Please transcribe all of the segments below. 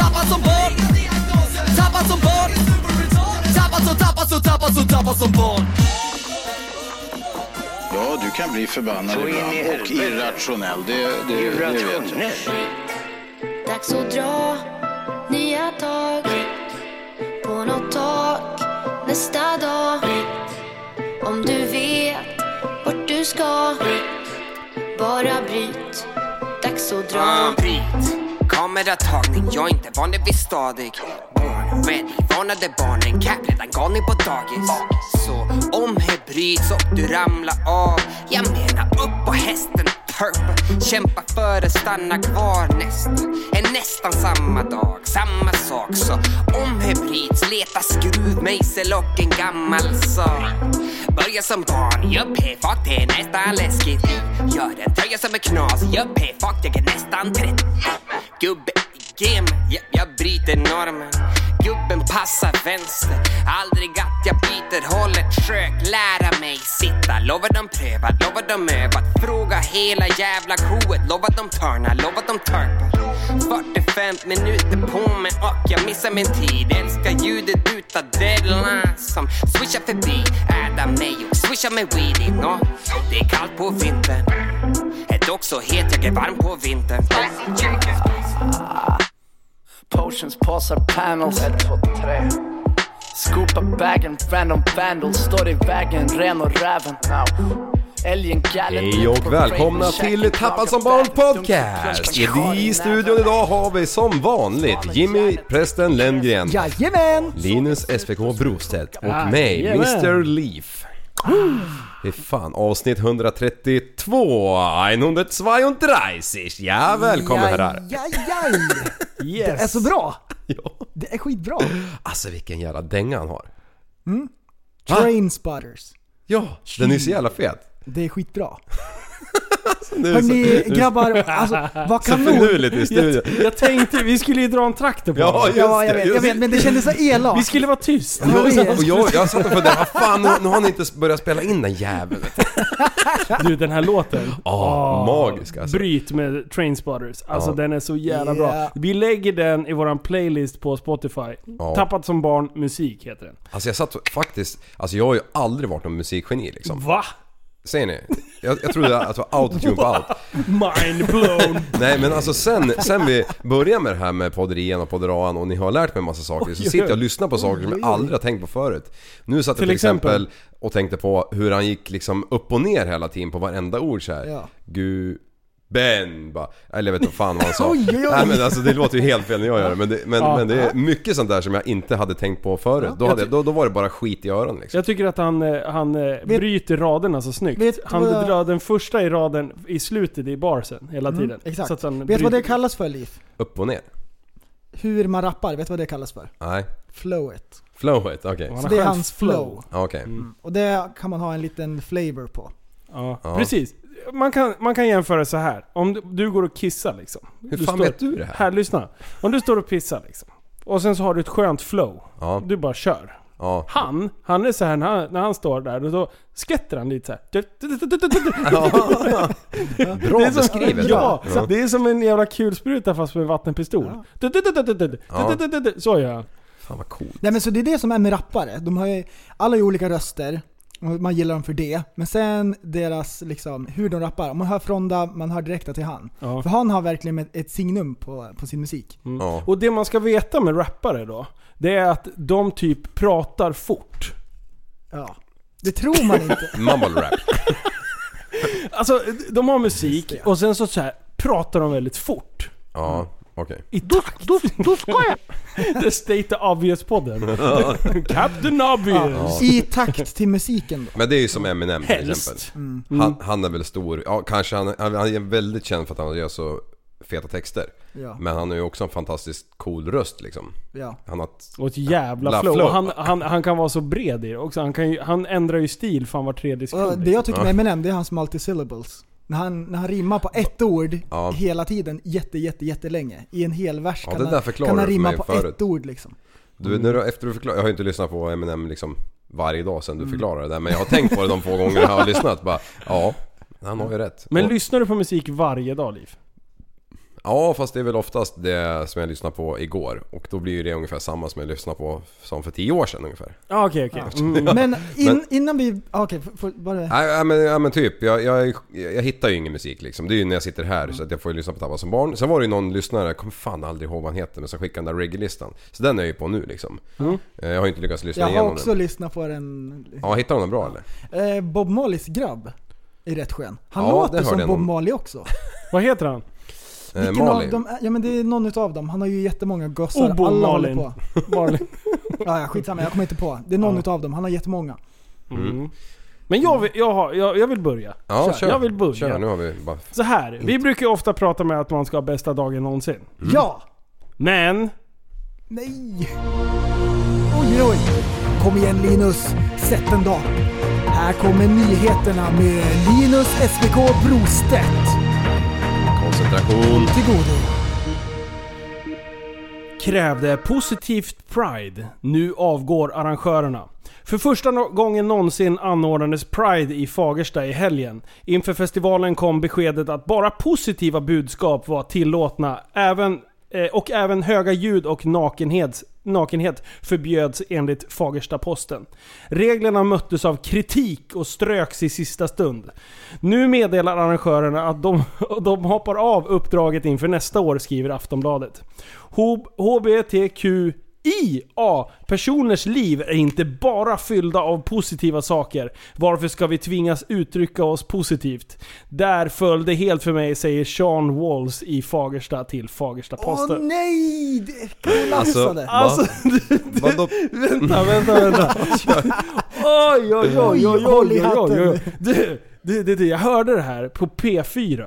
Tappad som barn Tappad som barn Tappad som, tappad som, tappad som, tappad som barn Ja, du kan bli förbannad Så in i ibland och helvete. irrationell. Det, det, det vet jag. Dags att dra nya tag på något tak nästa dag. Om du vet vart du ska, bara bryt. Dags att dra. Fan bryt, kameratagning, jag är inte van vid stadig Born ready, varnade barnen, cap redan galning på dagis Så om här bryts och du ramlar av Jag menar upp på hästen, turp Kämpa före, stanna kvar nästan Är nästan samma dag, samma sak Så om här bryts, leta skruv, mejsel och en gammal sag Börja som barn, jupp hey fuck det är nästan läskigt Gör en tröja som är knas, jupp hey fuck jag är nästan 30 Gubbe i game, ja, jag bryter normen Gubben passar vänster, aldrig att jag byter hållet Försök lära mig sitta, lovar de prövat, lovar de övat Fråga hela jävla crewet, lovar de törnar, lovar de törpar 45 minuter på mig och jag missar min tid Älskar ljudet utav deadline som swishar förbi Äda mig och swisha mig weed in och det är kallt på vintern Är dock så het, jag är varm på vintern Potions, påsar, panels Ett, två, tre Scoopar bagen, random vandal Står i vägen, ren och räven Älgen, gallen Hej och välkomna till Tappad som barn podcast! I studion idag har vi som vanligt Jimmy Prästen Lenngren, Jajamän! Linus SVK Brostedt och mig, Jajamän. Mr Leaf. Fy fan, avsnitt 132! 132! Ja, välkomna herrar! Jajajaj! Det Yes! är så bra! Ja. Det är skitbra! Alltså vilken jävla dänga han har. Va? Train spotters. Ja, den är så jävla fet. Det är skitbra. Nu är Hörni så- grabbar, alltså vad så kanon! finurligt i studion. Jag tänkte, vi skulle ju dra en traktor på Ja, honom. just Ja, jag det, vet, just jag vet, men det kändes så Vi elakt. skulle vara tyst. Ja, Jag, det satt, är- och jag, jag satt och funderade, vad fan, nu, nu har han inte börjat spela in den jäveln. Du, den här låten. Ah, Åh, magisk, alltså. Bryt med Trainspotters. Alltså Ja. den är så jävla Yeah. bra. Vi lägger den i våran playlist på Spotify. Ja. Tappat som barn musik heter den. Alltså jag satt faktiskt, alltså jag har ju aldrig varit någon musikgeni liksom. Va? Ser ni? Jag, jag trodde att det var autotune på allt. Mind blown. Nej men alltså sen, sen vi började med det här med podderian och podderaan och ni har lärt mig massa saker så sitter jag och lyssnar på saker som jag aldrig har tänkt på förut. Nu satt jag Till till exempel exempel? och tänkte på hur han gick liksom upp och ner hela tiden på varenda ord såhär. Ja. Gu... Ben bara. Eller jag vet inte fan vad han sa. Oj, oj, oj. Nej men alltså det låter ju helt fel när jag gör det men det, men, Ja. men det är mycket sånt där som jag inte hade tänkt på förut. Då, hade, jag- då, då var det bara skit i öronen liksom. Jag tycker att han, eh, han eh, bryter raderna så snyggt. vet du han vad jag- drar den första i raden i slutet i barsen hela tiden. Exakt. Så att han Vet du vad det bryter- kallas för Liv? Upp och ner? Hur man rappar, vet du vad det kallas för? Nej. Flowet. Flowet, okej. Han Mm. Så har det är skönt hans flow. Ja, Okej. Och det kan man ha en liten flavor på. Ja, Ja. precis. Man kan, man kan jämföra så här. Om du, du går och kissar liksom. Hur du fan står, vet du det här? Här, lyssna. Om du står och pissar liksom. Och sen så har du ett skönt flow. Ja. Du bara kör. Ja. Han, han är så här när han, när han står där och då skvätter han lite så här. Bra Det är som- beskrivet. Ja, det är som en jävla kulspruta fast med vattenpistol. Så gör han. Fan vad coolt. Nej men så det är det som är med rappare. De har ju, alla har ju olika röster. Och man gillar dem för det. Men sen deras, liksom, hur de rappar. Om man hör Fronda, man hör direkt att det är han. Ja. För han har verkligen ett, ett signum på, på sin musik. Ja. Och det man ska veta med rappare då, det är att de typ pratar fort. Ja. Det tror man inte. Mumble rap. Alltså, de har musik Just det. och sen så, så här, pratar de väldigt fort. Ja, okej. I takt. Då, ska jag! The State of Obvious-podden. Captain Obvious. I takt till musiken då. Men det är ju som Eminem till Helst. Mm. Mm. exempel. Han, han är väl stor, ja kanske han, han han är väldigt känd för att han gör så feta texter. Ja. Men han har ju också en fantastiskt cool röst liksom. Ja. Han har... Och ett jävla La flow. flow. Och Han, han, han kan vara så bred i det också. Han, kan ju, han ändrar ju stil fan var tredje Och sekund. det jag tycker Ja. med Eminem, det är hans multisyllables. När han, när han rimmar på ett ord Ja. hela tiden, jätte, jätte, jättelänge. I en hel vers Ja, kan, det där han, förklarar kan han du för rimma mig på förut. ett ord liksom. Du, när du, efter du förklar... Jag har ju inte lyssnat på Eminem liksom varje dag sen du Mm. förklarade det där. Men jag har tänkt på det de få gånger jag har lyssnat. Bara, ja, han har ju rätt. Men Och- lyssnar du på musik varje dag Liv? Ja, fast det är väl oftast det som jag lyssnade på igår. Och då blir ju det ungefär samma som jag lyssnade på som för tio år sedan Äh. ungefär. Ja okej okej. Mm. Men, in, innan vi... ah, Okej, får- får- var det... Nej, nej, men, ja, men typ. Jag, jag, jag hittar ju ingen musik liksom. Det är ju när jag sitter här Mm. så att jag får ju lyssna på Tappa som barn. Sen var det ju någon lyssnare, jag kommer fan aldrig ihåg vad han heter, men som skickade den där reggae-listan. Så den är jag ju på nu liksom. Eh, Jag har ju inte lyckats lyssna Mm. Jag har igenom också den. lyssnat på den. Ja, hittar du någon bra eller? Eh, Bob Marleys grabb är rätt skön. Han Ja, det låter hörde som jag Bob någon- Marley också. Vad heter han? Eh, Vilken Mali. av dem? är- Ja men det är någon utav dem. Han har ju jättemånga gossar. Obo Alla Malin. håller på. Marlin. Ja, ja, skitsamma, jag kommer inte på. Det är någon Ja. utav dem. Han har jättemånga. Mm. Men jag vill, jag, har, jag, jag vill börja. Ja, kör. Jag vill börja. Kör, nu har vi bara... Så här, vi brukar ju ofta prata med att man ska ha bästa dagen någonsin. Ja! Men... Nej! Oj, oj. Kom igen Linus, sätt en dag. Här kommer nyheterna med Linus SVK Brostedt. Koncentration. Till godo. krävde positivt Pride. Nu avgår arrangörerna. För första no- gången någonsin anordnades Pride i Fagersta i helgen. Inför festivalen kom beskedet att bara positiva budskap var tillåtna. Även, eh, och även höga ljud och nakenhet, nakenhet förbjöds enligt Fagersta-Posten. Reglerna möttes av kritik och ströks i sista stund. Nu meddelar arrangörerna att de, de hoppar av uppdraget inför nästa år, skriver Aftonbladet. Hob- HBTQIA personers liv är inte bara fyllda av positiva saker. Varför ska vi tvingas uttrycka oss positivt? Där föll det helt för mig, säger Sean Walls i Fagersta till Åh Fagersta-Posten. nej! Det- Kan du läsa Alltså, det? Alltså, Vadå? vänta, vänta, vänta. Oj, oj, oj, oj, oj, Håll i oj, oj, oj. hatten. Du, du, du, du, jag hörde det här på P4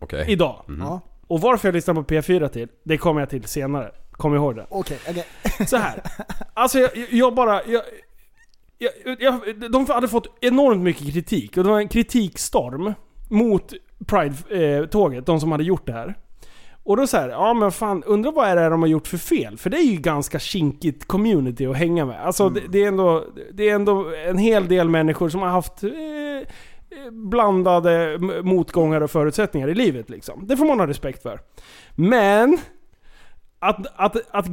Okej. idag. Ja, Och varför jag lyssnar på P4 till, det kommer jag till senare. Kom ihåg det. okej, okej. Så här. Alltså jag, jag bara... Jag, jag, jag, de hade fått enormt mycket kritik. Och det var en kritikstorm mot Pride-tåget, de som hade gjort det här. Och då så här, ja men fan, undrar vad är det de har gjort för fel? För det är ju ganska kinkigt community att hänga med. Alltså det, det, är ändå, det är ändå en hel del människor som har haft eh, eh, blandade m- motgångar och förutsättningar i livet liksom. Det får man ha respekt för. Men, att, att, att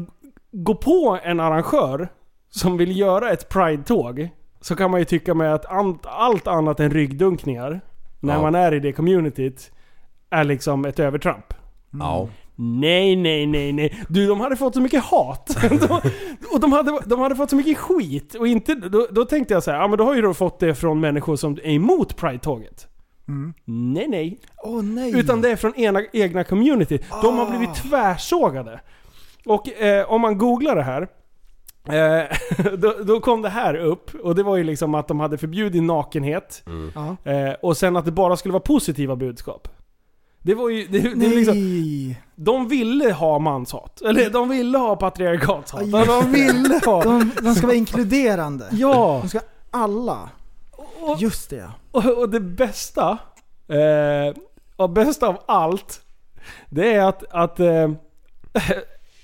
gå på en arrangör som vill göra ett Pride-tåg så kan man ju tycka med att an- allt annat än ryggdunkningar när Ja. man är i det communityt är liksom ett övertramp. Ja. Nej, nej, nej, nej. Du, de hade fått så mycket hat. De, och de hade, de hade fått så mycket skit. Och inte, då, då tänkte jag så här, ja men då har ju de fått det från människor som är emot Pride-tåget. Nej, nej. Mm. Åh nej! Ah. Utan det är från ena, egna community. De har blivit tvärsågade. Och eh, om man googlar det här. Eh, då, då kom det här upp. Och det var ju liksom att de hade förbjudit nakenhet. Ja. Eh, och sen att det bara skulle vara positiva budskap. Det var ju... Det, det är Nej! liksom, de ville ha manshat. Eller de ville ha patriarkatshat. Aj. De ville ha... De, de ska vara inkluderande. Ja. De ska alla. Och- Just det ja. Och, och det bästa, eh, och bästa av allt, det är att, att eh,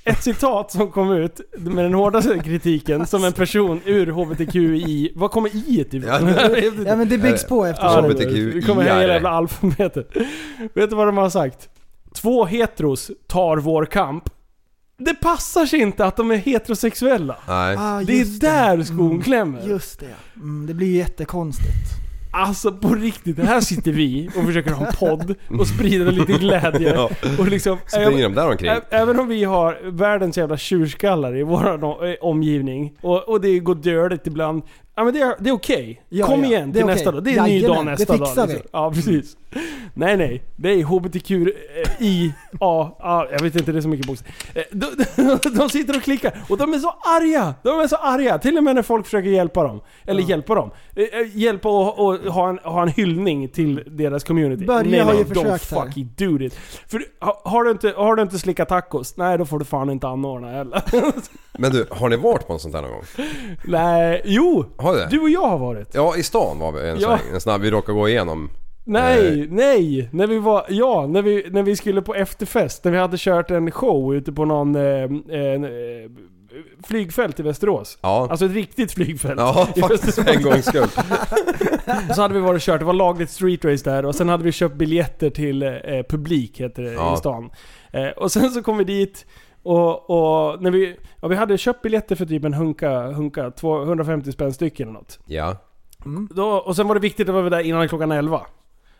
ett citat som kom ut med den hårdaste kritiken som en person ur HBTQI... Vad kommer i ifrån? Ja, Ja men det byggs på Ja, eftersom. det- HBTQI-are. Vi kommer E. hela jävla alfabetet. Vet du vad de har sagt? Två heteros tar vår kamp. Det passar sig inte att de är heterosexuella. Nej. Ah, Det är just där skon Mm, klämmer. Just det ja. mm, Det blir ju jättekonstigt. Alltså på riktigt, här sitter vi och försöker ha en podd och sprida lite glädje. Ja. Och liksom, Springer de där omkring? Ä- Även om vi har eh, världens jävla tjurskallar i vår omgivning och, och det går dödligt ibland. ja, men det är, det är okej. Ja, Kom ja, igen det till är nästa okej. dag. Det är en ny dag Jajamän, nästa det dag. fixar liksom. Ja, precis. Nej, nej. Det är HBTQ, eh, I, A, A, jag vet inte, det är så mycket bokstäver. Eh, De, de, de sitter och klickar och de är så arga! De är så arga! Till och med när folk försöker hjälpa dem. Eller hjälpa dem. Eh, eh, Hjälpa och, och ha, en, ha en hyllning till deras community. Börje nej, har nej, ju don't försökt här. fucking do it. För ha- har du, inte, har du inte slickat tacos, nej då får du fan inte anordna heller. Men du, har ni varit på en sån där någon gång? nej, jo! Har du det? Du och jag har varit. Ja, i stan var vi en, Ja. ja. en snabb. Vi råkade gå igenom. Nej, Eh. nej! När vi var, ja, när vi, när vi skulle på efterfest, när vi hade kört en show ute på någon eh, en, eh, flygfält i Västerås. Ja. Alltså ett riktigt flygfält. Ja, I faktiskt Västerås. en gångs skull. Så hade vi varit och kört, det var lagligt street race där och sen hade vi köpt biljetter till eh, publik, heter det Ja. i stan. Eh, och sen så kom vi dit och, och när vi, ja, vi hade köpt biljetter för typ en hunka, hunka 250 spänn stycken eller något. Ja. Då, och sen var det viktigt att vi var där innan klockan 11.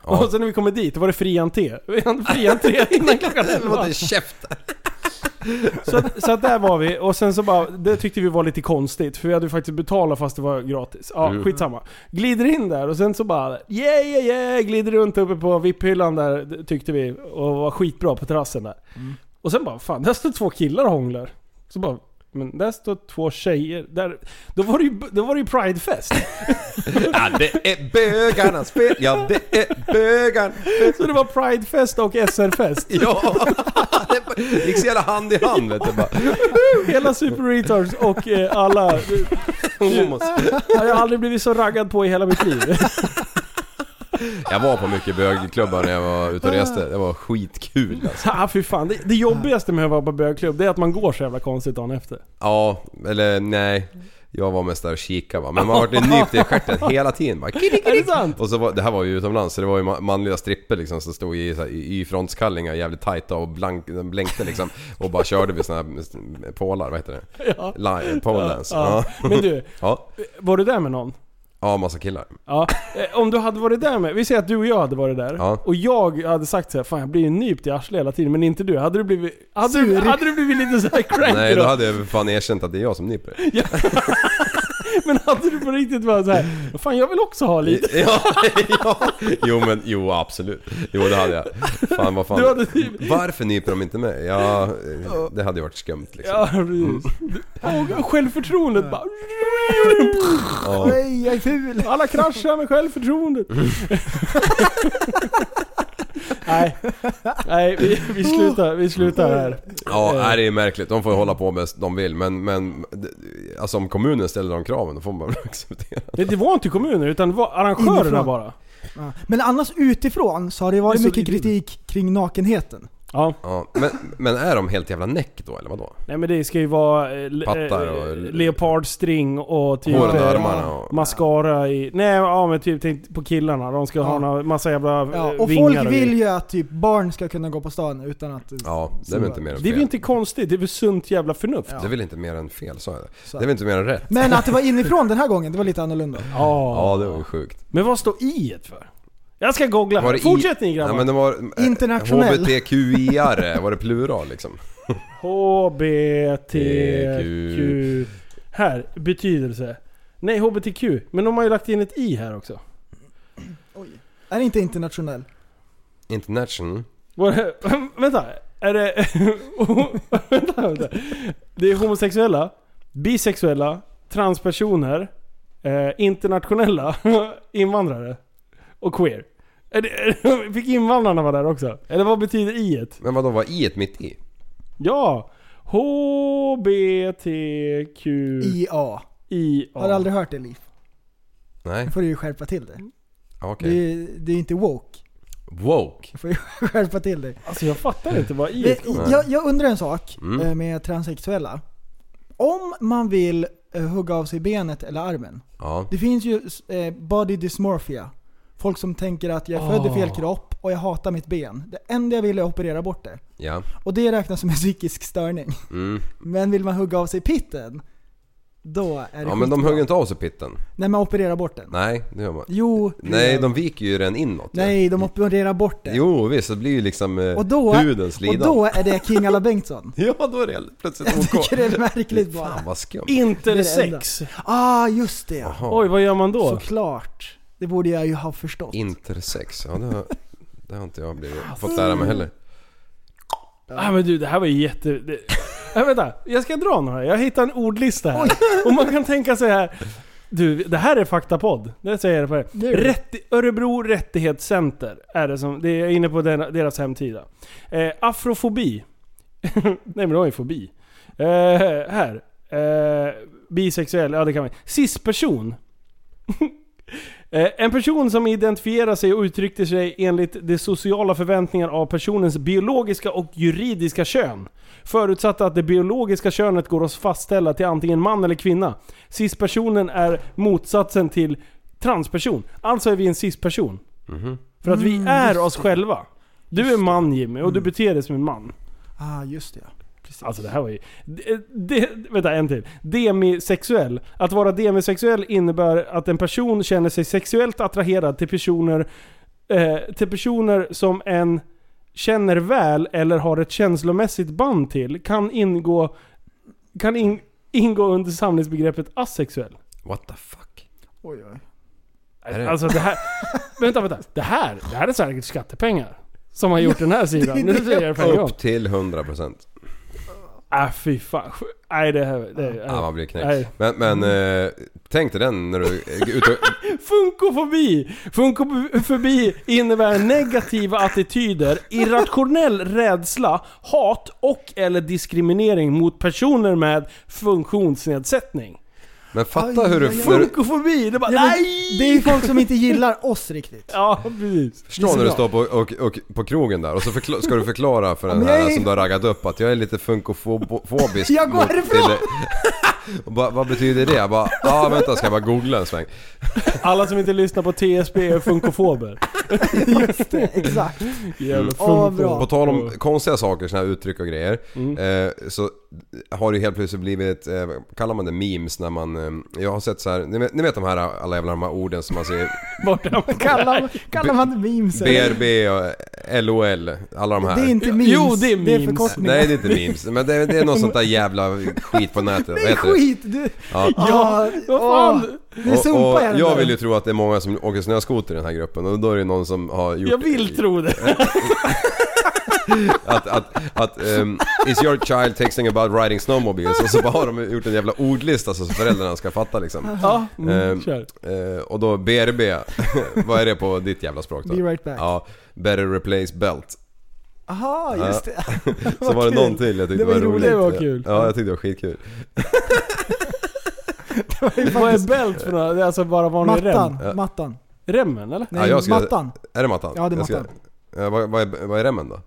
Och sen när vi kommer dit, då var det fri entré. Vi hade Fri entré innan klockan 11. käften. Så, att- så att där var vi, och sen så bara, det tyckte vi var lite konstigt, för vi hade ju faktiskt betalat fast det var gratis. Ja, skitsamma. Glider in där och sen så bara, yeah yeah yeah, glider runt uppe på VIP-hyllan där, det tyckte vi, och var skitbra på terrassen där. Och sen bara, fan där står två killar och hånglar. Så bara, men där står två tjejer. Där, då var det ju, då var det ju Pride-fest. Ja, det är bögarnas fel. Ja, det är bögarna. Så det var Pride-fest och SR-fest. Ja. Det gick så jävla hand i hand vet du. Bara. Hela Super Retards och eh, alla... homos. Jag har aldrig blivit så raggad på i hela mitt liv. Jag var på mycket bögklubbar när jag var ute och reste. Det var skitkul alltså. Ah, fy fan. Det, det jobbigaste med att vara på bögklubb, det är att man går så jävla konstigt dagen efter. Ja, eller nej. Jag var mest där och kika va. Men man vart ju nypt i stjärten hela tiden. Bara, krik, Är det sant? Och så var, det här var ju utomlands så det var ju ma- manliga stripper liksom som stod i, så här, i, i frontskallingar jävligt tajta och blank, de blänkte liksom och bara körde vid såna här s- pålar, vad heter det? Ja. Line, pole dance. ja. Men du, Ja. var du där med någon? ja, massa killar. Ja. Eh, Om du hade varit där med, vi säger att du och jag hade varit där. Ja. Och jag hade sagt så här, fan jag blir ju nypt i arslet hela tiden, men inte du. Hade du blivit, hade du, hade du blivit lite så här cranky Nej, då? då hade jag väl fan erkänt att det är jag som nyper. Men hade du på riktigt varit så här, fan jag vill också ha lite. Ja, ja. Jo men, jo absolut. Jo det hade jag. Fan vad fan. Du hade typ- Varför nyper de inte mig? Ja, eh, det hade ju varit skumt liksom. Ja, precis. Mm. Och självförtroendet bara... Ja. Nej, jag är ful. Alla kraschar med självförtroendet. Mm. Nej, Nej vi, vi, slutar, vi slutar här. Ja, nej, det är märkligt. De får ju hålla på bäst de vill. Men, men alltså om kommunen ställer de kraven då får man väl acceptera. Det, det var inte kommuner, utan det var arrangörerna Inifrån. bara. Ja. Men annars utifrån så har det varit Det är så mycket det- kritik kring nakenheten. Ja, Ja, men, men är de helt jävla näck då eller vadå? nej men det ska ju vara eh, le, Pattar eh, och- leopardstring och typ Håren och eh, armarna och... mascara i... Nej ja, men typ tänk på killarna, de ska Ja. ha några- massa jävla Ja, ja, och vingar folk och vill ju att typ barn ska kunna gå på stan utan att... Ja, det är väl inte mer än Det är fel. väl inte konstigt, det är väl sunt jävla förnuft? Det är väl inte mer än fel, sa jag det? Så. Det är väl inte mer än rätt? Men att det var inifrån den här gången, det var lite annorlunda. Ja. Ja, det var ju sjukt. Men vad står i et för? Jag ska googla. Var det i- Fortsättning grabbar. Ja, men det var... eh, Internationell. HBTQIare, E, var det plural liksom? HBTQ. Här, betydelse. Nej, HBTQ. Men de har ju lagt in ett i här också. Är det inte internationell? International? Var det, vänta, är det... vänta, vänta. Det är homosexuella, bisexuella, transpersoner, eh, internationella, invandrare och queer. Är det, är det, fick invandrarna vara där också? Eller vad betyder i et? Men vadå, var i ett mitt i? Ja! HBTQIA. IA. Har du aldrig hört det Liv? Nej, Då får du ju skärpa till det. Ja, Det, okej. är, det är inte woke. Woke? Du får ju skärpa till dig. Alltså jag fattar inte vad i Men et Jag, jag undrar en sak Mm. eh, med transsexuella. Om man vill eh, hugga av sig benet eller armen. Ja. Det finns ju eh, body dysmorphia. Folk som tänker att jag är född i Ah. fel kropp och jag hatar mitt ben. Det enda jag vill är att operera bort det. Ja. Och det räknas som en psykisk störning. Mm. Men vill man hugga av sig pitten, Då är det Ja men de skitbra. högg ju inte av sig pitten. Nej men operera bort den. Nej, det gör man. Jo. Nej, de viker ju den inåt. ju. Nej, de opererar bort den. Jo visst, det blir ju liksom eh, Och då, hudens och lida. då är det King Alla Bengtsson. Ja, då är det plötsligt Jag OK. tycker det är märkligt Fan bara. vad skumt. Inte Det det är det enda. sex. Ah, just det. Oj, vad gör man då? Såklart. Det borde jag ju ha förstått. Intersex, ja det har, det har inte jag blivit, Alltså. fått lära mig heller. Ah, men du, det här var ju jätte... Det... Nej, vänta, jag ska dra några. Jag hittar en ordlista här. Och man kan tänka sig här... Du, det här är faktapodd. Det säger jag för Nu. dig. Rätti- Örebro Rättighetscenter är det som... Det är inne på den, deras hemsida. Eh, afrofobi. Nej men det var ju fobi. Eh, här. Eh, bisexuell, ja det kan man Cis-person. Eh, En person som identifierar sig och uttryckte sig enligt de sociala förväntningar av personens biologiska och juridiska kön. Förutsatt att det biologiska könet går att fastställa till antingen man eller kvinna. Cis-personen är motsatsen till transperson. Alltså är vi en cis-person. För att vi är oss själva. Du är man Jimmy och du beter dig som en man. Ah, just det. Precis. Alltså det här var ju... Det, det, vänta, en till. Demisexuell. Att vara demisexuell innebär att en person känner sig sexuellt attraherad till personer, eh, till personer som en känner väl eller har ett känslomässigt band till kan ingå, kan in, ingå under samlingsbegreppet asexuell. What the fuck? Oj, oj. Är det- Alltså det här... vänta, vänta. Det här, det här är säkert skattepengar. Som har gjort den här sidan. Nu säger jag det på en gång. Upp till 100%. Ah fy fan. Nej det här... Det, är- Ja, man blir knäckt. Nej. Mm. Men, men eh, tänk dig den när du är ute och... Funkofobi! Funkofobi innebär negativa attityder, irrationell rädsla, hat och eller diskriminering mot personer med funktionsnedsättning. Men fatta Aj, hur du... aj, aj. När du Funkofobi, det är bara Ja, men nej! Det är ju folk som inte gillar oss riktigt. Ja, precis. Det är förstår så när du bra. står på, och, och, på krogen där och så förkla- ska du förklara för den men jag här är- som du har raggat upp att jag är lite funkofobisk Jag går mot härifrån! dille- och bara, vad betyder det? Jag bara, ja ah, vänta ska jag bara googla en sväng. Alla som inte lyssnar på TSB är funkofober. Just det, exakt. Jävla Åh, funko. bra. På tal om konstiga saker, såna här uttryck och grejer. Eh, så har det ju helt plötsligt blivit, eh, vad kallar man det memes när man... Eh, jag har sett så här, ni vet, ni vet de här alla jävla de här orden som man ser Borta. Kallar, kallar man det memes? eller? BRB och LOL, alla de här. Det är inte memes. Jo, det är Det är memes. förkortningar. Nej det är inte memes, men det, det är något sånt där jävla skit på nätet. Det är skit! Du, Ja. Ah, vad fan? Du och, sumpar och hela jag tiden. vill ju tro att det är många som åker snöskoter i den här gruppen och då är det någon som har gjort... Jag vill tro det. Att, att, att ehm, is your child texting about riding snowmobiles? Och så bara har de gjort en jävla ordlista så föräldrarna ska fatta liksom. Ja, mm, Ehm, kör. eh, och då BRB, vad är det på ditt jävla språk då? Be right back. Ja, better replace belt. Aha, just det. Så Vad var det kul. någon till jag tyckte Det var var, ju roligt. roligt. Det var kul. Ja, jag tyckte det var skitkul. Vad är bält för något? Det är alltså bara vanlig rem. Mattan, mattan. Remmen eller? Nej, Ja, jag skulle- mattan. Är det mattan? Ja, det är Jag ska- mattan. eh, vad, vad, är, vad är remmen då?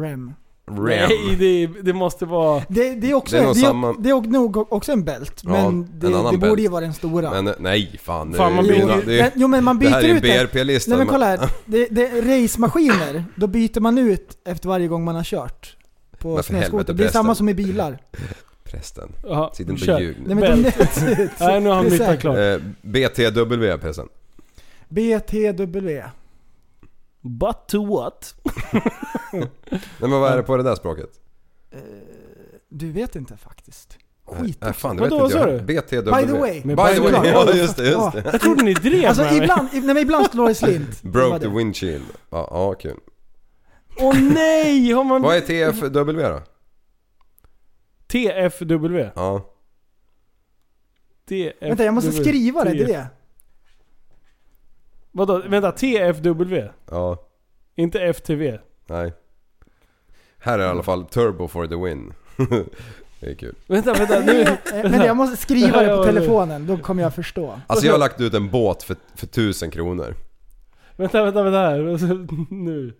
Rem. Rem. Nej, det, det måste vara... Det, det är också, Det är nog det är, samma- det är nog också en bält, Ja, men det, en annan det borde ju bält. vara den stora. Men eh, nej fan. Fan, man det, är ju- jo, byter- det, är ju- men, jo men man det byter här är en ut det. BRP-lista. Nej men kolla här, det, det är racemaskiner, då byter man ut efter varje gång man har kört. På Men för helvete, snöskoter. Det är samma prästen. som i bilar. Prästen. Aha, Sitt inte kör. och ljug nu. Nej, men de, Nej, nu har han Det är blivit säkert. klart. Eh, BTW prästen. BTW. But to what? Nej men vad är det på det där språket? Du vet inte faktiskt. Skit Nej fan det vet Vadå, inte vad jag. sa du? BTW. By the way. By the way. Ja just det, just det. Jag trodde ni drev Alltså med mig. ibland, nej, men ibland slår det slint. Det var Broke det. the windshield. Ja, ja kul. Åh nej! Har man Vad är TFW då? TFW? Ja. TFW. Vänta jag måste skriva det, det är det. Vadå? Vänta, TFW? Ja. Inte FTV? Nej. Här är i alla fall Turbo for the win. det är kul. Vänta, vänta nu. Eh, Men jag måste skriva det Ja, på ja, telefonen, då kommer jag förstå. Alltså jag har lagt ut en båt för, för 1000 kronor. Vänta, vänta, vänta här. Och så- Nu.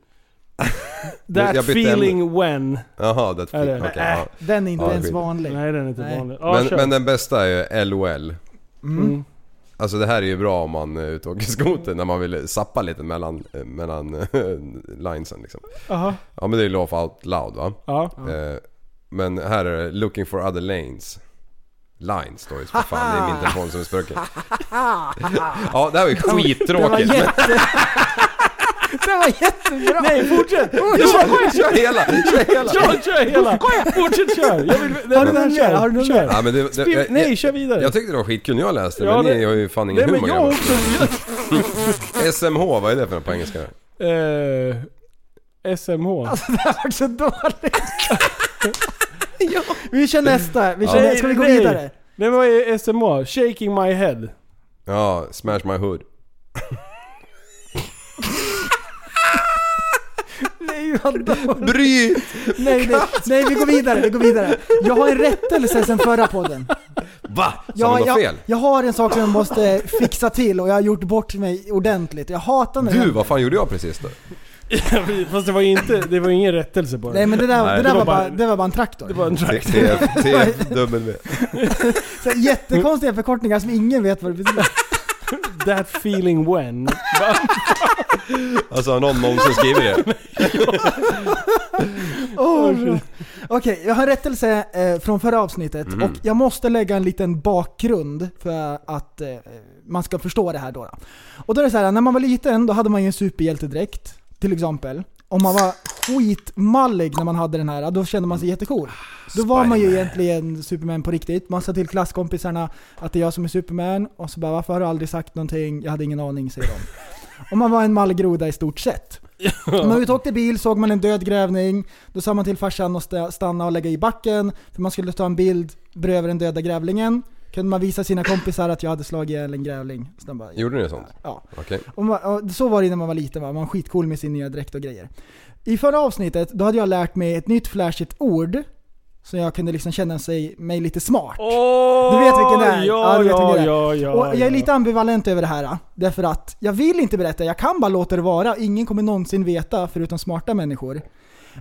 Jag That bytte feeling when. Jaha, det Är det? fick... Okej, ja. Den är inte Ja, ens skit. vanlig. Nej, den är inte Nej. vanlig. Ja, men, kör. men den bästa är ju LOL. Mm. Alltså det här är ju bra om man är ute och åker skoter när man vill sappa lite mellan, eh, mellan linesen liksom. Aha. Ja men det är ju Laugh Out Loud va? Ja. Eh, Men här är det Looking for other lanes. Line Stories för fan, det är min telefon som är spöken. ja, det här var ju skittråkigt. men- Det var jättebra! Nej, fortsätt! Kör, kör hela, kör hela! Kör, kör hela! Fortsätt kör! Jag vill, nej, Har du men någon kör, mer? Har du någon kör. Ja, men det, det, Spill- jag, nej, jag, kör vidare! jag tyckte det var skitkul när jag läste det, Ja, men det- ni har ju fan ingen nej men humor jag grabbar. också! SMH, vad är det för något på engelska? Eh, SMH. Alltså det här var så dåligt. ja. Vi kör nästa. Vi kör Ja. nästa. Ska vi gå Nej, nej. vidare? Nej men vad är SMH? Shaking my head. Ja, Smash My Hood. Nej, vad dåligt. Bry! Nej, nej, nej, vi går vidare. Vi går vidare. Jag har en rättelse sen förra podden. Va? Sa Jag, de något jag, fel? jag har en sak som jag måste fixa till och jag har gjort bort mig ordentligt. Jag hatar när Du, jag, vad fan gjorde jag precis då? Fast det var ju inte, det var ju ingen rättelse på Nej det. men det där, Nej. Det det där var var bara, bara- det var bara en traktor. Det var en T- track. TF TFW. Så här jättekonstiga förkortningar som ingen vet vad det betyder. That feeling when. Alltså har någon någonsin skrivit det? Oh. Okej, jag har en rättelse eh, från förra avsnittet och jag måste lägga en liten bakgrund för att eh, man ska förstå det här då. då. Och då är det så här, när man var liten då hade man ju en superhjältedräkt, till exempel. Om man var skitmallig när man hade den här, då kände man sig jättecool. Då var man ju egentligen Superman på riktigt. Man sa till klasskompisarna att det är jag som är Superman och så bara varför har du aldrig sagt någonting? Jag hade ingen aning, säger de. Och man var en malgroda i stort sett. Om man var ute och åkte bil såg man en död grävling, då sa man till farsan att stä- stanna och lägga i backen, för man skulle ta en bild bredvid den döda grävlingen. Kunde man visa sina kompisar att jag hade slagit ihjäl en grävling. Så de bara, Gjorde ni sånt? ja. Okej. Och man, och så var det när man var liten va? Man var skitcool med sin nya dräkt och grejer. I förra avsnittet, då hade jag lärt mig ett nytt flashigt ord. Så jag kunde liksom känna sig, mig lite smart. Oh, Du vet vilken det är? Ja, Ja, du vet ja, vilken det är. ja, ja, och jag är ja. lite ambivalent över det här. ah. Därför att jag vill inte berätta, jag kan bara låta det vara. Ingen kommer någonsin veta förutom smarta människor.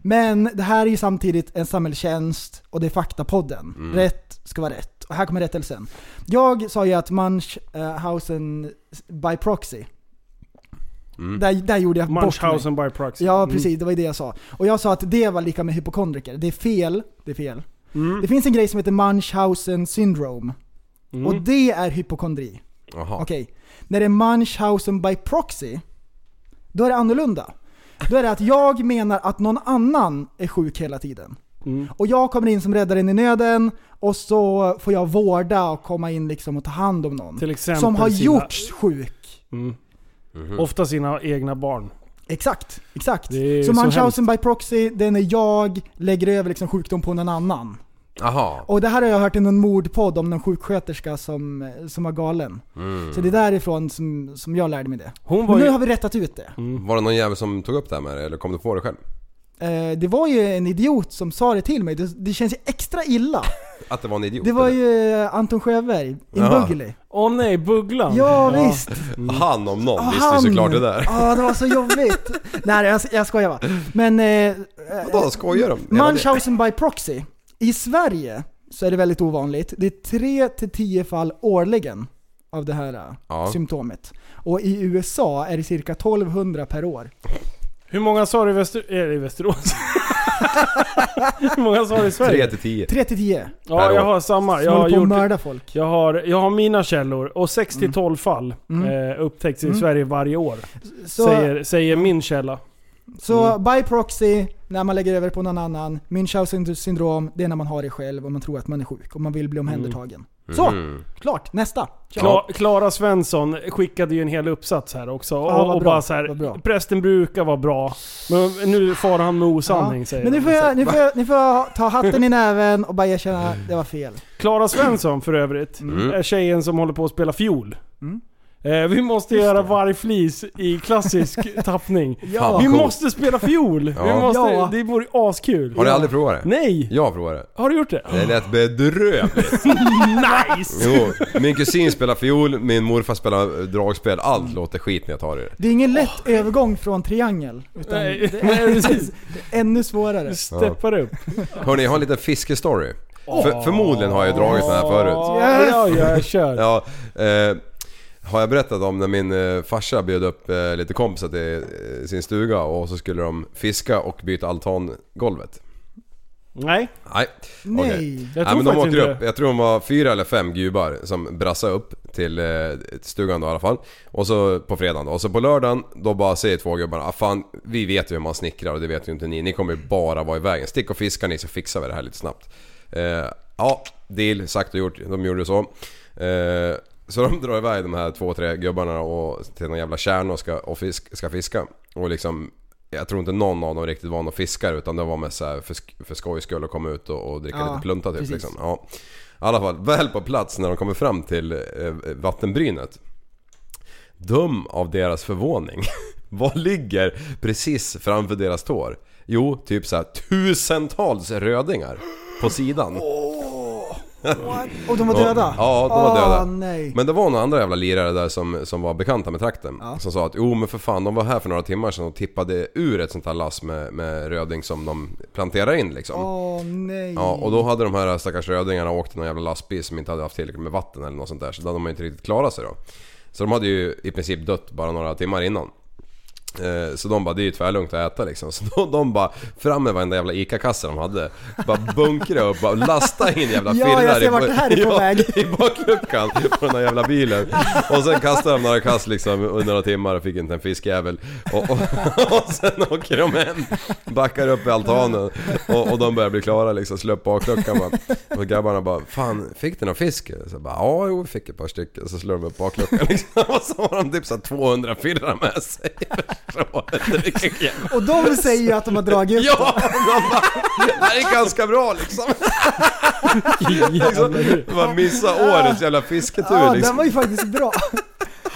Men det här är ju samtidigt en samhällstjänst och det är Faktapodden. Rätt ska vara rätt. Och här kommer rättelsen. Jag sa ju att Munchhausen eh, by proxy. Där, där gjorde jag bort mig. Munchhausen by proxy. Ja, precis. Det var ju det jag sa. Och jag sa att det var lika med hypokondriker. Det är fel. Det är fel. Det finns en grej som heter Munchhausen syndrome. Och det är hypokondri. Jaha. Okej. När det är Munchhausen by proxy, då är det annorlunda. Då är det att jag menar att någon annan är sjuk hela tiden. Och jag kommer in som räddaren i nöden och så får jag vårda och komma in liksom och ta hand om någon. Till exempel som har sina- Mm. gjorts sjuk. Ofta sina egna barn. Exakt, exakt. Det är ju Så så Munchhausen by proxy, det är när jag lägger över liksom sjukdom på någon annan. Jaha. Och det här har jag hört i någon mordpodd om någon sjuksköterska som, som var galen. Så det är därifrån som, som jag lärde mig det. Hon Men var nu ju... har vi rättat ut det. Mm. Var det någon jävel som tog upp det här med det eller kom du på det själv? Eh, det var ju en idiot som sa det till mig. Det, det känns ju extra illa. Att det var en idiot? Det var eller? ju Anton Sjöberg, Jaha. Inbuggly. Åh nej, Bugglan. Ja, ja visst. Han om någon Ah, visste ju såklart det där. Ja, det var så jobbigt. Nej, jag, jag skojar bara. Men... Eh, Vadå, skojar de? Hela det- Munchausen by proxy. I Sverige så är det väldigt ovanligt. Det är 3-10 fall årligen av det här eh, Ja. symptomet. Och i USA är det cirka 1200 per år. Hur många sa du i, Väster... eh, i Västerås? Hur många sa du i Sverige? 3 till 10. 3-10 Ja, per jag år. har samma. som Jag har, håller på att gjort, mörda folk. Mm. jag, har, jag har mina källor och 6 till 12 fall eh, upptäcks i Sverige varje år. Så, säger, säger min källa. så by proxy, när man lägger över på någon annan. Munchausen syndrom, det är när man har det själv och man tror att man är sjuk och man vill bli omhändertagen. Mm. Så! Mm-hmm. Klart, nästa! Kör. Kla, Klara Svensson skickade ju en hel uppsats här också. Ja, och vad och bra, bara så här, vad bra. prästen brukar vara bra. Men nu far han med osanning säger Men nu han. får, jag, nu, får jag, nu får jag ta hatten i näven och bara erkänna att det var fel. Klara Svensson för övrigt, Mm. är tjejen som håller på att spela fiol. Eh, vi måste göra vargflis i klassisk tappning. Fan, vad Vi coolt. måste spela fiol! Ja. Vi måste, Ja. Det vore askul. Har du aldrig provat det? Nej! Jag har provat det. Har du gjort det? Det lät bedrövligt. Nice! Jo, min kusin spelar fiol, min morfar spelar eh, dragspel. Allt låter skit när jag tar i det. Det är ingen lätt övergång från triangel. Utan Nej, det är nej, precis. ännu svårare. Steppar upp. Hörni, jag har en liten fiskestory. För, förmodligen har jag dragit den här förut. Ja, ja, jag kör. Ja, eh, har jag berättat om när min eh, farsa bjöd upp eh, lite kompisar till eh, sin stuga och så skulle de fiska och byta altangolvet. Nej. Nej. Nej. okej. Jag Nej, tror men de faktiskt åker inte upp, det. jag tror de var fyra eller fem gubbar som brassade upp till, eh, till stugan då i alla fall. Och så på fredagen då. Och så på lördagen då bara säger två gubbarna ah, fan vi vet ju hur man snickrar och det vet ju inte ni. Ni kommer ju bara vara i vägen. Stick och fiska ni så fixar vi det här lite snabbt. Eh, ja, deal, sagt och gjort. De gjorde så. Eh, så de drar iväg de här två, tre gubbarna och, till någon jävla kärn och ska, och fisk, ska fiska. Och liksom jag tror inte någon av dem riktigt var någon fiskare utan det var mest så här för, sk- för skojs skull att komma ut och, och dricka Ja, lite plunta typ. precis. Liksom. Ja. I alla fall, väl på plats när de kommer fram till eh, vattenbrynet. Döm av deras förvåning. Vad ligger precis framför deras tår? Jo, typ så här tusentals rödingar på sidan. Och de var döda? Ja, de var Åh, döda. nej. Men det var några andra jävla lirare där som, som var bekanta med trakten. Som sa att jo men för fan de var här för några timmar sedan och tippade ur ett sånt här lass med, med röding som de planterar in liksom. Åh nej. Ja, och då hade de här stackars rödingarna åkt någon jävla lastbil som inte hade haft tillräckligt med vatten eller något sånt där. Så då hade de inte riktigt klarat sig då. Så de hade ju i princip dött bara några timmar innan. Eh, Så de bara, det är ju tvärlugnt att äta liksom. Så de, de bara, fram med varenda jävla ICA-kasse de hade. Bara bunkra upp, bara lasta in jävla Ja, firrar jag ser i- vart det här är på ja, väg. i bakluckan på den här jävla bilen. Och sen kastade de några kast liksom under några timmar och fick inte en fiskjävel. Och, och, och sen åker de hem, backar upp i altanen och, och de börjar bli klara liksom, slå upp bakluckan bara. Och grabbarna bara, fan fick du någon fisk? Så bara, ja jo vi fick ett par stycken. Så slår de upp bakluckan liksom. Och så har de typ så här 200 firrar med sig. Förstår du? Vilken jävla- Och de säger ju att de har dragit upp Ja! de bara, Det här är ganska bra liksom. Jävlar. Man missar årets jävla fisketur Ja, den liksom. var ju faktiskt bra.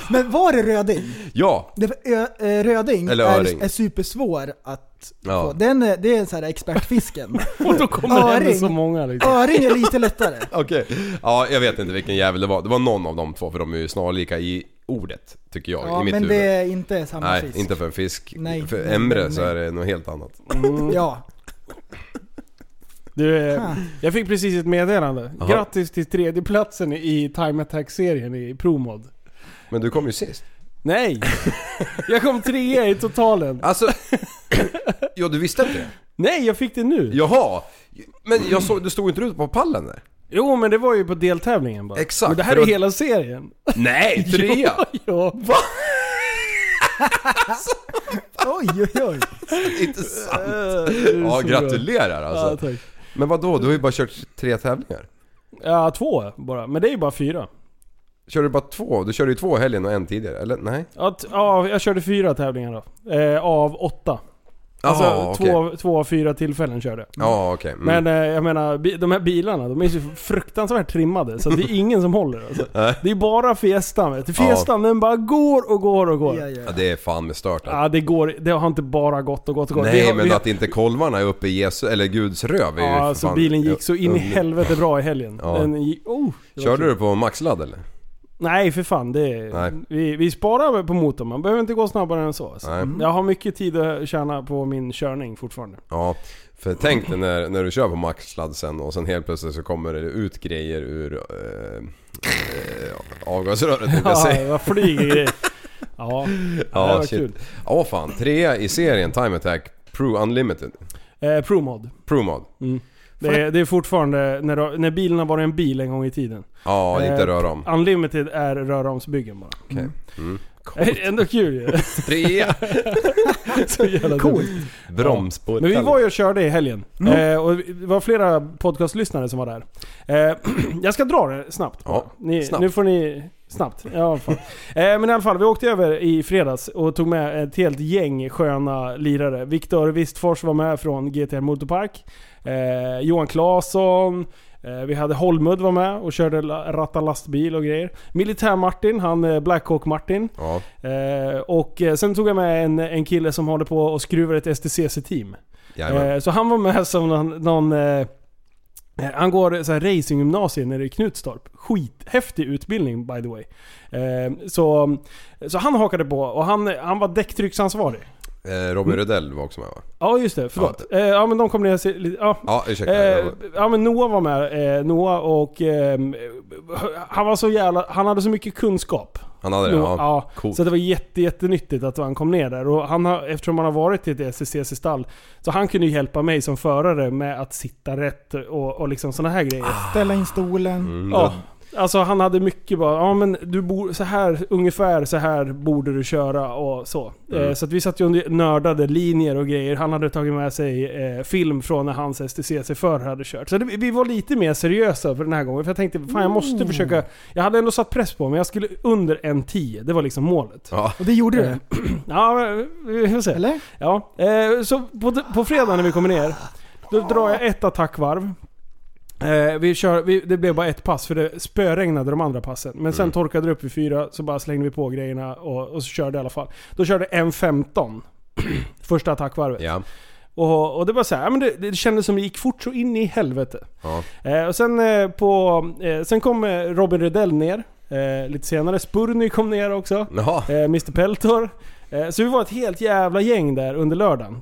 Men var det röding? Ja, Det, ö, ö, röding Eller öring. är, är supersvår att Ja. få. Den är, det är så här expertfisken. Och då kommer det hem med Öring. så många liksom. Öring är lite lättare. Okej. Ja, jag vet inte vilken jävel det var. Det var någon av de två för de är ju snarlika i ordet, tycker jag. Ja, I mitt men huvud. det är inte samma Nej, fisk. inte för en fisk. Nej, för nej, Emre nej, så nej. är det något helt annat. Ja. Mm. Du, eh, Huh. jag fick precis ett meddelande. Jaha. Grattis till tredjeplatsen i Time Attack-serien i ProMod. Men du kom ju sist. Nej! Jag kom trea i totalen. Alltså... ja, du visste inte det? Nej, jag fick det nu. Jaha! Men jag såg, du stod inte ute på pallen där? Jo, men det var ju på deltävlingen bara. Exakt, Men det här för är då- hela serien. Nej, trea! ja. Oj, oj, oj. inte sant! är Ja, så gratulerar Ja, alltså. tack. Men vad då? Du har ju bara kört tre tävlingar. Ja, två bara. Men det är ju bara fyra. Kör du bara två? Du körde ju två i helgen och en tidigare, eller? Nej? Ja, t- ja jag körde fyra tävlingar då. Eh, av åtta. Alltså Jaha, okej. två, av- två av fyra tillfällen körde jag. Ja, okej. Mm. Men eh, jag menar, bi- de här bilarna de är ju fruktansvärt trimmade så det är ingen som håller alltså. Det är bara Fiestan vet du. Fiestan den bara går och går och går. Ja, ja. Ja, ja. det är fan med stört alltså. det går, det har inte bara gått och gått och gått. Nej vi har, men vi har, att inte kolvarna är uppe i Jesu, eller Guds röv är ju Ja, för alltså fan- bilen gick så in i Ja. helvete bra i helgen. Ja. Den gick, oh, det var Körde kul. du på maxladd eller? Nej för fan, det, Nej. Vi, vi sparar på motorn. Man behöver inte gå snabbare än så. Alltså. Nej. Jag har mycket tid att tjäna på min körning fortfarande. Ja. För tänk dig när, när du kör på maxladd sen och sen helt plötsligt så kommer det ut grejer ur eh, eh, avgasröret tänkte jag Ja, säga. vad flyger grejer. Ja, ja, det var shit. kul. Ja fan, trea i serien Time Attack Pro Unlimited. Eh, Promod. Promod. Det är, det är fortfarande när, när bilen har varit en bil en gång i tiden. Ja, inte Eh, rör om. Unlimited är röromsbyggen bara. Eh, Okej. Mm. Ändå kul ju. Trea! Så jävla Coolt. dumt. Broms på Men vi var ju och körde i helgen. Eh, och det var flera podcastlyssnare som var där. Eh, jag ska dra det snabbt bara. Ja, ni, snabbt. Nu får ni... Snabbt. Ja, fan. Eh, men i alla fall, vi åkte över i fredags och tog med ett helt gäng sköna lirare. Viktor Wistfors var med från GTR Motorpark. Eh, Johan Claesson. Eh, vi hade Holmud var med och körde la- ratta lastbil och grejer. Militär-Martin, han eh, Blackhawk-Martin. Ja. Eh, och eh, sen tog jag med en, en kille som håller på och skruvar ett STCC-team. Jajamän. Eh, så han var med som någon... någon eh, eh, han går så här racinggymnasiet nere i Knutstorp. Skithäftig utbildning by the way. Eh, så, så han hakade på och han, han var däcktrycksansvarig. Eh, Robin Rödell var också med va? Ja just det, förlåt. Ja, eh, ja men de kom ner se- lite... Ja. Ja, ursäkta. Eh, jag- ja men Noah var med. Eh, Noah och... ehm, han var så jävla... Han hade så mycket kunskap. Han hade det? Noah, Ja. ja. Coolt. Så det var jätte, jättenyttigt att han kom ner där. Och han har, eftersom han har varit i ett SCCC-stall så han kunde ju hjälpa mig som förare med att sitta rätt och, och liksom sådana här grejer. Ställa in stolen. Ja. Alltså han hade mycket bara, ja men du bor så här, ungefär så här borde du köra och så. Eh, så att vi satt ju och nördade linjer och grejer. Han hade tagit med sig eh, film från när hans STCC-förare hade kört. Så det, vi var lite mer seriösa för den här gången. För jag tänkte, fan jag måste försöka. Jag hade ändå satt press på mig. Jag skulle under en 10. Det var liksom målet. Ja, Och det gjorde du? men, vi får se. Eller? Ja, eh, så på, på fredag när vi kommer ner, då drar jag ett attackvarv. Eh, vi kör, vi, det blev bara ett pass för det spöregnade de andra passen. Men Mm. sen torkade det upp vid fyra, så bara slängde vi på grejerna och, och så körde i alla fall. Då körde en 15 första attackvarvet. Ja. Och, och det var så här, ja, men det, det kändes som det gick fort så in i helvete. Ja. Eh, och sen, eh, på, eh, sen kom eh, Robin Rödell ner eh, lite senare. Spurny kom ner också. Jaha. Eh, Mr Peltor. Eh, så vi var ett helt jävla gäng där under lördagen.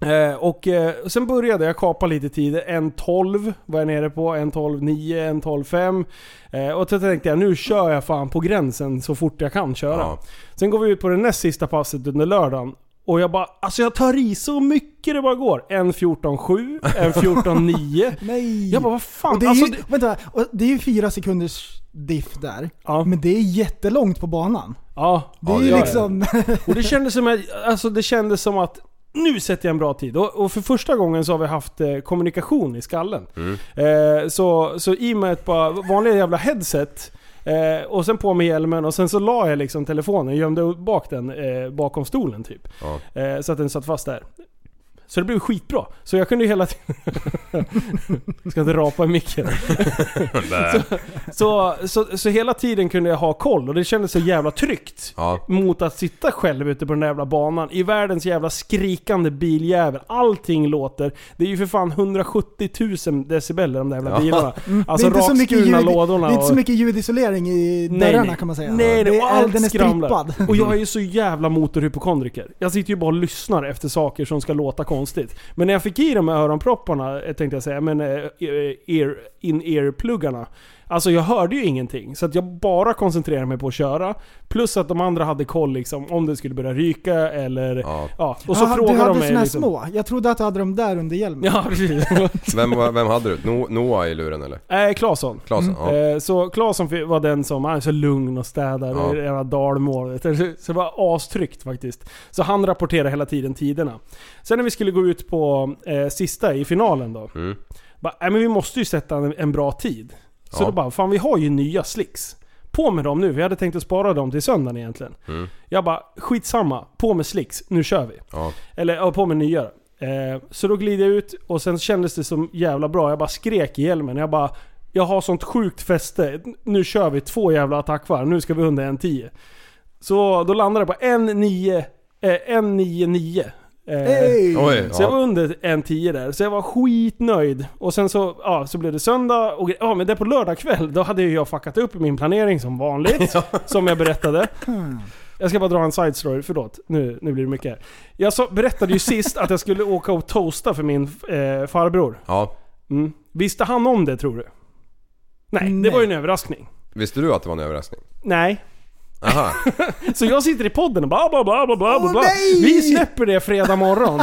Eh, och eh, och sen började jag kapa lite tid. En 12 var jag nere på, en 12 9, en 12 5. Eh, och då tänkte jag nu kör jag fan på gränsen så fort jag kan köra. Ja. Sen går vi ut på det näst sista passet under lördagen. Och jag bara, alltså jag tar i så mycket det bara går. En 14 7, en 14 9. Nej! Jag bara, vad fan? och det, är alltså, ju, det- vänta, och det är ju fyra sekunders diff där. Ja. Men det är jättelångt på banan. ja, Det är det ju är det. liksom... Och det kändes som, att- alltså det kändes som att nu sätter jag en bra tid. Och, och för första gången så har vi haft eh, kommunikation i skallen. Eh, så, så i och med ett par vanliga jävla headset eh, och sen på med hjälmen och sen så la jag liksom telefonen, gömde bak den eh, bakom stolen typ. Ja. Eh, så att den satt fast där. Så det blev skitbra. Så jag kunde ju hela tiden... Ska inte rapa i micken. så, så, så, så hela tiden kunde jag ha koll och det kändes så jävla tryggt Ja. mot att sitta själv ute på den där jävla banan i världens jävla skrikande biljävel. Allting låter. Det är ju för fan 170 000 decibel i de där jävla Ja. bilarna. Alltså Mm. det är inte så mycket rakskurna ljud, lådorna. Det är inte så och- mycket ljudisolering i Nej, dörrarna nej. kan man säga. Nej, det nej, och allt den är skramlar. strippad. Och jag är ju så jävla motorhypokondriker. Jag sitter ju bara och lyssnar efter saker som ska låta konstigt. Men när jag fick i de här öronpropparna, eh, tänkte jag säga, men eh, ear, in-ear-pluggarna. Alltså jag hörde ju ingenting. Så att jag bara koncentrerade mig på att köra. Plus att de andra hade koll liksom, om det skulle börja ryka eller... Ja. Ja. Och så Jaha, frågade du de hade mig... såna här liksom- små. Jag trodde att du hade dem där under hjälmen. Ja, precis. Vem, var- vem hade du? No, Noah i luren eller? Nej, Claesson. Klasen? Ja. Eh, Så Claesson fi- var den som, han är så lugn och städad Ja. och ja. dalmål. vet du. Så så det var astryggt faktiskt. Så han rapporterade hela tiden tiderna. Sen när vi skulle gå ut på eh, sista i finalen då. Mm. Bara, nej men vi måste ju sätta en, en bra tid. Så Ja. då bara, fan vi har ju nya slicks. På med dem nu, vi hade tänkt att spara dem till söndagen egentligen. Mm. Jag bara, skitsamma, på med slicks, nu kör vi. Ja. Eller ja, på med nya. Eh, så då glider jag ut och sen kändes det som jävla bra. Jag bara skrek i hjälmen. Jag bara jag har sånt sjukt fäste. Nu kör vi två jävla attackvarv. Nu ska vi under en 10. Så då landade jag på en 9 eh, en 9 9. Eh, Hey. Oj, Så jag var ja. under en 10 där, så jag var skitnöjd. Och sen så, ja, så blev det söndag och ja men det på lördag kväll, då hade ju jag fuckat upp i min planering som vanligt. Som jag berättade. Jag ska bara dra en side story, förlåt. Nu, nu blir det mycket här. Jag så, berättade ju sist att jag skulle åka och toasta för min eh, farbror. ja. Mm. Visste han om det tror du? Nej, det Nej. var ju en överraskning. Visste du att det var en överraskning? Nej. Aha. Så jag sitter i podden och bara bla bla bla bla bla. Åh, bla. nej! Vi släpper det fredag morgon.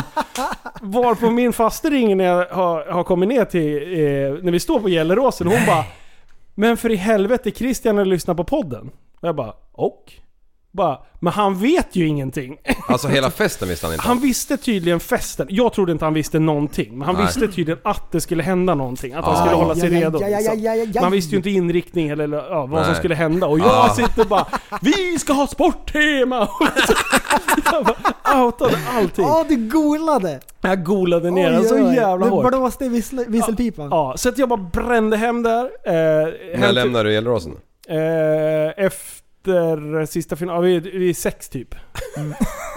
Varpå min faste ringer när jag har, har kommit ner till, eh, när vi står på Gelleråsen. Hon bara Men för i helvete Christian har lyssnat på podden. Och jag bara och? Bara, men han vet ju ingenting. Alltså hela festen visste han inte Han om. visste tydligen festen. Jag trodde inte han visste någonting. Men han Nej. visste tydligen att det skulle hända någonting. Att han Ah. skulle hålla sig Ja, ja, redo. ja, ja, liksom. ja, ja, ja. Man visste ju inte inriktning eller, eller ja, vad som Nej. skulle hända. Och jag Ah. sitter bara Vi ska ha sporttema! jag bara outade allting. Ja, du golade! Jag golade ner den Ah. Oj, så oj, oj. jävla Du hårt. blåste i vissel, visselpipan. Ja, så att jag bara brände hem där. Eh, När hem lämnade du Gelleråsen? till, eh, efter sista finalen, ja, vi, vi är sex typ.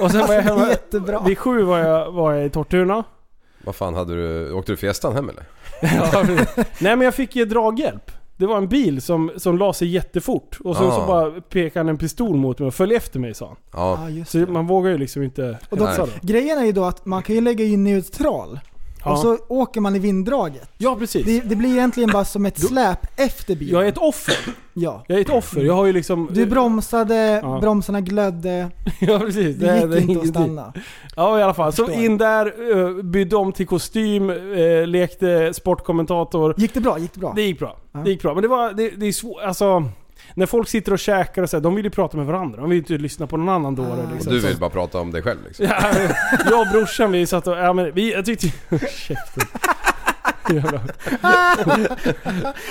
Och sen var jag Det hemma, är Mm. jättebra. vid sju var jag, var jag i Tortuna. Vad fan hade du... Åkte du festan hem eller? Ja, precis. Nej men jag fick ju draghjälp. Det var en bil som, som la sig jättefort och sen Ah. så bara pekade han en pistol mot mig och följ efter mig sa han. Ja. Ja, Ah, just Så det. man vågar ju liksom inte Och då- hetsa då. Grejen är ju då att man kan ju lägga in neutral. Ja. Och så åker man i vinddraget. Ja precis. Det, det blir egentligen bara som ett släp efter bilen. Jag är ett offer. Ja. Jag är ett offer. Jag har ju liksom... Du bromsade, Ja. bromsarna glödde, Ja precis. det gick är inte att ingenting. stanna. Ja i alla fall. Så Förstår. in där, eh, bytte om till kostym, eh, lekte sportkommentator. Gick det bra? Gick det bra? Det gick bra. Ja. Det gick bra. Men det var, det, det är svårt, alltså. När folk sitter och käkar och så här, de vill ju prata med varandra. De vill ju inte lyssna på någon annan dåre Ah. Och liksom. du vill bara prata om dig själv liksom. Ja, jag och brorsan vi satt och, ja men vi, jag tyckte Käften. Jävla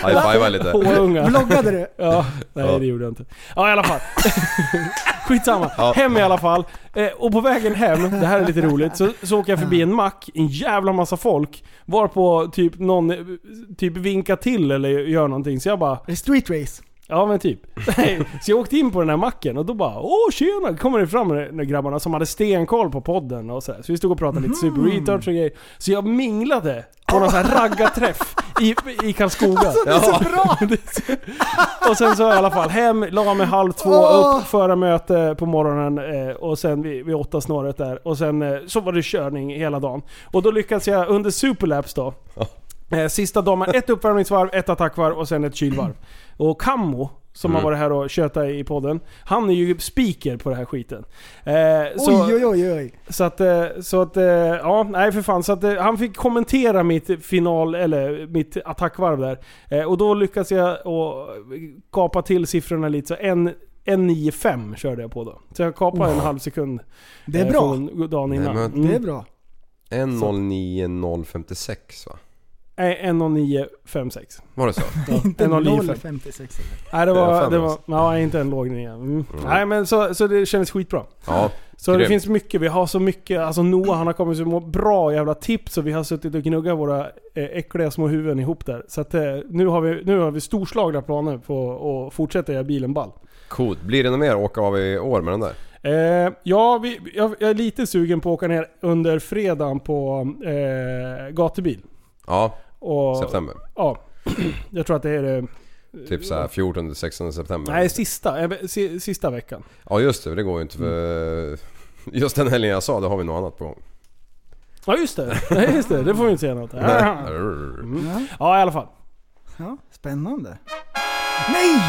High-fiva lite. påungar. Vloggade du? Ja, nej Ja. det gjorde jag inte. Ja i alla fall. Skitsamma. Ja. Hem i alla fall. Eh, och på vägen hem, det här är lite roligt, så, så åker jag förbi en mack, en jävla massa folk. Varpå typ någon eh, typ vinkar till eller gör någonting. Så jag bara, Är det Street race? ja men typ. så jag åkte in på den här macken och då bara, åh tjena! Kommer det fram de grabbarna som hade stenkoll på podden och så, här. så vi stod och pratade lite Mm. super retards och grejer. Så jag minglade på någon sån här raggarträff i, i Karlskoga. Alltså, Det är så bra! Och sen så i alla fall hem, la mig halv två, Åh! upp, föra möte på morgonen eh, och sen vid, vid åtta snåret där. Och sen eh, så var det körning hela dagen. Och då lyckades jag under superlaps då. Eh, sista dagen, med ett uppvärmningsvarv, ett attackvarv och sen ett kylvarv. Och Kammo, som har varit här och tjötat i podden, han är ju speaker på den här skiten. Eh, så- Oj, oj, oj, oj. så att, eh, så att, eh, ja, nej för fan. Så att eh, han fick kommentera mitt final, eller mitt attackvarv där. Eh, Och då lyckades jag och kapa till siffrorna lite, så en, en 9-5 körde jag på då. Så jag kapade en halv sekund. Det är eh, bra. Från dagen Nej, innan. men- Mm. Det är bra. 109056 va? Nej, 10956. Var det så? Inte 1,09. 0,56. Nej det Det var var, fem det var, alltså. ja, inte en låg nia. Mm. Nej men så, så det kändes skitbra. Ja. Så det Grymt. finns mycket, vi har så mycket, alltså Noah han har kommit så må- bra jävla tips och vi har suttit och gnuggat våra eh, äckliga små huvuden ihop där. Så att, eh, nu, har vi, nu har vi storslagna planer på att fortsätta göra bilen ball. Coolt. Blir det något mer åka av i år med den där? Eh, ja, vi, jag, jag är lite sugen på att åka ner under fredagen på eh, gatubil. Ja, Och, september. Ja. Jag tror att det är det, Typ såhär 14-16 september. nej, sista, eh, si- sista veckan. Ja just det, det går ju inte Mm. för... Just den helgen jag sa, då har vi något annat på gång. Ja just det, Nej, just det, det får vi inte säga något. Nej. Ja Arr. i alla fall. Ja, spännande. Nej!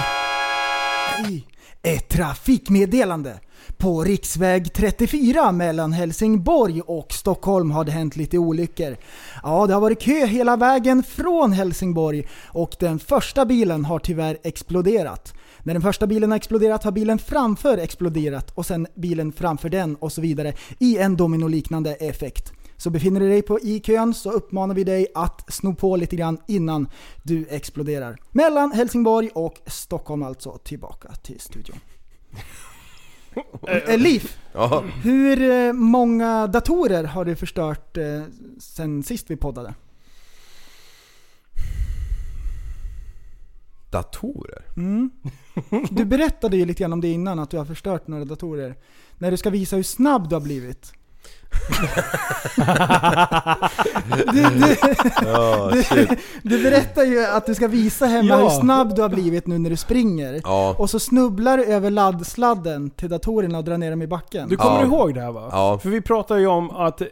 Nej! Ett trafikmeddelande. På riksväg 34 mellan Helsingborg och Stockholm har det hänt lite olyckor. Ja, det har varit kö hela vägen från Helsingborg och den första bilen har tyvärr exploderat. När den första bilen har exploderat har bilen framför exploderat och sen bilen framför den och så vidare i en dominoliknande effekt. Så befinner du dig på i kön så uppmanar vi dig att sno på lite grann innan du exploderar. Mellan Helsingborg och Stockholm alltså. Tillbaka till studion. Eh, Liv, Ja. hur eh, många datorer har du förstört eh, sen sist vi poddade? Datorer? Mm. Du berättade ju lite grann om det innan, att du har förstört några datorer. När du ska visa hur snabb du har blivit. du, du, du, du berättar ju att du ska visa hemma Ja. hur snabb du har blivit nu när du springer. Ja. Och så snubblar du över laddsladden till datorerna och drar ner dem i backen. Du kommer Ja. ihåg det här va? Ja. För vi pratade ju om att I,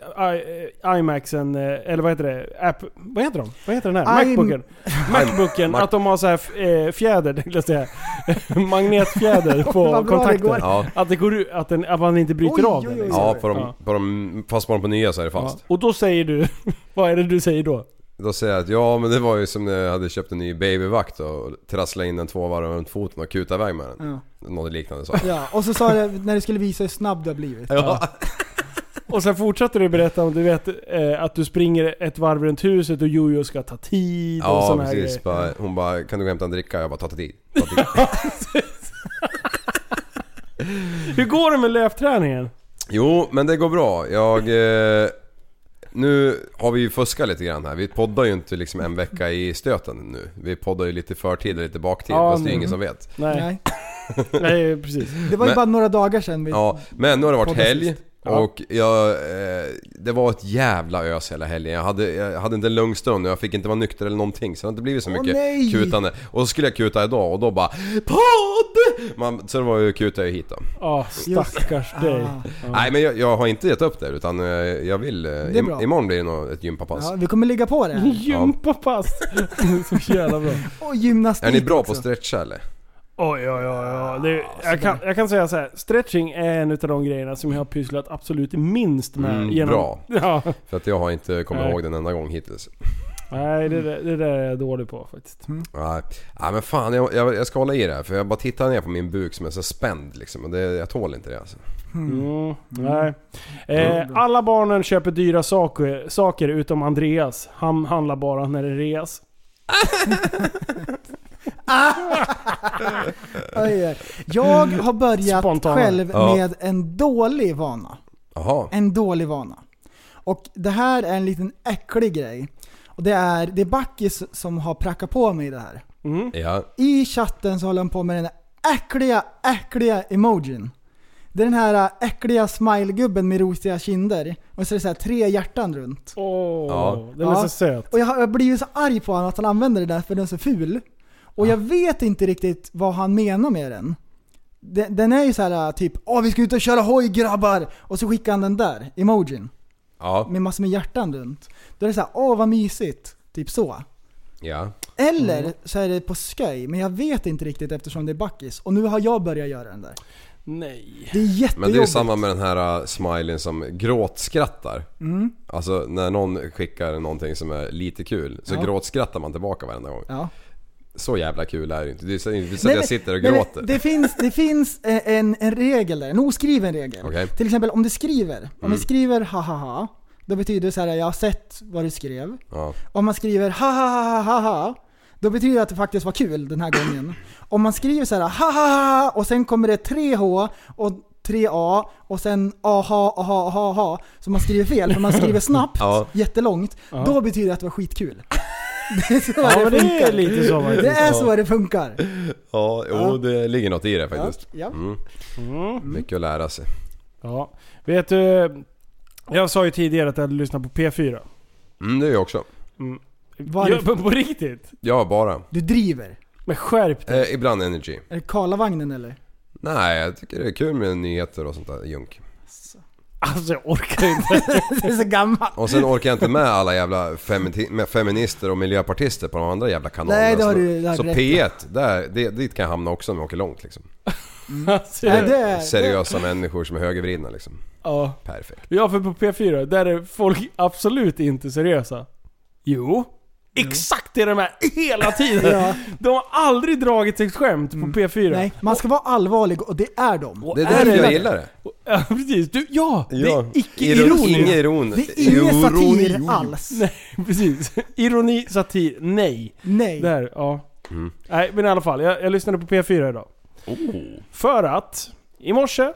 eh, iMacsen, eh, eller vad heter det? App, vad heter de? Vad heter den här? I'm- Macbooken? Macbooken, att de har så här f- eh, fjäder, tänkte jag säga. Magnetfjäder på Vad bra det går. kontakten. Ja. Att det går ut, att, den, att man inte bryter Oj, av oj, den. oj. Liksom. Ja, på Ja. de, på de, fast på de på nya så är det fast. Ja. Och då säger du, vad är det du säger då? Då säger jag att ja men det var ju som när jag hade köpt en ny babyvakt och trasslade in den två varv runt foten och kutade iväg med den. Ja. Något liknande så. Ja, och så sa du när du skulle visa hur snabb du har blivit. Ja. Och sen fortsätter du berätta om du vet eh, att du springer ett varv runt huset och Jojo ska ta tid och Ja sådana här precis. grejer. Bara, hon bara, kan du gå och hämta en dricka? Jag bara, ta tid. Ta tid. Hur går det med löpträningen? jo men det går bra. Jag... Eh, nu har vi ju fuskat lite grann här. Vi poddar ju inte liksom en vecka i stöten nu. Vi poddar ju lite i förtid och lite i baktid. Ja, fast det är mm. ingen som vet. Nej, Nej. nej precis. Det var ju Men- bara några dagar sedan vi... Ja, men nu har det varit Poddar helg. sist. Ja. Och jag, eh, det var ett jävla ös hela helgen. Jag hade, jag hade inte en lugn stund och jag fick inte vara nykter eller någonting. Så det hade inte blivit så Åh, mycket nej! kutande. Och så skulle jag kuta idag och då bara POD! Man, så det var ju kuta jag hit då. Ah, stackars dig. Ah. Nej men jag, jag har inte gett upp det utan eh, jag vill... eh, är im- bra. imorgon blir det nog ett gympapass. Ja, vi kommer ligga på det Mm. här. Gympapass! så jävla bra. Och gymnastik Är ni bra också. på att stretcha eller? Oj, oj, oj. Ah, oj. Det, jag, kan, jag kan säga så här. stretching är en av de grejerna som jag har pysslat absolut minst med. Mm, genom, bra. Ja. För att jag har inte kommit Nej. ihåg den enda gång hittills. Nej, det, där- det där är jag dålig på faktiskt. Nej, Nej men fan jag, jag, jag ska hålla i det här för jag bara tittar ner på min buk som är så spänd liksom och det, jag tål inte det alltså. Mm, nej. Eh, alla barnen köper dyra saker, saker utom Andreas. Han handlar bara när det är reas. Oj, oj. Jag har börjat Spontana. själv Ja. med en dålig vana. Jaha. En dålig vana. Och det här är en liten äcklig grej. Och det är, det är Backis som har prackat på mig det här. Ja. I chatten så håller han på med den här äckliga, äckliga emojin. Det är den här äckliga smilegubben med rosiga kinder. Och så är det så här tre hjärtan runt. Åh, Ja. den är Ja. så söt. Och jag har jag har blivit så arg på honom att han använder det där för den är så ful. Och jag vet inte riktigt vad han menar med den. Den, den är ju så här typ Åh vi ska ut och köra hoj grabbar! Och så skickar han den där, emojin. Ja. Med massor med hjärtan runt. Då är det så här Åh vad mysigt! Typ så. Ja. Eller Mm. så är det på skoj, men jag vet inte riktigt eftersom det är backis. Och nu har jag börjat göra den där. Nej. Det är jättejobbigt. Men det är ju samma med den här uh, smileyn som gråtskrattar. Mm. Alltså när någon skickar någonting som är lite kul så Ja. gråtskrattar man tillbaka varenda gång. Ja. Så jävla kul är det ju inte. Det är så- det är inte så Nej, att jag men- sitter och nej, men gråter. Det finns, det finns eh, en, en regel där, en oskriven regel. Okej. Mm. Till exempel om du skriver, om du skriver ha ha ha, då betyder det så här jag har sett vad du skrev. Ja. Om man skriver ha ha ha ha ha, då betyder det att det faktiskt var kul den här gången. Om man skriver så här ha ha ha ha, och sen kommer det 3H och 3A och sen aha aha aha aha, så man skriver fel för man skriver snabbt, Ja. jättelångt, då betyder det att det var skitkul. Det är så Ja, men det det är funkar. lite så Det faktiskt. är så det funkar. Ja, jo det ligger något i det Ja, faktiskt. ja. Mm. Mycket att lära sig. Ja. Vet du, jag sa ju tidigare att jag hade lyssnat på P4. Mm, det gör jag också. Varför? Ja, på, på riktigt? Ja, bara. Du driver? Men skärp Eh, ibland energy. Är det Karlavagnen eller? Nej, jag tycker det är kul med nyheter och sånt där junk. Alltså jag orkar inte. Det är så gammal. Och sen orkar jag inte med alla jävla femini- med feminister och miljöpartister på de andra jävla kanalerna. Nej, det har Så- du- det har Så du rätt P1, där, det, dit kan jag hamna också om jag åker långt liksom. Alltså, Nej, det är, Seriösa människor som är högervridna liksom. ja. Perfekt. ja, för på P4, där är folk absolut inte seriösa. Jo. Exakt det de är hela tiden! Ja. De har aldrig dragit ett skämt på P4. Nej, man ska vara allvarlig och det är de. Det är därför jag gillar det. Ja, precis. Du, ja, Det Ja. är Iron- icke-ironiskt. Ingen iron. Det är ingen satir Ironi. alls. Nej, precis. Ironi, satir, nej. Nej. Där, ja. Nej, men i alla fall. Jag, jag lyssnade på P4 idag. För att i morse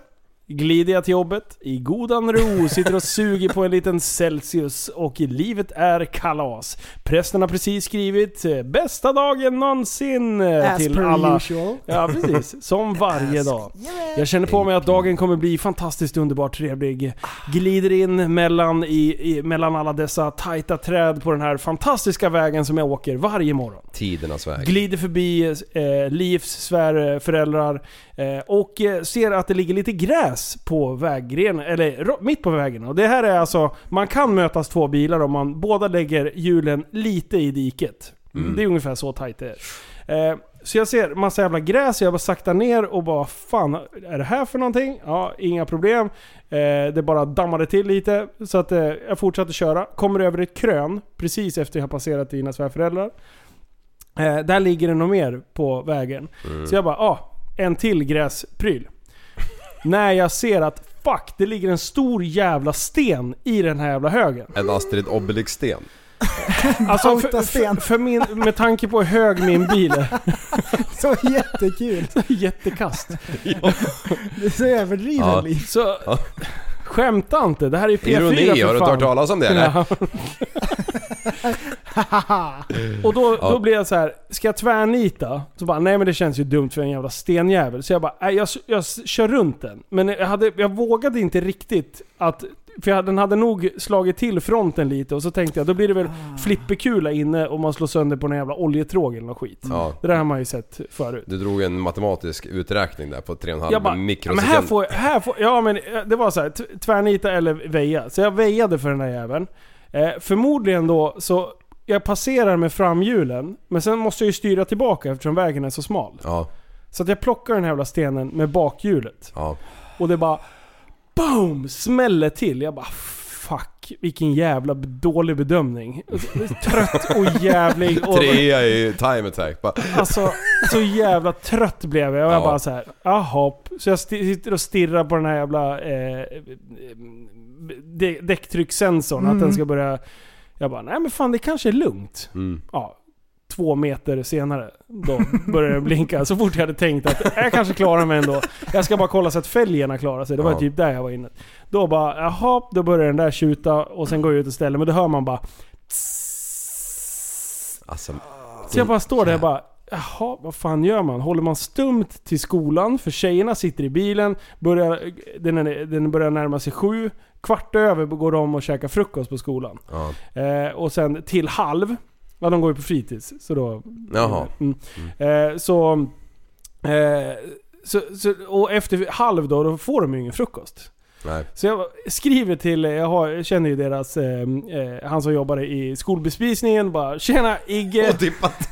glider jag till jobbet i godan ro, sitter och suger på en liten Celsius och i livet är kalas. Prästen har precis skrivit eh, bästa dagen någonsin eh, As till per alla. usual. Ja, precis. Som varje dag. Jag känner på mig att dagen kommer bli fantastiskt underbart trevlig. Glider in mellan, i, i, mellan alla dessa tajta träd på den här fantastiska vägen som jag åker varje morgon. Tidernas väg. Glider förbi eh, Livs svärföräldrar eh, och eh, ser att det ligger lite gräs på väggrenen, eller ro- mitt på vägen. Och det här är alltså, man kan mötas två bilar om man båda lägger hjulen lite i diket. Det är ungefär så tajt det är. Eh, så jag ser massa jävla gräs, jag bara saktar ner och bara fan, är det här för någonting? Ja, inga problem. Eh, det bara dammade till lite. Så att eh, jag fortsatte köra. Kommer över ett krön precis efter jag har passerat dina svärföräldrar. Eh, där ligger det nog mer på vägen. Mm. Så jag bara, ah, en till gräspryl. När jag ser att fuck, det ligger en stor jävla sten i den här jävla högen. En Astrid Obelix-sten. Alltså för, Bautasten. för, för min, med tanke på hur hög min bil är. Så jättekul. Jättekast. Det är så överdrivet Ja. liv. Så, skämta inte. Det här är P4 Ironi, har för du inte fan. hört talas om det eller? Ja. Och då, Ja. då blev jag så här: ska jag tvärnita? Så bara, nej men det känns ju dumt för en jävla stenjävel. Så jag bara, nej jag, s- jag s- kör runt den. Men jag, hade, jag vågade inte riktigt att... För jag, den hade nog slagit till fronten lite och så tänkte jag, då blir det väl flipperkula inne om man slår sönder på någon jävla oljetråg eller något skit. Ja. Det där har man ju sett förut. Du drog en matematisk uträkning där på 3,5 Jag bara, ja, men mikrosekund. här får, jag- här får, ja men eh, det var så här, t- tvärnita eller väja. Så jag väjade för den här jäveln. Eh, förmodligen då så, jag passerar med framhjulen, men sen måste jag ju styra tillbaka eftersom vägen är så smal. Ja, Så att jag plockar den här jävla stenen med bakhjulet. ja. Och det bara, boom! Smäller till. Jag bara, fuck. Vilken jävla b- dålig bedömning. Trött och jävlig. Och, Trea i time attack. Bara, Alltså, så jävla trött blev jag. Och jag Ja. bara så här, jaha. Så jag sti- sitter och stirrar på den här jävla eh, de- däcktryckssensorn. Att den ska börja... Jag bara, nej men fan det kanske är lugnt. mm. Ja, två meter senare, då började den blinka. Så fort jag hade tänkt att jag kanske klarar mig ändå. Jag ska bara kolla så att fälgarna klarar sig. Det var Ja. typ där jag var inne. Då bara, jaha. Då börjar den där tjuta och sen går jag ut och ställer Men då hör man bara... Alltså, Så jag bara står där och bara, jaha, vad fan gör man? Håller man stumt till skolan? För tjejerna sitter i bilen, börjar, den, är, den börjar närma sig sju. Kvart över går de och käkar frukost på skolan. ja. Eh, och sen till halv, ja de går ju på fritids. Så då... Jaha. Mm. Eh, så, eh, så, så... Och efter halv då, då får de ju ingen frukost. Nej. Så jag skriver till, jag, har, jag känner ju deras, eh, eh, han som jobbade i skolbespisningen bara Tjena Igge! Otippat.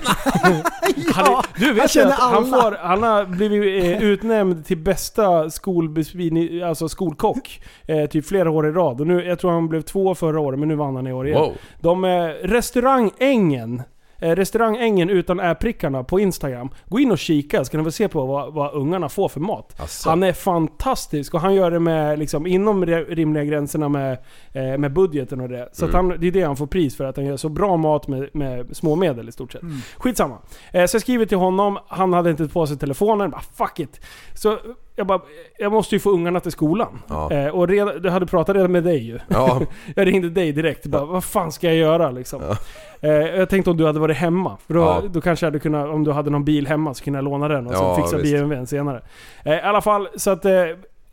Han är, du han vet ju känner att han, alla. får, han har blivit eh, utnämnd till bästa skolbespisning, alltså skolkock. Eh, typ flera år i rad. Och nu, jag tror han blev två förra året, men nu vann han i år igen. Wow. De, eh, restaurangängen. Eh, restaurangängen utan ä-prickarna på Instagram. Gå in och kika så kan ni väl se på vad, vad ungarna får för mat. Asså. Han är fantastisk och han gör det med, liksom, inom re- rimliga gränserna med, eh, med budgeten och det. Så Mm. att han, det är det han får pris för, att han gör så bra mat med, med små medel i stort sett. Mm. Skitsamma. Eh, så jag skriver till honom, han hade inte på sig telefonen. Bara, fuck it. Så jag bara, jag måste ju få ungarna till skolan. Ja. Eh, och redan, du hade pratat redan med dig ju. Ja. Jag ringde dig direkt bara, vad fan ska jag göra liksom? Eh, jag tänkte om du hade varit hemma. För då, Ja. då kanske jag hade kunnat, om du hade någon bil hemma så kunde jag låna den och Ja, så fixa visst. BMWn senare. Eh, I alla fall, så att eh,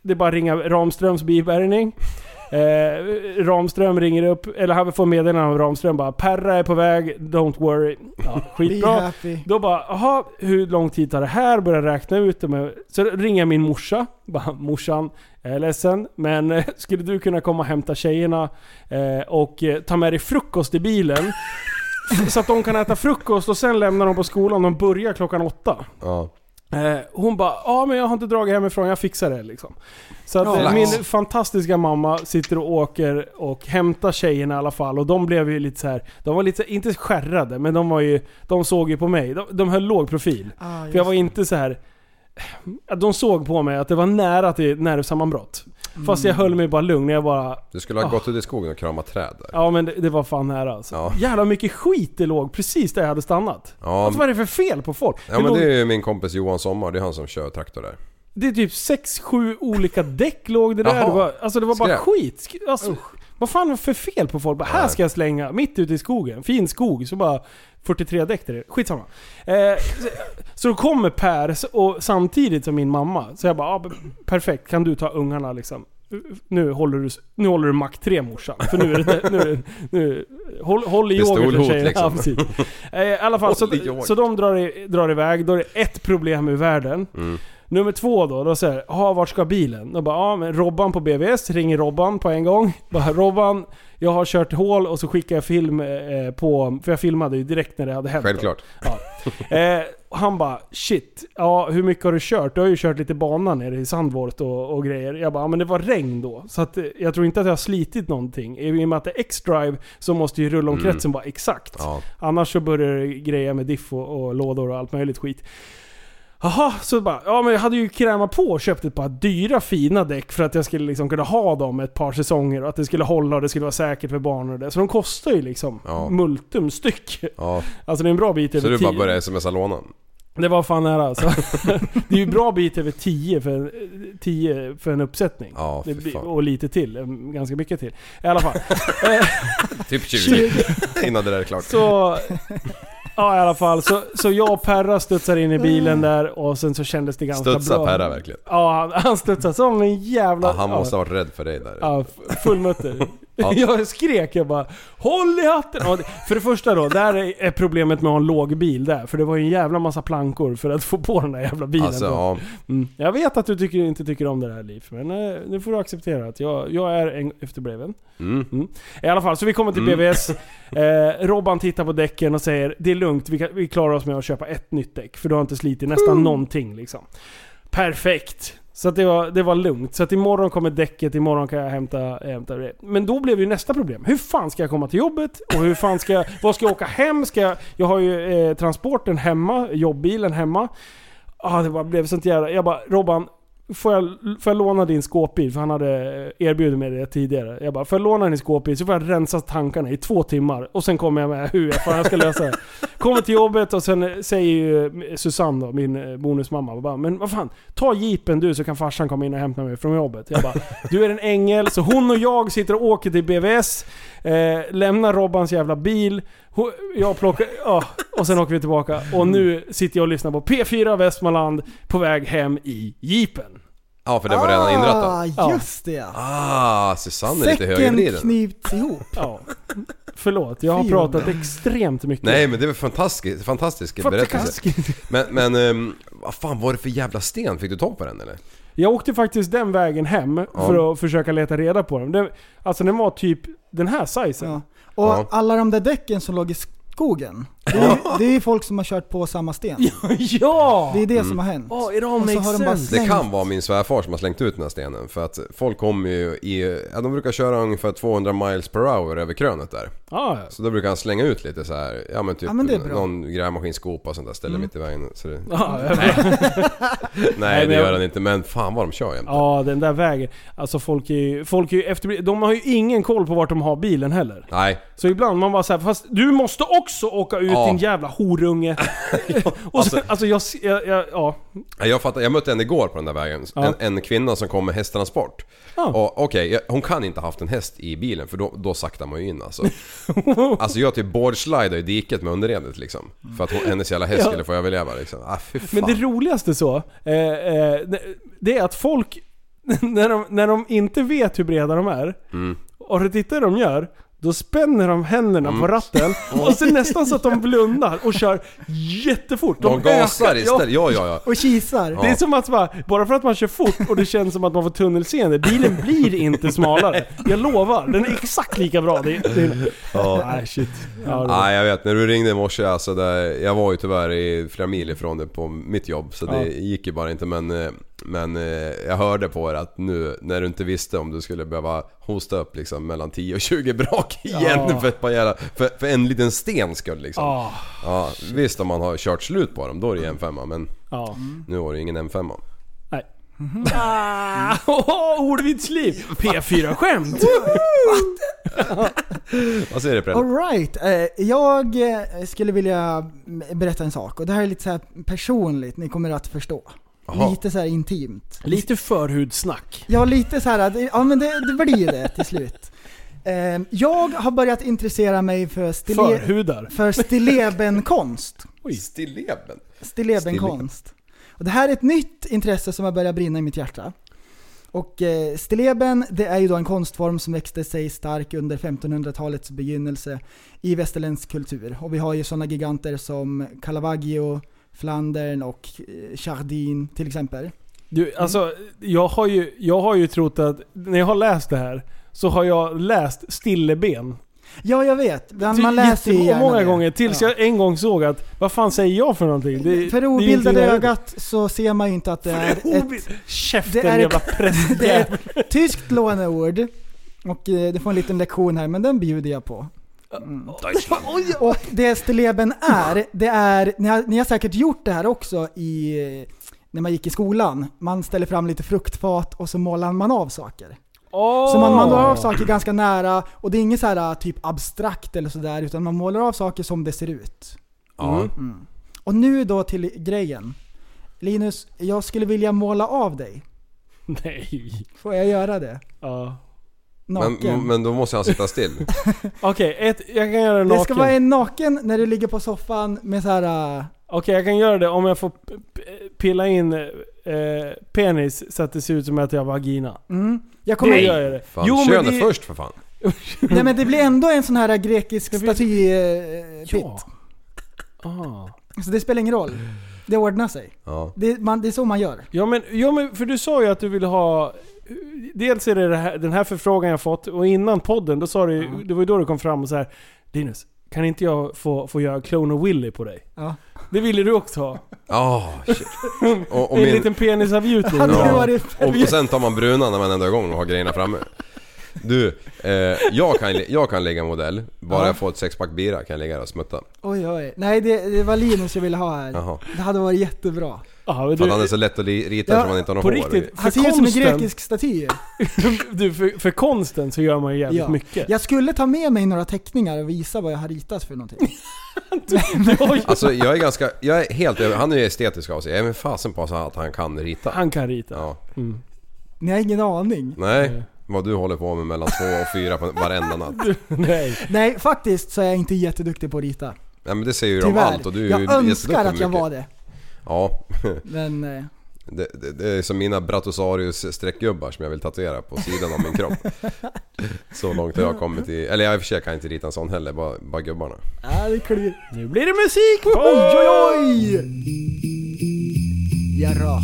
det är bara att ringa Ramströms bilbärgning. Eh, Ramström ringer upp, eller han får meddelande av Ramström bara Perra är på väg, don't worry. Ja, Be skitbra. happy. Då bara, jaha, hur lång tid tar det här? Börjar räkna ut det med, Så ringer jag min morsa. Bara, morsan, jag är ledsen, men eh, skulle du kunna komma och hämta tjejerna eh, och eh, ta med dig frukost i bilen? så att de kan äta frukost och sen lämnar de på skolan. De börjar klockan åtta. Ja. Eh, hon bara, ja men jag har inte dragit hemifrån, jag fixar det liksom. Så att Ja, eh, lax. min fantastiska mamma sitter och åker och hämtar tjejerna i alla fall. Och de blev ju lite så här, de var lite, så här- inte skärrade, men de var ju, de såg ju på mig. De, de höll låg profil. Ah, För jag var inte så här. att De såg på mig att det var nära till nervsammanbrott. Mm. Fast jag höll mig bara lugn. Jag bara, Du skulle ha Ah. gått ut i skogen och kramat träd där. ja men det, det var fan nära alltså. Ja. Jävla mycket skit det låg precis där jag hade stannat. Ja. Alltså, vad är det för fel på folk? Ja men låg- det är ju min kompis Johan Sommar, det är han som kör traktor där. Det är typ 6-7 olika däck låg det där. Jaha. Det var, alltså det var bara Skräp. skit. Sk- Alltså, vad fan var för fel på folk? Bara, här ska jag slänga, mitt ute i skogen. Fin skog. Så bara 43 däck där. Skitsamma. Eh, så, så då kommer Per s- och samtidigt som min mamma. Så jag bara, ah, b- perfekt. Kan du ta ungarna liksom? Nu håller du, s- nu håller du Mac 3 morsan. För nu är det... Nu, är det- nu, håll, håll i yoghurt för Pistolhot, tjejerna. Ja, liksom. precis. Eh, I alla fall, så, Håll i yoghurt. så de drar, i, drar iväg. Då är det ett problem ur världen. Mm. Nummer två då, då säger ha vart ska bilen? Då bara, ja men Robban på BVS, ringer Robban på en gång. Bara, Robban, jag har kört hål och så skickar jag film eh, på, för jag filmade ju direkt när det hade hänt. då. Självklart. Ja. Eh, och han bara, shit, ja hur mycket har du kört? Du har ju kört lite bana nere i Sandvort och, och grejer. Jag bara, ja, men det var regn då. Så att, eh, jag tror inte att jag har slitit någonting. I och med att det är X-Drive så måste ju rullomkretsen vara exakt. Mm. Ja. Annars så börjar det greja med diff och, och lådor och allt möjligt skit. Jaha, så bara, ja men jag hade ju krämat på och köpt ett par dyra fina däck för att jag skulle liksom kunna ha dem ett par säsonger och att det skulle hålla och det skulle vara säkert för barn och det. Så de kostar ju liksom Ja. multum styck. Ja. Alltså det är en bra bit Så över du bara tio. började smsa låna? Det var fan nära alltså. det är ju bra bit över 10 för, en- 10 för en uppsättning. Ja, det fy blir- fan. och lite till. eh, Ganska mycket till. I alla fall. Typ 20 innan det där är klart. Så... Ja i alla fall. Så, så jag och Perra studsar in i bilen där och sen så kändes det ganska Studsar bra. Perra verkligen? Ja, han, han studsade som en jävla... Ja, han måste ja, ha varit rädd för dig där. ja, f- full mutter. Ja. Jag skrek, jag bara Håll i hatten! Ja, det- för det första då, där är är problemet med att ha en låg bil där. För det var ju en jävla massa plankor för att få på den där jävla bilen. Alltså, då. ja. Mm. Jag vet att du tycker, inte tycker om det här liv, men eh, nu får du acceptera att jag, jag är en, efterbreven. Mm. I alla fall, så vi kommer till BVS. Eh, Robban tittar på däcken och säger det är lugnt, vi, kan, vi klarar oss med att köpa ett nytt däck. För du har inte slitit nästan någonting liksom. Perfekt! Så att det, var, det var lugnt. Så att imorgon kommer däcket, imorgon kan jag hämta, hämta det. Men då blev ju nästa problem. Hur fan ska jag komma till jobbet? Och hur fan ska jag... Vad ska jag åka hem? Ska jag, jag har ju eh, transporten hemma, jobbbilen hemma. Ah, det bara blev sånt jävla... Jag bara Robban, får jag, får jag låna din skåpbil? För han hade erbjudit mig det tidigare. Jag bara, får jag låna din skåpbil så får jag rensa tankarna i två timmar. Och sen kommer jag med hur jag, fan jag ska lösa det. Kommer till jobbet och sen säger ju Susanne då, min eh, bonusmamma. och Bara, men vad fan, ta jeepen du så kan farsan komma in och hämta mig från jobbet. Jag bara, du är en ängel. Så hon och jag sitter och åker till BVS. Eh, lämnar Robbans jävla bil. Ho- Jag plockar... Ja, och sen åker vi tillbaka. Och nu sitter jag och lyssnar på P4 Västmanland på väg hem i jeepen. ja, för den var redan inrättad. Ah, just det ja. Ah, Susanne är lite Säcken högervriden. knyts ihop. Ja. Förlåt, jag har Fy pratat extremt mycket. Nej men det var fantastisk, fantastisk berättelse. Men, men ehm, vad fan var det för jävla sten? Fick du tag på den eller? Jag åkte faktiskt den vägen hem för att försöka leta reda på den. den alltså den var typ den här sizen. Ja. Ja. Och Ja. alla de där däcken som låg i skogen. Det är, det är folk som har kört på samma sten. ja! Det är det som har hänt. Oh, it all Och så makes har de bara sense. Det slängt- kan vara min svärfar som har slängt ut den här stenen. För att folk kommer ju i... Ja, de brukar köra ungefär 200 miles per hour över krönet där. Ja, ja. Så då brukar han slänga ut lite så här, ja men typ Ja, men det är bra. någon grävmaskinsskopa och sånt där ställer mitt i vägen. Så det, Ja, jag- nej det men jag- gör han inte men fan vad de kör jämt. ja, den där vägen. Alltså folk är ju, folk är ju efter, De har ju ingen koll på vart de har bilen heller. Nej, Så ibland man bara såhär, fast du måste också åka ut Ja. din jävla horunge. och sen, alltså jag, se- jag, jag ja. Ja, Jag, fattar, jag mötte en igår på den där vägen. En, en kvinna som kom med hästtransport. Ja. Och Okej, jag- hon kan inte ha haft en häst i bilen för då, då saktar man ju in alltså. alltså jag typ boardslidar i diket med underredet liksom. För att hon, hennes jävla häst Ja. skulle få överleva liksom. Ah, fy fan. Men det roligaste så, eh, eh, det är att folk, när de, när de inte vet hur breda de är, Mm. och det tittar de gör, då spänner de händerna på Mm. ratten och sen nästan så att de blundar och kör jättefort. De ökar- gasar ja. istället. Ja, ja, ja. Och kisar. Det är som att bara, bara för att man kör fort och det känns som att man får tunnelseende, bilen blir inte smalare. Jag lovar, den är exakt lika bra. Det, det, Nej, shit. Ja, det- Nej jag vet, när du ringde i morse alltså där, jag var ju tyvärr i flera mil ifrån det på mitt jobb så det gick ju bara inte men, eh, men eh, jag hörde på er att nu när du inte visste om du skulle behöva hosta upp liksom mellan 10 och 20 brak igen Ja. för, ett par jävla, för, för en liten stens skull liksom. Ja. Ah, visst om man har kört slut på dem då är det ju en femma men ja. nu var det ju ingen M5. Nej. Mhm. Ah, oh, ordvitsliv! P4-skämt! Vad säger du Prelle? Alright, eh, jag eh, skulle vilja mm, berätta en sak och det här är lite så här personligt, ni kommer att förstå. Jaha. Lite så här intimt. Lite förhudsnack. Ja, lite så här, det- ja men det, det blir ju det till slut. Eh, jag har börjat intressera mig för, stille, Förhudar. för stillebenkonst. Stilleben? Stillebenkonst. Och det här är ett nytt intresse som har börjat brinna i mitt hjärta. Och eh, stilleben, det är ju då en konstform som växte sig stark under 1500-talets begynnelse i västerländsk kultur. Och vi har ju sådana giganter som Caravaggio, Flandern och eh, Chardin till exempel. Du, alltså, jag har, ju, jag har ju trott att, när jag har läst det här, så har jag läst stilleben. Ja, jag vet. Man, Ty- man läser ju jätte- gärna många det. gånger. Tills Ja. jag en gång såg att, vad fan säger jag för någonting? Det- det är För ju det inte obildade jag- ögat så ser man ju inte att det är ett Obild- Käften det är ett- jävla präst. Det är ett tyskt låneord. Och eh, du får en liten lektion här, men den bjuder jag på. Mm. Och det stilleben är, det är, ni har, ni har säkert gjort det här också i, eh, när man gick i skolan. Man ställer fram lite fruktfat och så målar man av saker. Åh! Så man målar av saker ganska nära och det är inget så här eh, typ abstrakt eller sådär utan man målar av saker som det ser ut. Ja. Och nu då till grejen. Linus, jag skulle vilja måla av dig. Nej. Får jag göra det? Ja. Naken. Men, men då måste han sitta still. Okej, ett- jag kan göra det det ska naken. vara en naken när du ligger på soffan med så här. äh, Okej, jag kan göra det om jag får p- p- pilla in eh, penis så att det ser ut som att jag har vagina. Mm. Jag Då kommer, gör jag det. Fan, könet det, först för fan. nej men det blir ändå en sån här grekisk statypitt. Ja. Ah. Så det spelar ingen roll. Det ordnar sig. Ja. Det, man, det är så man gör. Ja men, ja men, för du sa ju att du ville ha... Dels är det, det här, den här förfrågan jag fått och innan podden, då sa du, det var ju då du kom fram och så här Linus, kan inte jag få, få göra Clone och Willy på dig? Ja. Det ville du också ha. Ah, shit. Och, och, en min, liten penisavgjutning. Hade det Ja. varit och, och sen tar man bruna när man ändå är igång och har grejerna framme. Du, eh, jag, kan, jag kan lägga modell. Bara Ja. jag får ett sexpack bira kan jag lägga där och smutta. Oj oj. Nej det, det var Linus jag ville ha här. Jaha. Det hade varit jättebra. Ja, men För att han är du, så lätt att li- rita Ja, eftersom han inte har något på hår. riktigt, Han för ser ut som en konsten, grekisk staty. du, för, för konsten så gör man ju jävligt Ja. mycket. Jag skulle ta med mig några teckningar och visa vad jag har ritat för någonting. Oj, Alltså jag är ganska, jag är helt över- han är ju estetisk av sig. Jag är med fasen på att han kan rita. han kan rita. Ja. Ni har ingen aning. Nej, vad du håller på med mellan två och fyra på varenda natt. Nej. Nej, faktiskt så är jag inte jätteduktig på att rita. Nej men det säger ju de Tyvärr. allt och du är ju jag jätteduktig önskar på att jag mycket. var det. Ja. Men eh, Det, det, det är som mina Brattosarius streckgubbar som jag vill tatuera på sidan av min kropp. Så långt har jag kommit i... Eller jag i och för sig kan jag inte rita en sån heller, bara, bara gubbarna. ja, det klirr. Nu blir det musik! Oj, Oj, oj, oj. oj, oj! Jadå.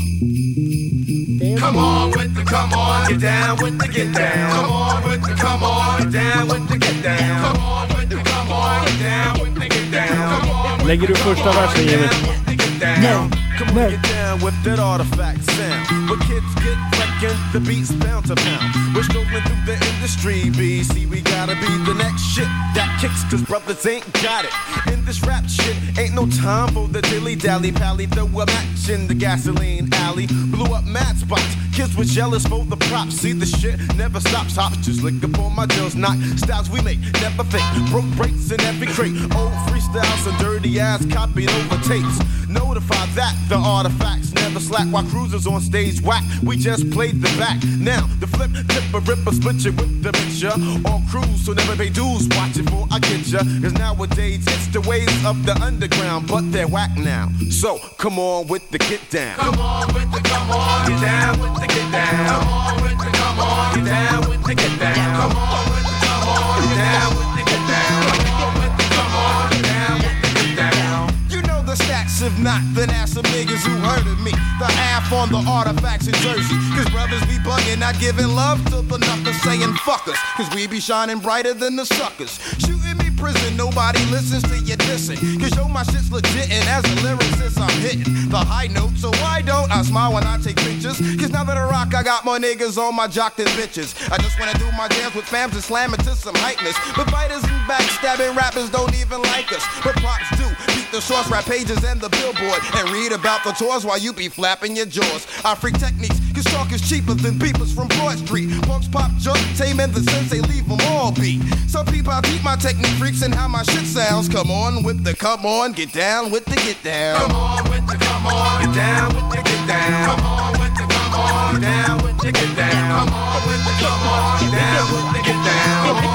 Come on with the come on, get down with the get down. Come on with the come on, get down with the get down. Come on with the come on, get down with the get down. Come on with Lägger du första versen Jimmy? the get down. Come on, Nej. get down with that artifact sound. But kids get wrecking, the beat's bound to pound. We're strolling through the industry, BC. We gotta be the next shit that kicks, cause brothers ain't got it. In this rap shit, ain't no time for the dilly dally pally. Throw a match in the gasoline alley. Blew up mad spots, kids was jealous for the props. See the shit never stops. Hops just lick up on my deals, not styles we make, never fake. Broke breaks in every crate. Old freestyles and dirty ass copied over tapes. Notify that the artifacts never slack while cruisers on stage whack. We just played the back. Now the flip, tipper, ripper, split you with the mixture. On cruise, so never pay dues. Watch it for I get ya. Cause nowadays it's the ways of the underground, but they're whack now. So come on with the get down. Come on with the come on, get down with the get down. Come on with the come on, get down with the get down. Come on with the come on, get down with the get down. Come on with the come on, get down with the get down. You know the stats, if not, then ask some niggas who heard of me. The half on the artifacts in Jersey. Cause brothers be bugging, not giving love to the knuckles, saying fuck us. Cause we be shining brighter than the suckers. Shooting me prison, nobody listens to your dissing. Cause yo, my shit's legit, and as a lyricist, I'm hitting the high note. So why don't I smile when I take pictures? Cause now that I rock, I got more niggas on my jock than bitches. I just wanna do my dance with fams and slam it to some heightness. But biters and backstabbing rappers don't even like us. But pops do. Beat the source, rap pages, and the billboard. And read about the tours while you be flapping your jaws. I freak techniques, cause talk is cheaper than peepers from Broad Street. Punks pop junk, tame and the sensei, leave them all beat. So people, I beat my technique freaks and how my shit sounds. Come on with the come on, get down with the get down. Come on with the come on, get down with the get down. Come on with the come on, get down with the get down. Come on with the come on, get down with the get down. Come on with the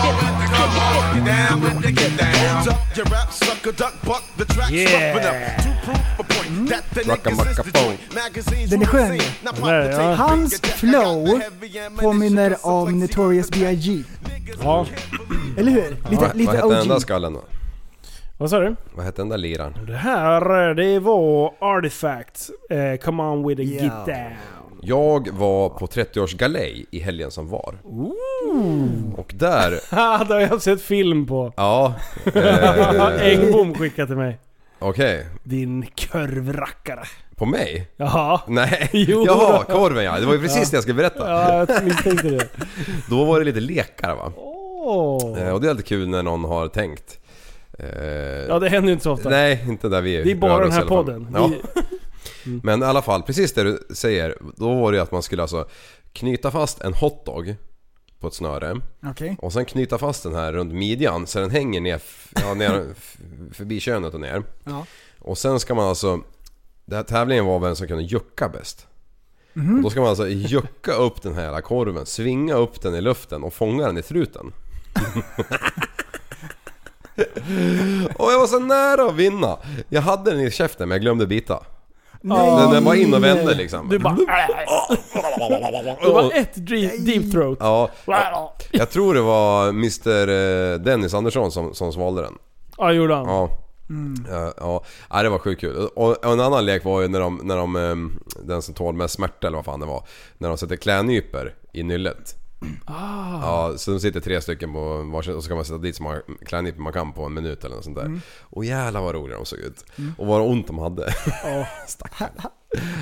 come on, get down with the get down. Duck your rap, sucker, duck, buck, the track's yeah. up to prove a point that the niggas is the joint. Magazines Den är skön ju. Now pop Där, the ja. tape. Hans flow påminner om Notorious B.I.G. Ja. Eller hur? Lite, Vad lite hette den där OG. skallen då? Vad sa du? Vad hette den där liraren? Det här, eh, det var Artifact. Eh, come on with a Ja. get down. Jag var på 30-årsgalej i helgen som var. Och där... Ha, det har jag sett film på. Ja, Eh, Engbom skickade till mig. okej. Din korvrackare. På mig? Ja. Nej, Jo. jaha, korven ja. Det var ju precis det jag skulle berätta. Ja, jag misstänkte det. Då var det lite lekar va. Åh. Eh, Och det är alltid kul när någon har tänkt. Eh, Ja, det händer ju inte så ofta. Nej, inte där vi Det är bara rör den oss här i alla fall. podden. Ja. Vi- Men i alla fall, precis det du säger. Då var det ju att man skulle alltså knyta fast en hotdog på ett snöre Okej. och sen knyta fast den här runt midjan så den hänger ner, f- ja, ner f- förbi könet och ner. Ja. Och sen ska man alltså... Den här tävlingen var vem som kunde jucka bäst. Och då ska man alltså jucka upp den här jävla korven, svinga upp den i luften och fånga den i truten. och jag var så nära att vinna. Jag hade den i käften men jag glömde bita. Den, den var in och vände liksom. Du bara... Det var ett deep, deep throat. Ja, jag, jag tror det var Mr eh, Dennis Andersson som, som svalde den. Ja, gjorde han. Ja. Ja, ja. ja, det var sjukt kul. Och, och en annan lek var ju när de, när de, ehm, den som tål mest smärta eller vad fan det var, när de sätter klädnyper i nyllet. Ja, så de sitter tre stycken på varsin och så kan man sätta dit så många klädnyper man kan på en minut eller något sånt där. Och jävlar vad roliga de såg ut. Och vad ont de hade. Stackarna.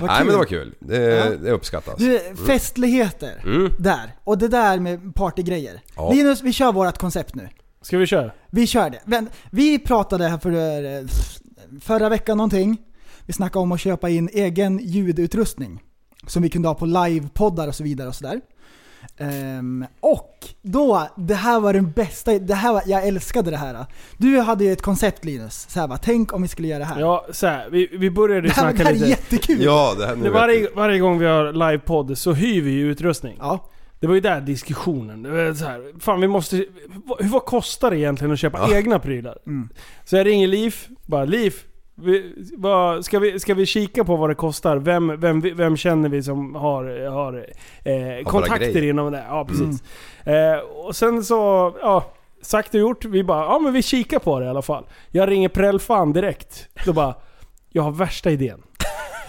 Nej men det var kul. Det, det uppskattas. Du, festligheter. Där. Och det där med partygrejer. Mm. Ja. Linus, vi kör vårt koncept nu. Ska vi köra? Vi kör det. Men, vi pratade här för, eh, förra veckan någonting. Vi snackade om att köpa in egen ljudutrustning. Som vi kunde ha på livepoddar och så vidare och sådär. Ehm, och då, det här var den bästa, det här var, jag älskade det här. Du hade ju ett koncept Linus, så här, bara, tänk om vi skulle göra det här. Ja, så här, vi, vi började ju det, här det snacka här är lite. jättekul! Ja, det här, nu Det vet varje, jag. varje gång vi har livepodd så hyr vi ju utrustning. Ja. Det var ju där diskussionen. Det var så här, fan vi måste... Vad, vad kostar det egentligen att köpa Ja. Mm. egna prylar? Så jag ringer Liv, bara Liv, vi, vad, ska, vi, ska vi kika på vad det kostar? Vem, vem, vem känner vi som har, har eh, kontakter grejer. Mm. inom det? här? Ja, precis. Eh, och sen så, ja. Sagt och gjort. Vi bara, ja men vi kikar på det i alla fall. Jag ringer Prellfan direkt. Då bara, jag har värsta idén.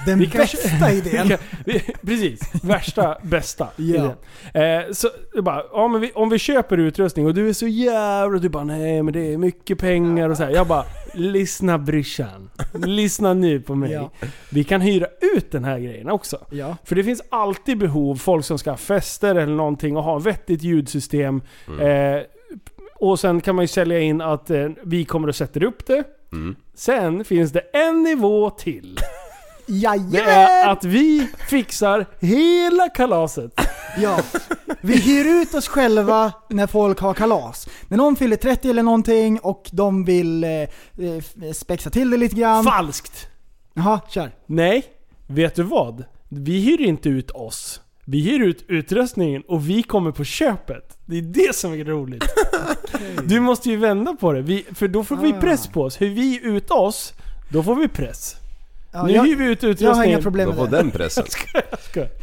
Den Vi kanske- bästa idén! Vilka- vi- Precis, värsta, bästa idén. Eh, så jag bara, ja, men vi, om vi köper utrustning och du är så jävla... Du bara nej men det är mycket pengar och så här. Jag bara, lyssna brorsan. Lyssna nu på mig. Ja. Vi kan hyra ut den här grejen också. Ja. För det finns alltid behov, folk som ska ha fester eller någonting och ha vettigt ljudsystem. Eh, och sen kan man ju sälja in att eh, vi kommer och sätter upp det. Sen finns det en nivå till. Det är Jajamän! att vi fixar hela kalaset. Ja. Vi hyr ut oss själva när folk har kalas. När någon fyller 30 eller någonting och de vill eh, eh, f- spexa till det lite grann. Falskt! Jaha, kör. Nej, vet du vad? Vi hyr inte ut oss. Vi hyr ut utrustningen och vi kommer på köpet. Det är det som är roligt. Du måste ju vända på det. Vi, för då får vi press på oss. Hur vi ut oss, då får vi press. Ja, nu jag, hyr vi ut utrustningen. jag har inga problem Då med får det. den pressen.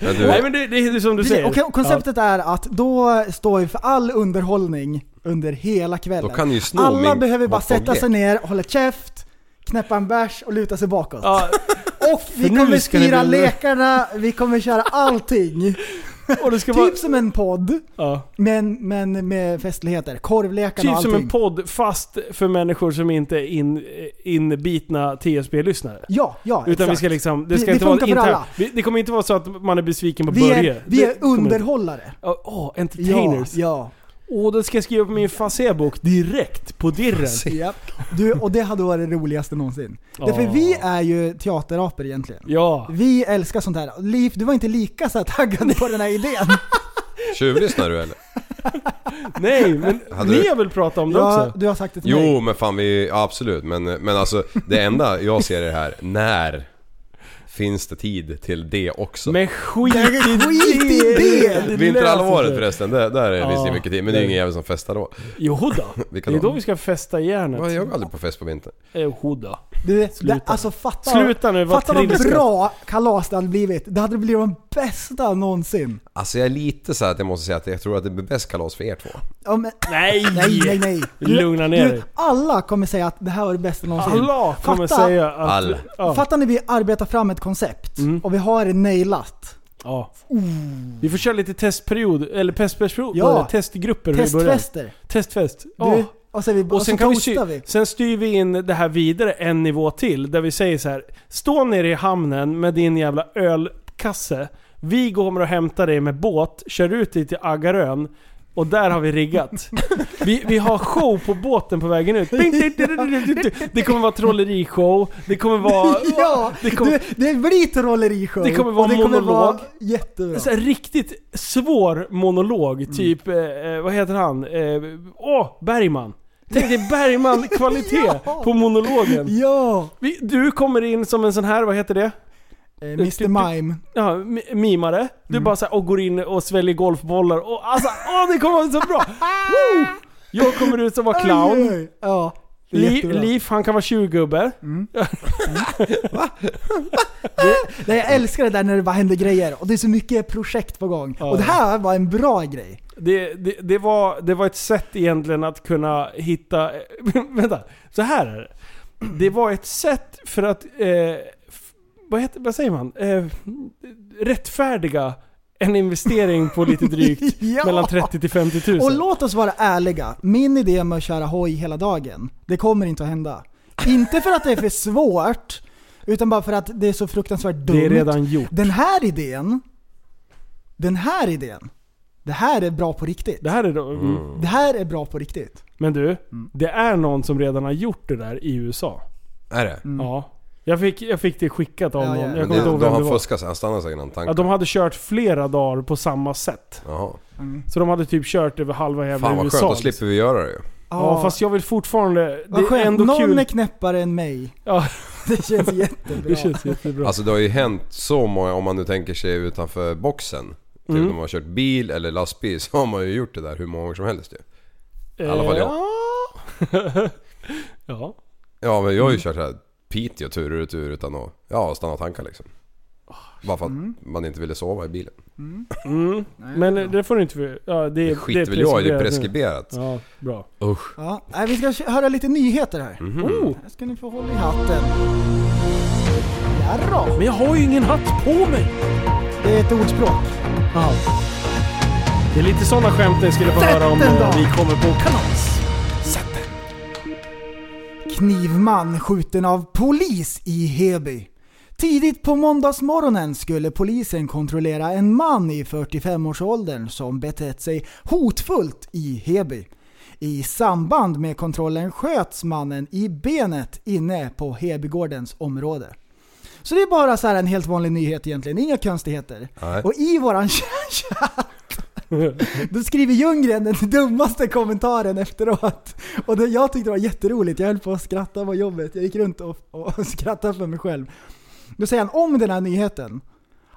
Men du, Nej men det, det är som du Precis, säger. och konceptet är att då står vi för all underhållning under hela kvällen. Då kan ni ju sno Alla min behöver bara sätta popcornlek. sig ner, hålla käft, knäppa en bärs och luta sig bakåt. Ja, Och vi För nu kommer ska det styra bli- lekarna, vi kommer köra allting. ja, och det ska vara... Typ som en podd, Ja. men, men med festligheter. Korvlekarna Typ och som en allting. podd fast för människor som inte är in, inbitna TSB-lyssnare. Ja, ja Utan exakt. vi ska liksom, det ska Det- det inte vara funkar för internt. alla. Vi- Det kommer inte vara så att man är besviken på vi Börje. är, vi är Det kommer inte. underhållare. Ja, Åh, Ja, entertainers. Åh, ja. då ska jag skriva på min fasebok direkt på dirren. Japp. Du, och det hade varit det roligaste någonsin. Därför Ja. vi är ju teaterapor egentligen. Ja. Vi älskar sånt här. Liv, du var inte lika så här taggad på den här idén. tjuvlyssnar du eller? Nej, men Hade ni du- har väl pratat om det Ja, också? du har sagt det till Jo mig. men fan vi, ja, absolut men, men alltså det enda jag ser är det här, när finns det tid till det också? Men skit i Skit i det! löser Vinterhalvåret sig. förresten, där, där är det visst Ja, mycket tid men det är ju ingen jävel som festar då. Jo då. Vilka Det är då? då vi ska festa Vad, hjärnet. Jag går aldrig på fest på vintern. Jo då. Du, det, Sluta. alltså fatta, Sluta nu, vad fatta vad trilskat. bra kalas det hade blivit. Det hade blivit de bästa någonsin. Alltså jag är lite så här att jag måste säga att jag tror att det blir bäst kalas för er två. Ja, men, Nej! nej, nej, nej. Lugna ner dig. alla kommer säga att det här var det bästa någonsin. Alla kommer Fatta- säga att... Alla. Ja. Fattar ni, vi arbetar fram ett koncept Mm. och vi har det nailat. Ja. Oh. Vi får köra lite testperiod, eller pestperiod, Ja. ja. testgrupper i början. Testfester. Testfest. Ja. Du, och sen, vi, och Och sen, så kan vi sy- toastar vi. sen styr vi in det här vidare en nivå till, där vi säger så här. Stå nere i hamnen med din jävla ölkasse. Vi kommer och hämtar dig med båt, kör ut dig till Aggarön. Och där har vi riggat. Vi, vi har show på båten på vägen ut. Det kommer vara trollerishow, det kommer vara... Ja, det kommer- du, det blir trollerishow. Det kommer vara och det monolog. Vara jättebra. Så här, riktigt Mm. svår monolog, typ, eh, eh, vad heter han? Eh, Åh, Bergman. Tänk dig Bergman-kvalitet Ja. på monologen. Ja! Vi, du kommer in som en sån här, vad heter det? Eh, Mm. Du- du- Mr Mime. Ja, mi- mimare. Du bara så här, och går in och sväljer golfbollar och alltså, åh det kommer att vara så bra! Woo! Jag kommer ut som var Oj, clown. oj, oj. Ja. det är Li- jättebra. Mm. Liv, han kan vara tjuvgubbe. Nej, jag älskar det där när det bara händer grejer och det är så mycket projekt på gång. Ja. Och det här var en bra grej. Det, det, det, var, det var ett sätt egentligen att kunna hitta... vänta, så här är det. Det var ett sätt för att... Eh, f- vad, heter, vad säger man? Eh, rättfärdiga en investering på lite drygt Ja. mellan 30 till 50 000. Och låt oss vara ärliga, min idé med att köra hoj hela dagen, det kommer inte att hända. Inte för att det är för svårt, utan bara för att det är så fruktansvärt dumt. det är redan gjort. Den här idén, den här idén, det här är bra på riktigt. Det här är då, Mm. mm. Det här är bra på riktigt. Men du, Mm. det är någon som redan har gjort det där i USA. Är det? Ja. Jag fick, jag fick det skickat av Mm. Ja, någon. ja, ja. Men Jag kommer det, inte ihåg då vem det han var. fuskar sig, han stannar säkert någon Ja, tanke. de hade kört flera dagar på samma sätt. Jaha. Så de hade typ kört över halva jävla Fan vad USA. skönt, då liksom. slipper vi göra det ju. Ja, fast jag vill fortfarande... Det Vad är skönt, ändå någon kul. är knäppare än mig. Ja. Det känns jättebra. Det känns jättebra. Alltså det har ju hänt så många, om man nu tänker sig utanför boxen. Typ Mm. när man har kört bil eller lastbil så har man ju gjort det där hur många gånger som helst ju. I alla fall jag. Ja. ja. Ja men jag har ju kört här Piteå tur och retur utan att ja, stanna och tanka liksom. Bara för att man inte ville sova i bilen. Men eh, det får du inte... Ja, det, Det är- skiter väl jag i, det är preskriberat preskriberat. nu. Ja, bra. Usch. Ja, nej, vi ska kö- höra lite nyheter här. Oh, Här ska ni få hålla i hatten. Jarrå, men jag har ju ingen hatt på mig! det är ett ordspråk. Ja. Det är lite sådana skämt ni skulle få höra om Sätt den eh, då. vi kommer på kalas. Sätt den. Knivman skjuten av polis i Heby. Tidigt på måndagsmorgonen skulle polisen kontrollera en man i 45-årsåldern som betett sig hotfullt i Heby. I samband med kontrollen sköts mannen i benet inne på Hebygårdens område. Så det är bara så här en helt vanlig nyhet egentligen, inga konstigheter. Nej. Och i våran chatt då skriver Ljunggren den dummaste kommentaren efteråt. Och det, jag tyckte det var jätteroligt, jag höll på att skratta på jobbet. Jag gick runt och, och skrattade för mig själv. Då säger han om den här nyheten.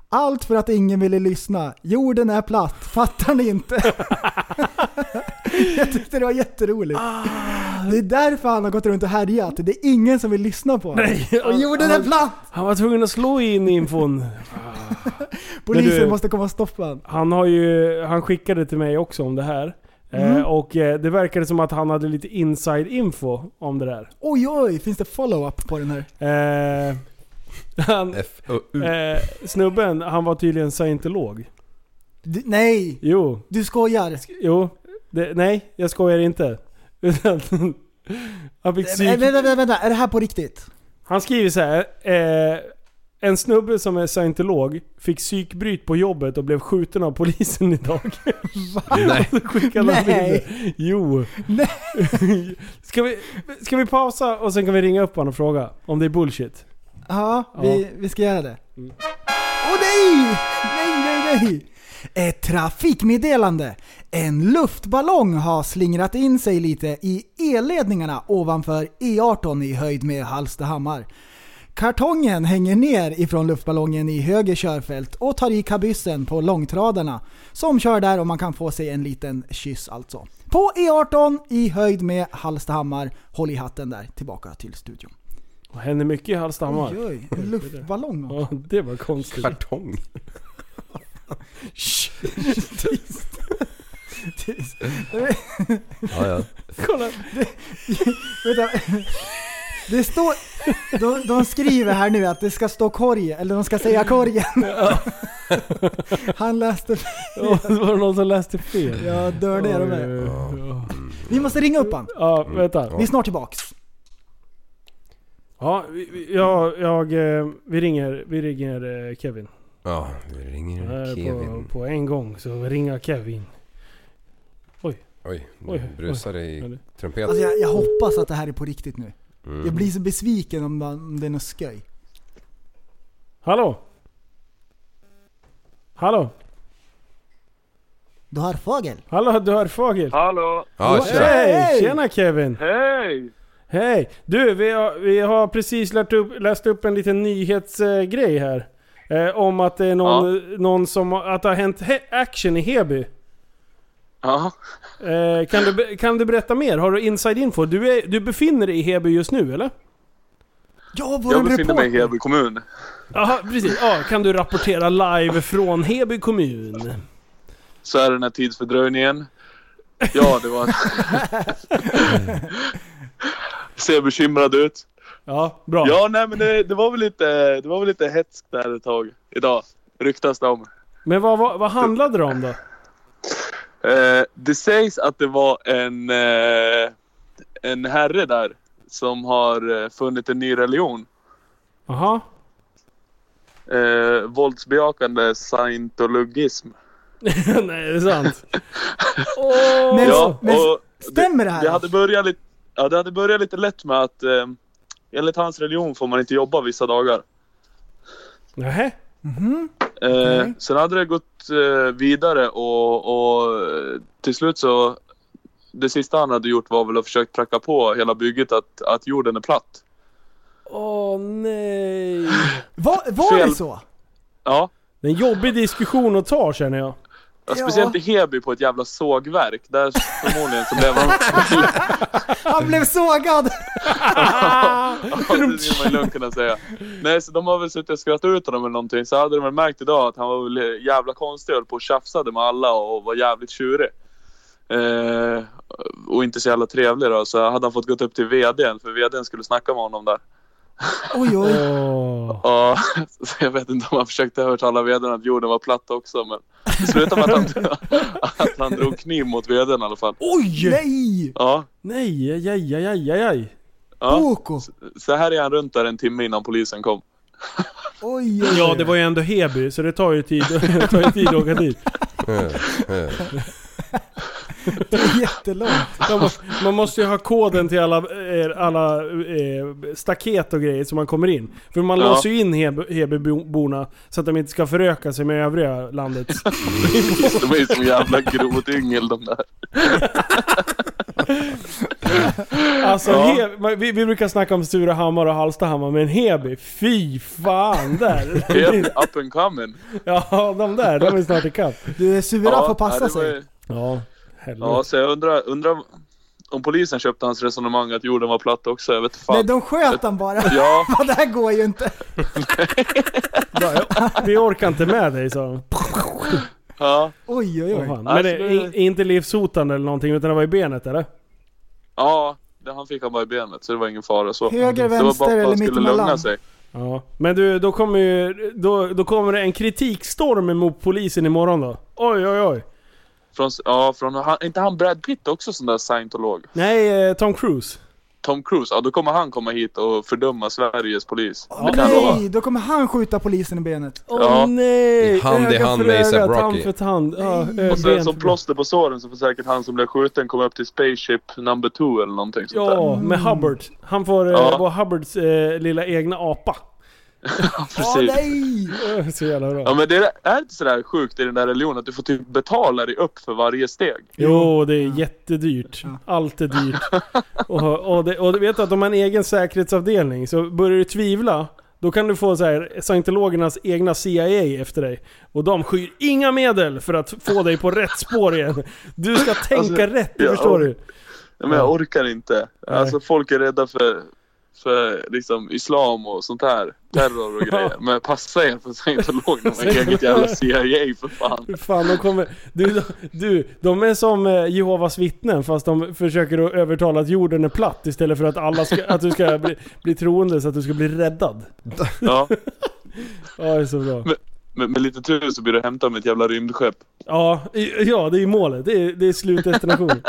Allt för att ingen ville lyssna. Jorden är platt, fattar ni inte? jag tyckte det var jätteroligt. Det är därför han har gått runt och härjat. Det är ingen som vill lyssna på honom. Nej, Och jorden är platt! Han var tvungen att slå in infon. Men Polisen du- måste komma och stoppa honom. Han har ju, han skickade till mig också om det här. Mm. Eh, och eh, det verkade som att han hade lite inside info om det där. Oj oj, finns det follow-up på den här? Eh, han, F U U. eh, snubben, han var tydligen scientolog. Du, nej! Jo, Du skojar! jo. Det, nej, jag skojar inte. Utan, han fick Äh, psyk... Vänta, vänta, vänta, är det här på riktigt? Han skriver så här. Eh, en snubbe som är scientolog fick psykbryt på jobbet och blev skjuten av polisen idag. Nej. Och så skickade han Nej. bilder. Jo. Nej. Ska, vi, ska vi pausa och sen kan vi ringa upp honom och fråga om det är bullshit? Mm. Ja, vi, vi ska göra det. Åh nej! Nej, nej, nej! Ett trafikmeddelande. En luftballong har slingrat in sig lite i elledningarna ovanför E18 i höjd med Hallstahammar. Kartongen hänger ner ifrån luftballongen i höger körfält och tar i kabyssen på långtradarna som kör där och man kan få sig en liten kyss alltså. På E18 i höjd med Hallstahammar. Håll i hatten där, tillbaka till studion. Det händer mycket i Hallstahammar. Oj, oj, en luftballong också. Ja, det var konstigt. Kartong. Ja, ja. Kolla. Vänta. Det står... De, de skriver här nu att det ska stå korg, eller de ska säga korgen. Han läste... Ja, det var någon som läste fel. Jag dör det de är. Ja, Vi måste ringa upp han. ja vänta. Vi är snart tillbaks. Ja, vi- vi- jag, jag, eh, vi ringer, vi ringer eh, Kevin. Ja, vi ringer Eh, På, Kevin. på en gång så ringa Kevin. Oj, Oj, nu brusar det Ja, i det- trumpeten. Alltså jag, jag hoppas att det här är på riktigt nu. Mm. Jag blir så besviken om, man- om det är något skoj. Hallå? Hallå? Du har fågel. Hallå dörrfågel! Hallå! Ja, tjena. Hej! Tjena Kevin! Hej! Hej! Du, vi har, vi har precis lärt upp, läst upp en liten nyhetsgrej här. Eh, om att det är någon, någon som... har- Att det har hänt he- action i Heby. Ja. Eh, kan, du, be- kan du berätta mer? Har du inside info? Du, är, du befinner dig i Heby just nu eller? Ja, Jag befinner mig i Heby kommun. Jaha, precis. Ja, kan du rapportera live från Heby kommun? Så är det den här tidsfördröjningen. Ja, det var... Ser bekymrad ut. Ja, bra. Ja, nej men det, det var väl lite, det var väl lite hetsk där ett tag idag. Ryktas det om. Men vad, vad, vad handlade det om då? Eh, det sägs att det var en, eh, en herre där som har eh, funnit en ny religion. Jaha? Eh, våldsbejakande scientologism. Nej, det är sant. Åh! Men- ja, men och Stämmer det här? det hade börjat lite, ja, det hade börjat lite lätt med att eh, enligt hans religion får man inte jobba vissa dagar. Nähä? Eh, Mhm. Okej. Sen hade det gått eh, vidare och, och eh, till slut så det sista han hade gjort var väl att försöka pracka på hela bygget att, att jorden är platt. Åh nej. Va, var Fel. det så? Ja, Det är en jobbig diskussion att ta känner jag. Ja, Speciellt i Heby på ett jävla sågverk. Där förmodligen så blev han... Han blev sågad! Ja, det vill man ju lugnt kunna säga. Nej, så de har väl suttit och skrattat ut honom eller någonting. Så hade de väl märkt idag att han var väl jävla konstig och höll på och tjafsade med alla och var jävligt tjurig. Eh, och inte så jävla trevlig då. Så hade han fått gått upp till VDn för VDn skulle snacka med honom där. Oj, oj. Åh. Ja, så jag vet inte om han försökte övertala VDn att jorden var platt också men det slutade med att han, att han drog kniv mot VDn i alla fall. Oj! Nej! Ja, Nej, aj, aj, aj, aj, aj, aj. ja. Boko. Så här är han runt där en timme innan polisen kom. Oj, oj. Ja, det var ju ändå Heby, så det tar ju tid, det tar ju tid att åka dit. Jättelångt. Man, må- man måste ju ha koden till alla, eh, alla eh, staket och grejer så man kommer in. För man Ja. låser ju in Heby- Hebyborna så att de inte ska föröka sig med övriga landet. De är ju som jävla grodyngel de där. Alltså, Ja. Heby- man- vi, vi brukar snacka om Surahammar och Hallstahammar, men Heby, fy fan där! Helt up and coming. Ja, de där, de är snart ikapp. Du är sura får passa det var sig. ju- Ja, Ja, helvete. så jag undrar, undrar om polisen köpte hans resonemang att jorden var platt också. Jag vet fan. Nej, de sköt han bara. Ja, Ja, det här går ju inte. Vi orkar inte med dig sa de. ja, Oj, oj, Åh, oj. fan. Men det är in- inte livshotande eller någonting, utan det var i benet eller? ja. Det han fick han bara i benet så det var ingen fara så. Höger, det var vänster bara att eller han skulle lugna mittemellan? sig. Ja. Men du, då kommer ju, då, då kommer det en kritikstorm mot polisen imorgon då. Oj, oj, oj. Från, ja, från, han, inte han Brad Pitt också sån där scientolog? Nej, eh, Tom Cruise. Tom Cruise, ja då kommer han komma hit och fördöma Sveriges polis. Åh, nej, då kommer han skjuta polisen i benet. Åh Ja. nej! Hand i Öga hand för med öga, A$AP tand Rocky. för tand. Ja, Nej. ö, Och ben sen som för- plåster på såren så får säkert han som blev skjuten komma upp till Spaceship number two eller någonting sånt där. Ja, Mm. med Hubbard. Han får eh, Ja. vara Hubbards eh, lilla egna apa. Åh Precis. nej! Ö, Så jävla bra. Ja men det är, är det inte sådär sjukt i den där religionen att du får typ betala dig upp för varje steg? Jo, det är jättedyrt. Allt är dyrt. Och, och, det, och du vet att om man har en egen säkerhetsavdelning så börjar du tvivla, då kan du få så här, scientologernas egna CIA efter dig. Och de skyr inga medel för att få dig på rätt spår igen. Du ska tänka rätt, Alltså, det ja, förstår du. Ja, men jag orkar inte. Nej. Alltså folk är rädda för, för liksom islam och sånt här. Terror och grejer. Men passa er för scientologerna med eget jävla CIA för fan. Hur Fan, de kommer... Du, du, de är som eh, Jehovas vittnen fast de försöker att övertala att jorden är platt istället för att, alla ska, att du ska bli, bli troende så att du ska bli räddad. Ja. Ja, det är så bra. Med, med lite tur så blir du hämtad med ett jävla rymdskepp. Ja, i- ja det är ju målet. Det är, det är slutdestinationen.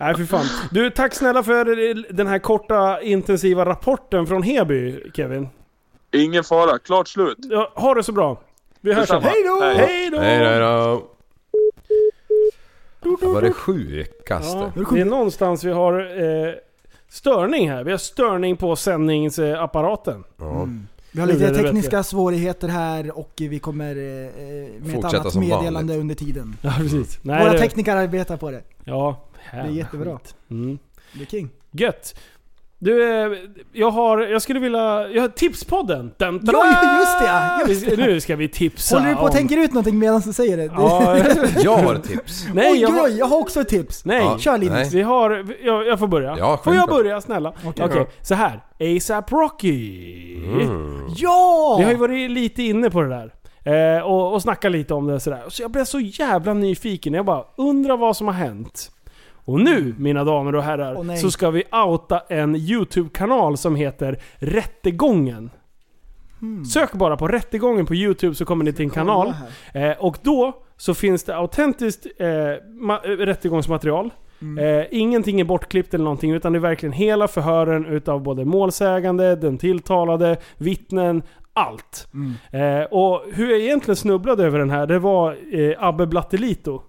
Nej för fan. Du, tack snälla för den här korta intensiva rapporten från Heby, Kevin. Ingen fara, klart slut. Ja, ha det så bra. Vi hörs sen. Detsamma. Hej då! Hej. Hej då! Hej då, hej då. Var det sju kast? Ja, där? det är någonstans vi har eh, störning här. Vi har störning på sändningsapparaten. Ja. Vi har lite Lurar det tekniska bättre. svårigheter här och vi kommer eh, eh, med ett Fortsätta annat som meddelande vanligt. under tiden. Ja, precis. Nej, Våra det- tekniker arbetar på det. Ja, Det är jättebra. Mm. Det är king. Gött. Du, eh, jag har, jag skulle vilja, jag har tipspodden. Den, Ja, just det, ja, just det. Nu ska vi tipsa Håller du på och om- tänker ut någonting medan du säger det? Ja, jag har ett tips. Nej, Nej, oj, jag oj, har- oj, jag har också ett tips. Nej. Kör Linus. Vi har, jag, jag får börja. Ja, får jag självklart. börja snälla? Okej, Okej. så här. ASAP Rocky. Mm. Ja! Vi har ju varit lite inne på det där. Eh, och, och snackat lite om det och sådär. Så jag blev så jävla nyfiken. Jag bara undrar vad som har hänt. Och nu, mina damer och herrar, Åh, nej. så ska vi outa en YouTube-kanal som heter Rättegången. Sök bara på Rättegången på YouTube så kommer ni till en kanal. Eh, och då så finns det autentiskt eh, ma- eh, rättegångsmaterial. Eh, ingenting är bortklippt eller någonting utan det är verkligen hela förhören utav både målsägande, den tilltalade, vittnen, allt. Eh, och hur jag egentligen snubblade över den här, det var eh, Abbe Blattelito.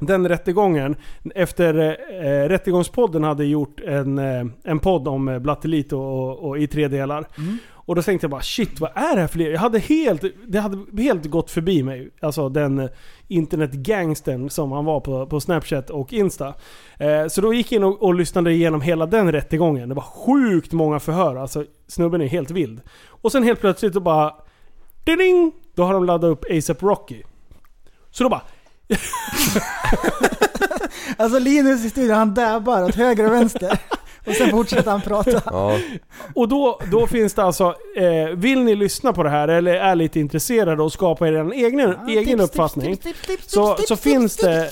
Den rättegången, efter eh, Rättegångspodden hade gjort en, eh, en podd om eh, Blattelito och, och, i tre delar. Och då tänkte jag bara shit vad är det här för liv? Jag hade helt, det hade helt gått förbi mig. Alltså den eh, internetgangstern som han var på, på Snapchat och Insta. Eh, så då gick jag in och, och lyssnade igenom hela den rättegången. Det var sjukt många förhör. Alltså snubben är helt vild. Och sen helt plötsligt så bara... Ding, då har de laddat upp ASAP Rocky. Så då bara... Alltså Linus i studion, han dabbar åt höger och vänster. Och sen fortsätter han prata. Och då, då finns det alltså, eh, vill ni lyssna på det här eller är lite intresserade och skapa er en egen, egen uppfattning. så så finns det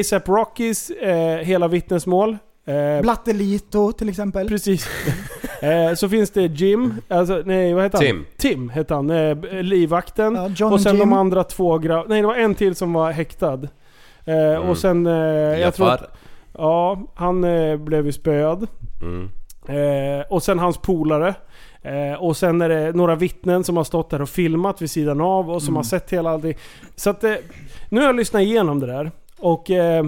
ASAP Rockys eh, hela vittnesmål. Eh, Blattelito till exempel. Precis. eh, så finns det Jim, alltså, nej vad heter han? Tim. Tim hette han, eh, b- livvakten. John och sen och Jim. de andra två gra- Nej det var en till som var häktad. Eh, Och sen... Eh, jag tror att, Mm. Jafar. Ja, han eh, blev ju spöad. Mm. Eh, och sen hans polare. Eh, och sen är det några vittnen som har stått där och filmat vid sidan av och som Mm. har sett hela allting. Så att, eh, nu har jag lyssnat igenom det där. Och eh,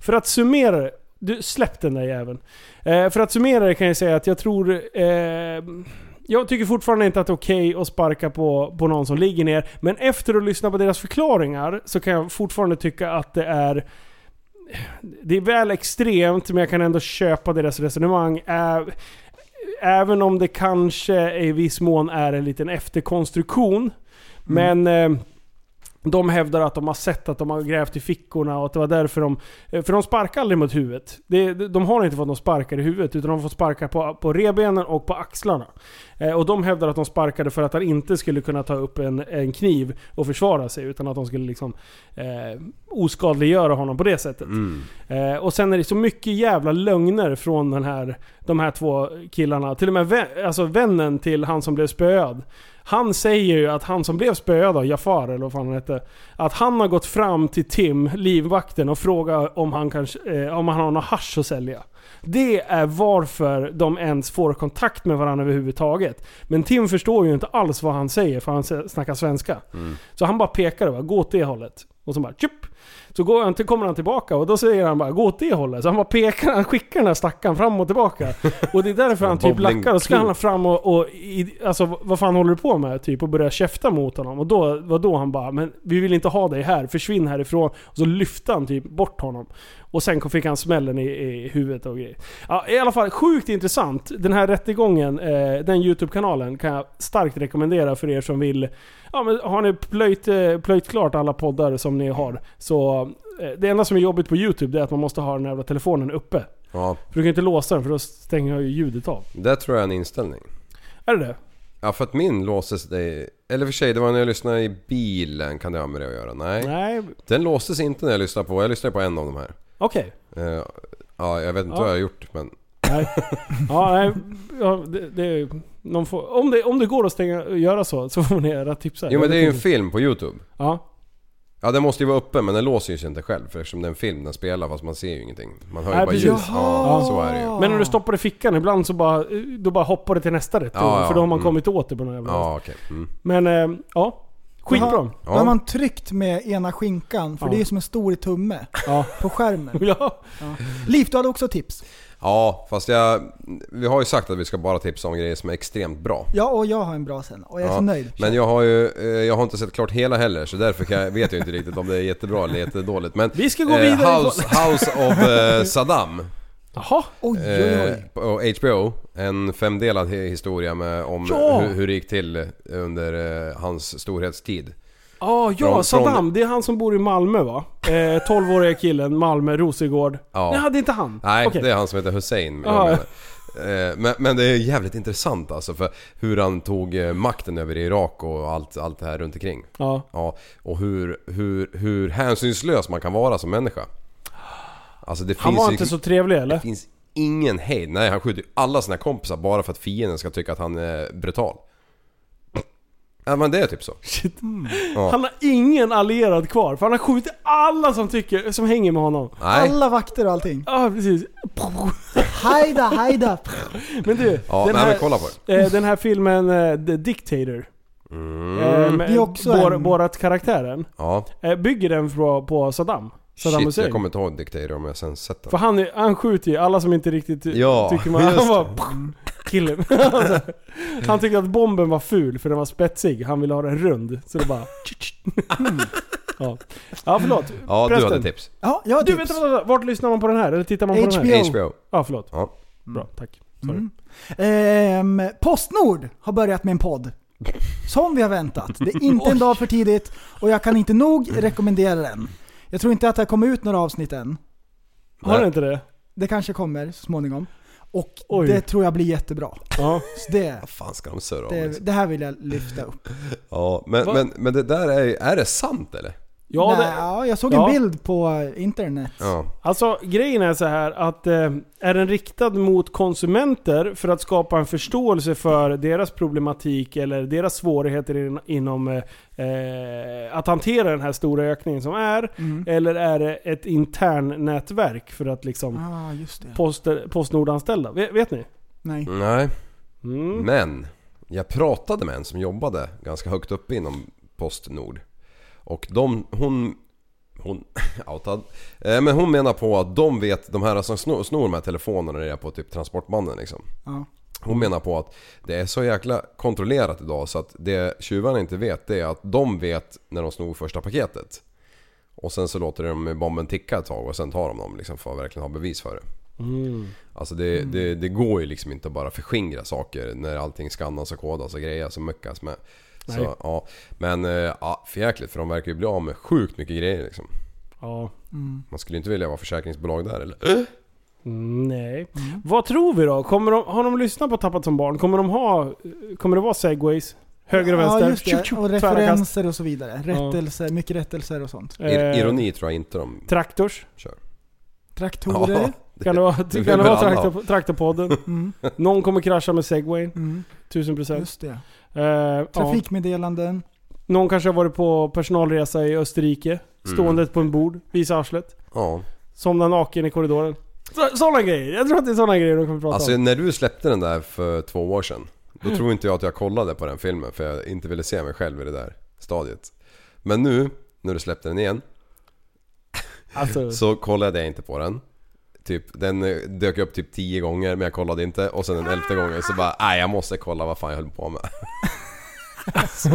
för att summera det. Du, släpp den där jäveln. Eh, för att summera det kan jag säga att jag tror... Eh, jag tycker fortfarande inte att det är okej att sparka på, på någon som ligger ner. Men efter att lyssna på deras förklaringar så kan jag fortfarande tycka att det är... Det är väl extremt, men jag kan ändå köpa deras resonemang. Ä- Även om det kanske i viss mån är en liten efterkonstruktion. Men eh, de hävdar att de har sett att de har grävt i fickorna och att det var därför de... eh, För de sparkar aldrig mot huvudet. Det- De har inte fått någon sparkar i huvudet utan de har fått sparka på, på rebenen och på axlarna. Eh, Och de hävdar att de sparkade för att han inte skulle kunna ta upp en, en kniv och försvara sig utan att de skulle liksom eh, oskadliggöra honom på det sättet. Eh, och sen är det så mycket jävla lögner från den här, de här två killarna. Till och med vän, alltså vännen till han som blev spöad. Han säger ju att han som blev spöad av Jafar, eller vad fan han hette. Att han har gått fram till Tim, livvakten, och frågat om han, kanske, eh, om han har något hasch att sälja. Det är varför de ens får kontakt med varandra överhuvudtaget. Men Tim förstår ju inte alls vad han säger för han s- snackar svenska. Så han bara pekar och bara, gå åt det hållet. Och så bara tjup. Så går han, kommer han tillbaka och då säger han bara, gå åt det hållet. Så han bara pekar, han skickar den här stackaren fram och tillbaka. Och det är därför han typ Bowling lackar och ska han clue. fram och, och i, alltså vad fan håller du på med? Typ och börjar käfta mot honom. Och då var då han bara, men vi vill inte ha dig här, försvinn härifrån. Och så lyfte han typ bort honom. Och sen kom- fick han smällen i, i huvudet och grejer. Ja, I alla fall, sjukt intressant. Den här rättegången, eh, den YouTube-kanalen kan jag starkt rekommendera för er som vill... Ja, men har ni plöjt, eh, plöjt klart alla poddar som ni har, så... Eh, det enda som är jobbigt på YouTube det är att man måste ha den här jävla telefonen uppe. Ja, För du kan inte låsa den för då stänger ju ljudet av. det tror jag är en inställning. Är det det? Ja, för att min låses... Det, eller för sig, det var när jag lyssnade i bilen. Kan det ha med det att göra? Nej. Nej. Den låstes inte när jag lyssnade på... Jag lyssnade på en av de här. Okej. Eh, ja, jag vet inte Ja. vad jag har gjort men... Nej. Ja, nej. Ja, det, det, någon får, om, det, om det går att stänga, göra så, så får ni era tips här. Jo men det är ju en Jag vet film på Youtube. Ja. Ja den måste ju vara uppe men den låser ju sig inte själv för eftersom det är en film den spelar fast man ser ju ingenting. Man hör ju Nej, bara precis. ljud. Ja, så är det ju. Men när du stoppar i fickan ibland så bara, då bara hoppar det till nästa rätt. Ja, ja, för då har man mm. kommit åt det på något jävla Ja okej. Mm. Men eh, ja. Skitbra. Då har- Då Ja. har man tryckt med ena skinkan, för Ja. det är ju som en stor tumme Ja. på skärmen. Ja. Liv, du hade också tips. Ja, fast jag... Vi har ju sagt att vi ska bara tipsa om grejer som är extremt bra. Ja, och jag har en bra sen. Och jag är Ja, så nöjd. Men jag har ju, eh, jag har inte sett klart hela heller så därför kan jag, vet jag inte riktigt om det är jättebra eller jättedåligt. Men eh, Vi ska gå vidare i House, House of eh, Saddam Jaha. Oj, oj, eh, oj. på HBO. En femdelad hi- historia med, om Ja. hur, hur det gick till under eh, hans storhetstid. Ah, ja, Från- Saddam. från- Det är han som bor i Malmö va? Eh, 12-åriga killen, Malmö, Rosengård. Ja. Nej, det är inte han. Nej, Okej. det är han som heter Hussein. men Ja. jag menar. Eh, Men, men det är jävligt intressant alltså för hur han tog eh, makten över Irak och allt, allt det här runt omkring. Ja. Ja, och hur, hur, hur hänsynslös man kan vara som människa. Alltså det Han finns var ju, inte så trevlig eller? Det finns ingen hejd. Nej, han skjuter ju alla sina kompisar bara för att fienden ska tycka att han är brutal. Ja men det är typ så. Ja. Han har ingen allierad kvar, för han har skjutit alla som, tycker, som hänger med honom. Nej. Alla vakter och allting. Ja, ah, precis. Hejda, hejda. Men du, Ja, nej, den, men här, kolla på det. eh, den här filmen eh, The Dictator. Eh, med Det är också Bor- en- Borat-karaktären. Mm. Ja, Eh, bygger den på, på Saddam. Saddam shit jag Hussein. kommer inte ihåg Dictator om jag sen sett den. För han, är- han skjuter ju alla som inte riktigt Ja, tycker man... just Han det. bara... Killen. han tyckte att bomben var ful för den var spetsig. Han ville ha den rund. Så det bara... ja. ja, förlåt. Ja, du Prästen. hade tips. Ja, typ jag har Du, tips. vänta, vänta, vart lyssnar man på den här? Eller tittar man på den här? HBO. HBO. Ja, förlåt. Ja. Bra, tack. Sorry. Mm. Ehm, Postnord har börjat med en podd. Som vi har väntat. Det är inte en dag för tidigt och jag kan inte nog rekommendera den. Jag tror inte att det har kommit ut några avsnitt än. Har den inte det? Det kanske kommer så småningom. Och Oj. det tror jag blir jättebra. Ja. Så det, Vad fan ska de surra om? det, liksom? det här vill jag lyfta upp. Ja, men, Va? men, men det där är ju... Är det sant eller? Ja, Nej, det, ja, jag såg ja. en bild på internet. Ja. alltså grejen är så här att eh, är den riktad mot konsumenter för att skapa en förståelse för deras problematik eller deras svårigheter in, inom eh, eh, att hantera den här stora ökningen som är? Mm. Eller är det ett intern nätverk för att liksom ah, just det. post, Postnordanställda? Vet, vet ni? Nej. Nej. Mm. Men jag pratade med en som jobbade ganska högt uppe inom Postnord. Och de, hon... Hon... Outad. Eh, Men hon menar på att de vet, de här som snor, snor de här telefonerna nere på typ transportbanden liksom. Ja. Hon menar på att det är så jäkla kontrollerat idag så att det tjuvarna inte vet det är att de vet när de snor första paketet. Och sen så låter de bomben ticka ett tag och sen tar de dem liksom för att verkligen ha bevis för det. Alltså det, det, det går ju liksom inte att bara förskingra saker när allting skannas och kodas och grejer som muckas med. Nej. Så, ja. Men eh, ja, förjäkligt för de verkar ju bli av med sjukt mycket grejer liksom. Ja. Man skulle ju inte vilja vara försäkringsbolag där eller? Nej. Mm. Vad tror vi då? Kommer de, har de lyssnat på Tappat som barn? Kommer de ha... Kommer det vara segways? Höger och vänster? Ja, just det. Och Tvära kast. referenser och så vidare. Rättelser, mycket rättelser och sånt. Ir- Eh, Ironi tror jag inte de Traktors. kör. Traktorer. Kan det vara, vill kan det vara väl alla traktor, Traktorpodden? Mm. Någon kommer krascha med segwayn. Mm. 1000 procent. Eh, Just det. ja. Trafikmeddelanden. Någon kanske har varit på personalresa i Österrike. Stående på en bord. Visa arslet. Ja. Somna naken i korridoren. Så- Sådana grejer. Jag tror att det är sådana grejer de kommer prata Alltså om. när du släppte den där för två år sedan. Då Mm. tror inte jag att jag kollade på den filmen för jag inte ville se mig själv i det där stadiet. Men nu, när du släppte den igen. Alltså, Så kollade jag inte på den. Typ, den eh, dök upp typ 10 gånger men jag kollade inte och sen den elfte gången så bara nej jag måste kolla vad fan jag höll på med. Alltså.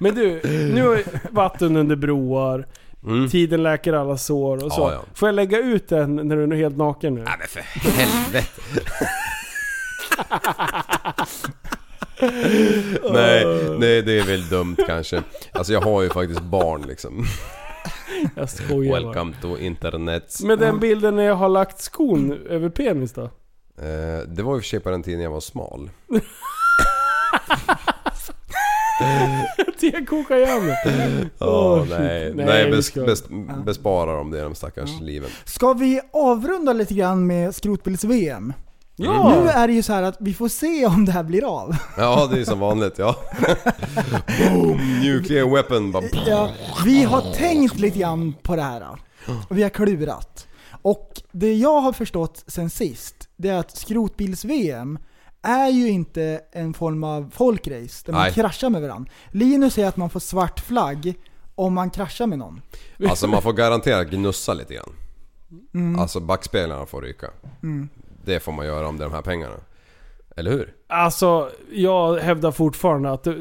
Men du, nu har ju vatten under broar. Mm. Tiden läker alla sår och så. Ja, ja. Får jag lägga ut den när du är helt naken nu? Nej men för helvete. nej, nej det är väl dumt kanske. Alltså jag har ju faktiskt barn liksom. Jag skojar bara. Welcome to internet. Med den bilden när jag har lagt skon över penis då? Eh, det var ju för sig på den tiden jag var smal. Det kokar jag med. Åh shit. nej, Nej, nej, vi bes, ska- bes, bespara dem det de stackars liven. Ska vi avrunda lite grann med skrotbils-VM? Ja! Nu är det ju så här att vi får se om det här blir av. Ja det är som vanligt ja. Boom! Nuclear weapon bara... Ja, vi har tänkt lite grann på det här. Och vi har klurat. Och det jag har förstått sen sist, det är att skrotbils-VM är ju inte en form av folkrace där man Nej. kraschar med varandra. Linus säger att man får svart flagg om man kraschar med någon. Alltså man får garanterat gnussa lite grann. Mm. Alltså backspelarna får ryka. Mm. Det får man göra om det är de här pengarna. Eller hur? Alltså, jag hävdar fortfarande att eh,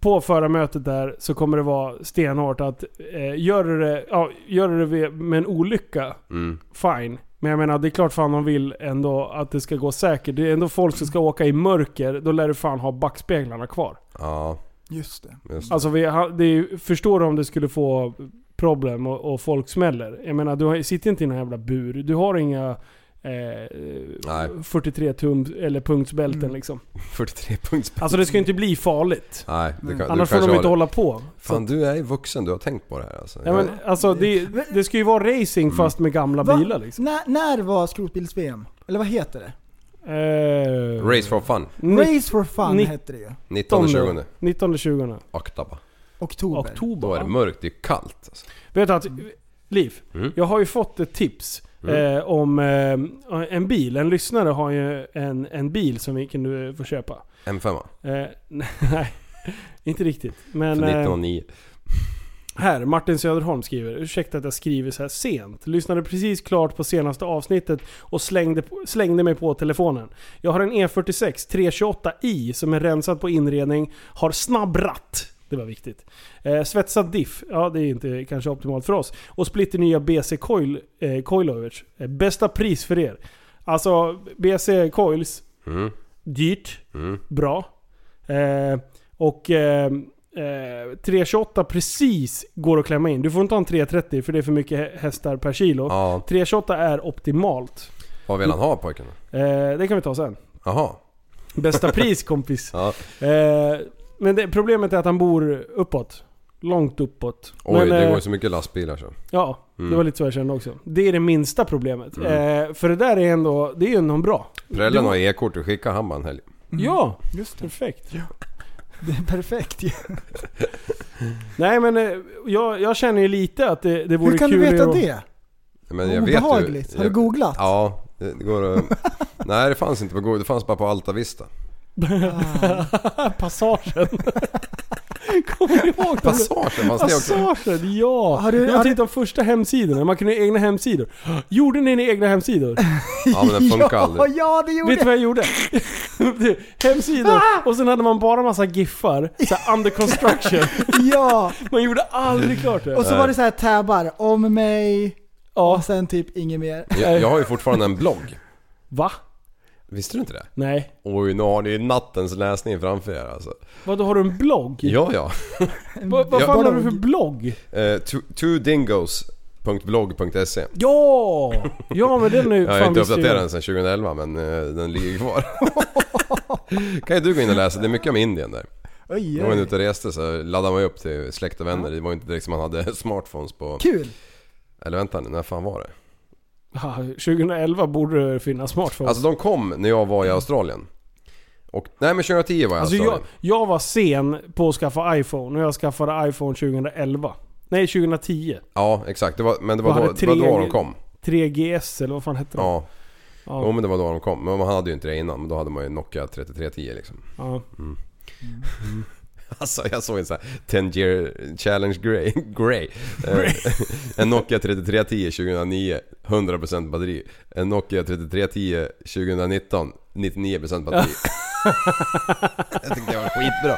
på förarmötet där så kommer det vara stenhårt att eh, gör du det, ja, gör du det vid- med en olycka, Mm. fine. Men jag menar, det är klart fan de vill ändå att det ska gå säkert. Det är ändå folk som ska åka i mörker, då lär du fan ha backspeglarna kvar. Ja. Just det. Just. Alltså vi, ha- det är, ju- förstår du om du skulle få problem och, och folk smäller? Jag menar, du har- sitter inte i någon jävla bur. Du har inga Nej. eh, 43 tum eller punktsbälten Mm. liksom. 43 punkts Alltså det ska ju inte bli farligt. Nej, det kan, du Annars får kanske de har inte det. hålla på. Så, Fan du är ju vuxen, du har tänkt på det här alltså. Mm. ja, men, alltså det, det ska ju vara racing fast med gamla Va? bilar liksom. När, när var skrotbils-VM? Eller vad heter det? Eh, Race for fun. ni- Race for fun nitt- hette det ju. 19 20 19-20 Oktava. Oktober. oktober. Då är det va? mörkt, det är kallt alltså. Vet du att, Liv, Mm. jag har ju fått ett tips eh, om eh, en bil. En lyssnare har ju en, en bil som vi kunde få köpa. M5 Eh, nej, inte riktigt. Men för Ehm, eh, 1909. här, Martin Söderholm skriver. Ursäkta att jag skriver så här sent. Lyssnade precis klart på senaste avsnittet och slängde, på- slängde mig på telefonen. Jag har en E E46 328i som är rensad på inredning, har snabb ratt. Det var viktigt. Eh, svetsad diff, ja det är inte kanske optimalt för oss. Och splitter nya BC coil, eh, coilovers. Eh, bästa pris för er. Alltså BC coils, Mm. dyrt, Mm. bra. Eh, och eh, eh, 328 precis går att klämma in. Du får inte ha en 330 för det är för mycket hä- hästar per kilo. Ja, 328 är optimalt. vad vill han ha pojken? Eh, det kan vi ta sen. Jaha. Bästa pris kompis. Ja. Eh, men det, problemet är att han bor uppåt. Långt uppåt. Oj, men, det eh, går ju så mycket lastbilar så. Ja, Mm. det var lite så jag kände också. Det är det minsta problemet. Eh, för det där är ändå, det är ju ändå bra. Prällen du- har e-kort, du skickar han bara en helg. Ja, Mm. Just det. perfekt. det är perfekt ju. Nej men eh, jag, jag känner ju lite att det, det vore Hur kan du kul veta att- det? Men jag vet ju... Obehagligt. Har du jag- googlat? Ja, det det går att... Nej det fanns inte på Google, det fanns bara på Alta Vista. Passagen. Kommer du ihåg den? Passagen fanns det också. Passagen, ja! Har du- jag har du- tänkte de första hemsidorna, man kunde ha egna hemsidor. Gjorde ni egna hemsidor? Ja men den funkar ja, aldrig. ja, det gjorde Ah! Vet du jag. vad jag gjorde? hemsidor, och sen hade man bara massa giffar, såhär under construction. Ja. Man gjorde aldrig klart det. Och så var det så här tabbar. Om mig. Ja. Och sen typ inget mer. Jag, jag har ju fortfarande en blogg. Va? Visste du inte det? Nej. Oj, nu har ni ju nattens läsning framför er alltså. Vadå, har du en blogg? Ja, ja. Va- Vad Ja. fan har du för blogg? Eh, two- twodingos.blogg.se Ja! Ja men den är ju Jag har fan inte visste uppdaterat jag. den sedan 2011 men eh, den ligger ju kvar. kan ju du gå in och läsa, det är mycket om Indien där. Oj, När man var oj. ute och reste så laddade man ju upp till släkt och vänner. Det var ju inte direkt som man hade smartphones på... Kul. Eller vänta nu, när fan var det? Ja, 2011 borde det finnas smartphones. Alltså de kom när jag var i Australien. Och, nej men 2010 var jag i Alltså jag, Australien. jag var sen på att skaffa iPhone och jag skaffade iPhone 2011. Nej, 2010. Ja exakt, det var, men det var, Vad då, hade det var tre- då de kom. 3GS eller vad fan hette de? Ja. Ja. Jo men det var då de kom. Men man hade ju inte det innan. Men då hade man ju Nokia 3310 liksom. ja. Alltså jag såg en sån här 10 year challenge grey. grey. Eh, en Nokia 3310 2009, 100% batteri. En Nokia 3310 2019, 99% batteri. jag tyckte det var skitbra.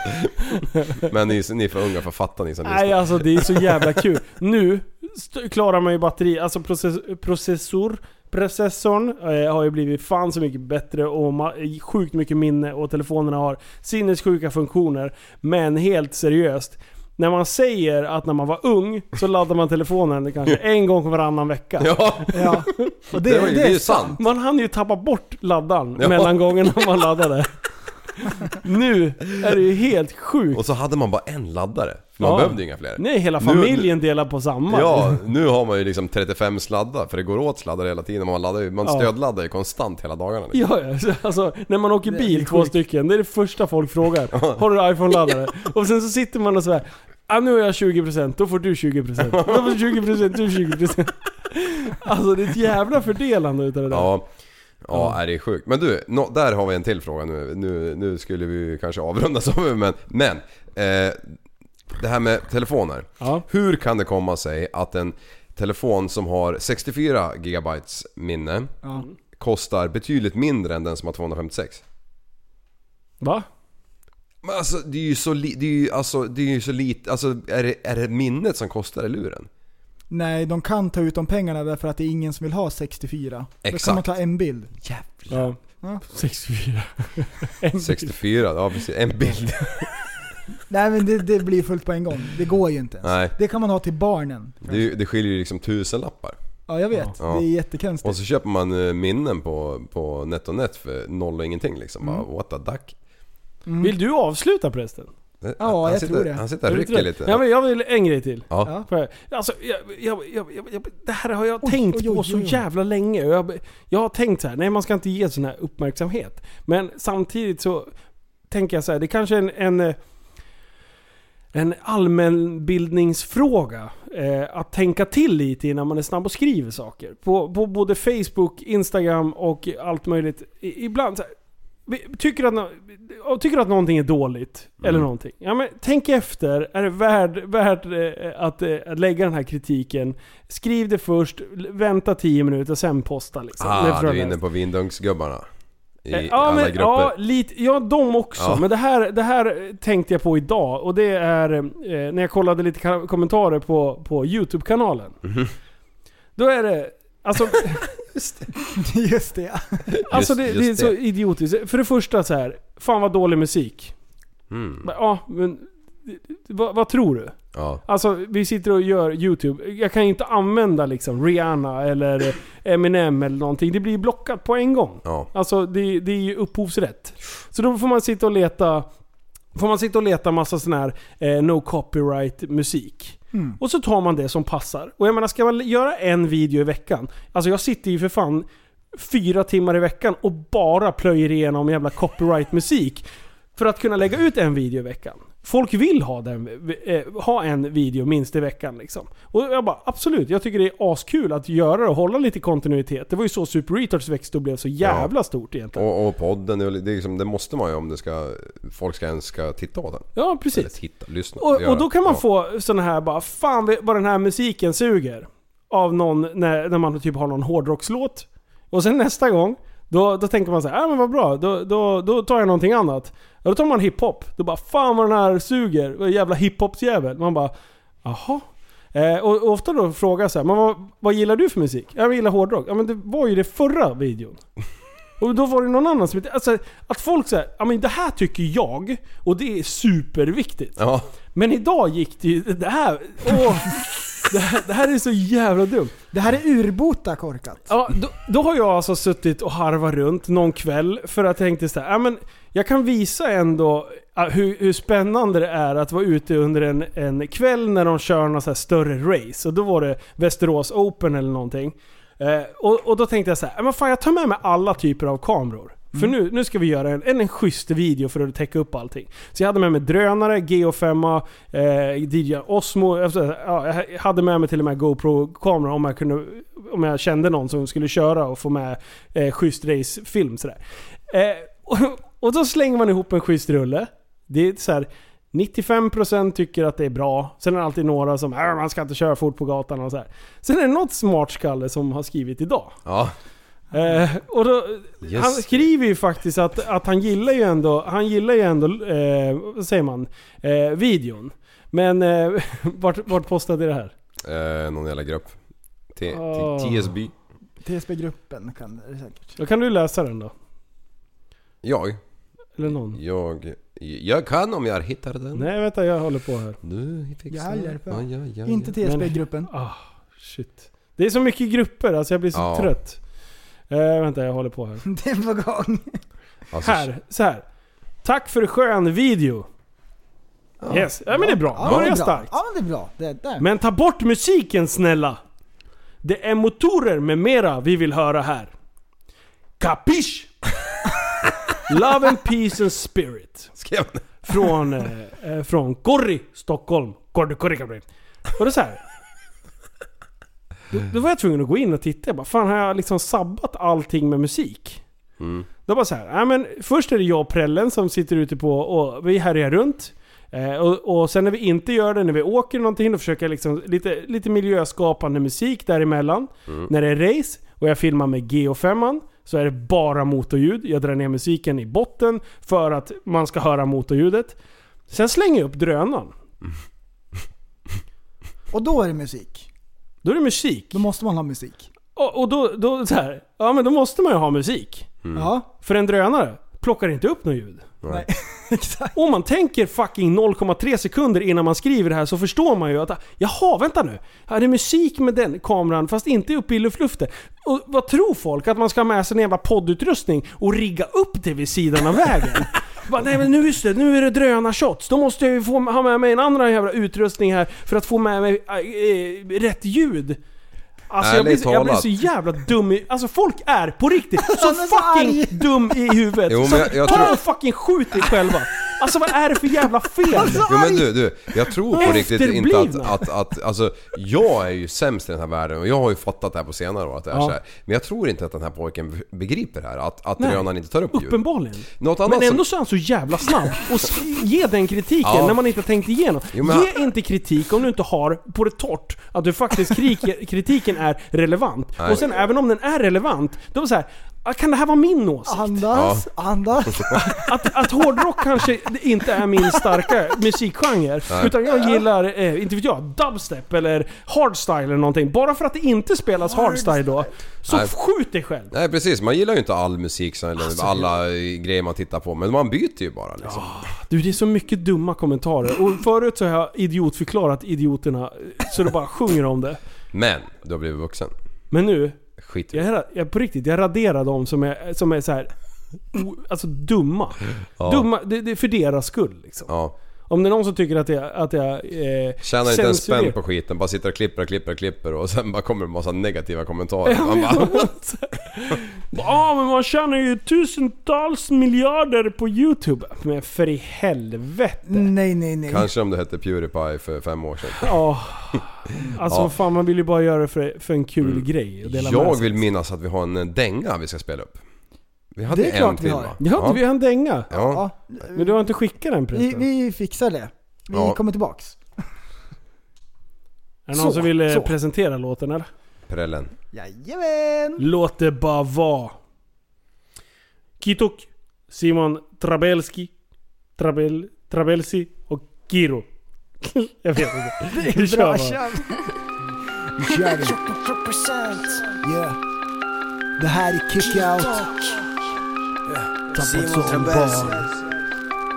Men ni, ni är för unga för att fatta ni som Nej lyssnar. alltså det är så jävla kul. Nu st- klarar man ju batteri, alltså process, processor. Processorn eh, har ju blivit fan så mycket bättre och ma- sjukt mycket minne och telefonerna har sinnessjuka funktioner. Men helt seriöst. När man säger att när man var ung så laddade man telefonen kanske en gång varannan vecka. Ja, Ja. Och det, det, var ju- det det är ju är sant. Man hann ju tappa bort laddaren Ja. mellan gångerna man laddade. nu är det ju helt sjukt. Och så hade man bara en laddare. För man Ja. behövde ju inga fler. Nej, hela Nu- familjen delar på samma. Ja, nu har man ju liksom 35 sladdar för det går åt sladdar hela tiden. Man, laddar ju, man Ja. stödladdar ju konstant hela dagarna. Liksom. Ja, ja. Så, alltså när man åker Det är bil, två sjukt. stycken, det är det första folk frågar. Har du iPhone-laddare? Och sen så sitter man och sådär. Ah, nu är jag 20%, då får du 20%. Då får du 20%, du 20%. Alltså det är ett jävla fördelande utav det där. Ja. Ja, är det är sjukt. Men du, nå- där har vi en till fråga nu. Nu, nu skulle vi ju kanske avrunda så, men... men eh, det här med telefoner. Hur kan det komma sig att en telefon som har 64 GB minne Ja. kostar betydligt mindre än den som har 256? Va? Men alltså det är ju så, li- det är ju, alltså, det är ju så lite, alltså är det, är det minnet som kostar i luren? Nej, de kan ta ut de pengarna därför att det är ingen som vill ha 64. Då kan man Exakt. ta en bild. Ja. Ja. 64. En bild. 64, ja precis, en bild. Nej men det, det blir fullt på en gång. Det går ju inte ens. Nej, Det kan man ha till barnen. det, är ju- det skiljer ju liksom tusen lappar. Ja, jag vet. Ja. Det är jättekonstigt. Och så köper man eh, minnen på, på NetOnNet för noll och ingenting liksom. Bara, what the duck. Mm. Vill du avsluta prästen? Ja, jag tror sitter, det. Han sitter Är och du rycker trött? lite. Ja, men jag vill en grej till. Ja. Ja. Får jag- Alltså, jag, jag, jag, jag, jag, det här har jag tänkt oj, på oj, så oj. jävla länge. Och Jag, jag har tänkt så här, nej man ska inte ge sån här uppmärksamhet. Men samtidigt så tänker jag så här, det kanske är en, en, eh, en allmänbildningsfråga. Eh, att tänka till lite innan man är snabb och skriver saker. På, på både Facebook, Instagram och allt möjligt. I, ibland så här, vi- Tycker att, nå- jag tycker att någonting är dåligt, Mm. eller någonting. Ja, men tänk efter, är det värd, värt eh, att, eh, att lägga den här kritiken? Skriv det först, l- vänta 10 minuter, sen posta liksom. Det Ah, tror jag du är mest. inne på vindungsgubbarna. I Eh, alla men, grupper. Ja, lite, ja, de också. Ja. Men det här, det här tänkte jag på idag. Och det är eh, när jag kollade lite ka- kommentarer på, på YouTube-kanalen. Mhm. Då är det... Alltså, Just det. ja. alltså Just- det, just det är så det. idiotiskt. För det första så här, fan vad dålig musik. Mm. Men, Ja, men... Vad, vad tror du? Ja. Alltså, vi sitter och gör YouTube. Jag kan ju inte använda liksom Rihanna eller Eminem eller någonting. Det blir blockat på en gång. Ja. Alltså det, det är ju upphovsrätt. Så då får man sitta och leta Får man sitta och leta massa sån här eh, no copyright musik. Och så tar man det som passar. Och jag menar, ska man göra en video i veckan? Alltså jag sitter ju för fan fyra timmar i veckan och bara plöjer igenom jävla copyright musik. För att kunna lägga ut en video i veckan. Folk vill ha, den, eh, ha en video minst i veckan liksom. Och jag bara absolut, jag tycker det är askul att göra det och hålla lite kontinuitet. Det var ju så Super Retards växte och blev så jävla stort egentligen. Och, och podden, det, är liksom, det måste man ju om det ska, folk ska ens ska titta på den. Ja, Eller precis. titta, lyssna. Och, göra. och då kan man Ja. få sådana här bara, fan vet- vad den här musiken suger. Av någon, när, när man typ har någon hårdrockslåt. Och sen nästa gång, då, då tänker man så här, ah, men vad bra, då, då, då tar jag någonting annat. Ja, då tar man hiphop. Då bara, fan vad den här suger, vad jävla hiphopsjävel. Man bara, jaha. Eh, och, och ofta då frågar jag så här, men vad, vad gillar du för musik? Jag gillar hårdrock. Ja men det var ju det förra videon. Och då var det någon annan som inte... Alltså att folk säger, ja men det här tycker jag och det är superviktigt. Ja, Men idag gick det ju... Det här... Åh, det, här det här är så jävla dumt. Det här är urbota korkat. Ja, då, då har jag alltså suttit och harvat runt någon kväll för att jag tänkte så här, ja, men jag kan visa ändå ah, hur, hur spännande det är att vara ute under en, en kväll när de kör något så här större race. Och då var det Västerås Open eller någonting. Eh, och, och då tänkte jag så här, ja, men fan jag tar med mig alla typer av kameror. För nu, nu ska vi göra en, en, en schysst video för att täcka upp allting. Så jag hade med mig drönare, GH5, eh, DJ Osmo. efter- Ja, jag hade med mig till och med GoPro-kamera om jag, kunde, om jag kände någon som skulle köra och få med eh, schysst racefilm. Sådär. Eh, och, och då slänger man ihop en schysst rulle. Det är så här, 95% tycker att det är bra. Sen är det alltid några som "Äh, man ska inte köra fort på gatan och så här. Sen är det något smart skalle som har skrivit idag. ja. Eh, och då, Just han det. skriver ju faktiskt att, att han gillar ju ändå, han gillar ju ändå eh, vad säger man, eh, videon. Men eh, vart, vart postade det här? Eh, någon jävla grupp. T- Åh. t- TSB. TSB-gruppen kan det säkert. Då kan du läsa den då. Jag, Eller någon. jag, jag kan om jag hittar den. Nej vänta, jag håller på här. Nu fixar Jag hjälper. Ja, ja, ja, Inte ja. TSB-gruppen. Ah, shit. Det är så mycket grupper alltså, jag blir så Ja. trött. Eh, vänta, jag håller på här. Det är på gång. Alltså, Här, så här. Tack för skön video. Yes, ja men det är bra. det Börja är bra. starkt. Ja, men det är bra. Det där. Men ta bort musiken snälla! Det är motorer med mera vi vill höra här. Kapisch? Love and peace and spirit. skrev han. Från, eh, eh, från Gorri, Stockholm. Gorri, Gorri, Gorri. Och det är så här. Då, då var jag tvungen att gå in och titta. Jag bara, fan har jag liksom sabbat allting med musik? Mm. Då bara så här, nej men först är det jag och prällen som sitter ute på och vi härjar runt. Eh, och, och sen när vi inte gör det, när vi åker någonting, då försöker jag liksom lite, lite miljöskapande musik däremellan. Mm. När det är race och jag filmar med GO5 så är det bara motorljud. Jag drar ner musiken i botten för att man ska höra motorljudet. Sen slänger jag upp drönaren. Och då är det musik. Då är det musik. Då måste man ha musik. Och, och då, då så här, ja men då måste man ju ha musik. Mm. Ja. För en drönare plockar inte upp något ljud. Nej. Om man tänker fucking 0,3 sekunder innan man skriver det här så förstår man ju att jaha, vänta nu. Ja, det är musik med den kameran fast inte uppe i luftluften. Och vad tror folk? Att man ska ha med sig en jävla poddutrustning och rigga upp det vid sidan av vägen? Bara, nej men nu just det, nu är det drönarshots. Då måste jag ju få, ha med mig en annan jävla utrustning här för att få med mig äh, äh, rätt ljud. Alltså jag Ärligt blir, jag blir talat. så jävla dum i... Alltså folk är på riktigt så Han är så fucking dum i huvudet. Jo, men så jag- jag ta tror- och fucking skjut dig själva. Alltså vad är det för jävla fel? Jo, men du, du, jag tror Alltså, på riktigt inte att, Efterblivna. att, att, alltså jag är ju sämst i den här världen och jag har ju fattat det här på senare år att det är Ja. så här. Men jag tror inte att den här pojken begriper det här, att, att Nej. drönaren inte tar upp ljud. Uppenbarligen. Något annat Men som... ändå så är han så jävla snabb. Och s- ge den kritiken alltså- Ja. när man inte har tänkt igenom. Jo, men ge inte kritik om du inte har på det torrt att du faktiskt krik, kritiken är relevant. Nej. Och sen även om den är relevant, då är det så här, "Ah, kan det här vara min åsikt? Andas, andas. att, att hårdrock kanske inte är min starka musikgenre. Nej. Utan jag gillar, eh, inte vet jag, dubstep eller hardstyle eller någonting. Bara för att det inte spelas hardstyle då, så Nej. skjut dig själv. Nej precis, man gillar ju inte all musik så- eller Alltså, alla eh, grejer man tittar på men man byter ju bara liksom. Du, det är så mycket dumma kommentarer. Och förut så har jag idiotförklarat idioterna eh, så det bara sjunger om det. Men, du har blivit vuxen. Men nu, Skit i jag, det. ra- jag, på riktigt, jag raderar dem som är, som är så här, o, alltså dumma. Ja. Dumma, det, det är för deras skull liksom. Ja. Om det är någon som tycker att jag... Att jag eh, Tjänar inte en spänn censurerar- på skiten, bara sitter och klipper och klipper och klipper och sen bara kommer det en massa negativa kommentarer. Ja, Man men bara, what? Ja men man tjänar ju tusentals miljarder på YouTube. Men för i helvete. Nej, nej, nej. Kanske om du hette Pewdiepie för fem år sedan. Ja. Alltså Ja. Mm. vad fan man vill ju bara göra det för, för en kul grej. Och dela med Jag sig. vill minnas att vi har en eh, dänga vi ska spela upp. Vi hade Det är en klart vi till har. va? Ja, vi har en dänga. Ja. Men du har inte skickat den Vi, prästen? vi fixar det. Vi Ja. kommer tillbaks. Är det någon Så, som vill eh, så. presentera låten eller? Prällen. Jajamän! Låt det bara vara. Kitok, Simon Trabelski, Trabel, Trabelsi och Kiro. Jag vet inte. Vi kör bara. Kör vi. Yeah. Det här är kick-out. Tappat Simon som Trabelsi. barn.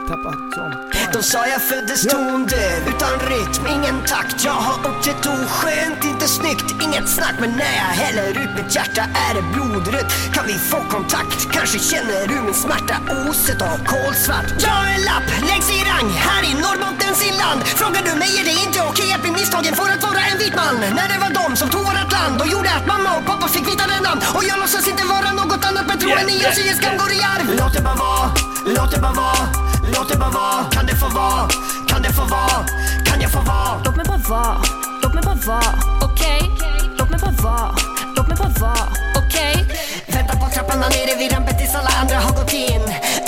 Tappat som barn. De sa jag föddes tondöv utan rytm, ingen takt Jag har uppträtt oskönt, inte snyggt, inget snack Men när jag häller ut mitt hjärta är det blodrött Kan vi få kontakt? Kanske känner du min smärta Oset av kolsvart Dra en lapp längs i rang här i Norrbottens inland Frågar du mig är det inte okej att bli misstagen för att vara en vit man När det var de som tog vårat land och gjorde att mamma och pappa fick vita namn Och jag låtsas inte vara något annat men tror en i oss i en skam går i arv Låt det bara vara, låt det bara vara Låt det bara vara, kan det få vara? Kan det få vara? Kan jag få vara? Låt mig bara vara, låt mig bara vara, okej? Låt mig bara vara, låt mig bara vara, okej? Vänta på trappan där nere vid rampet tills alla andra har gått in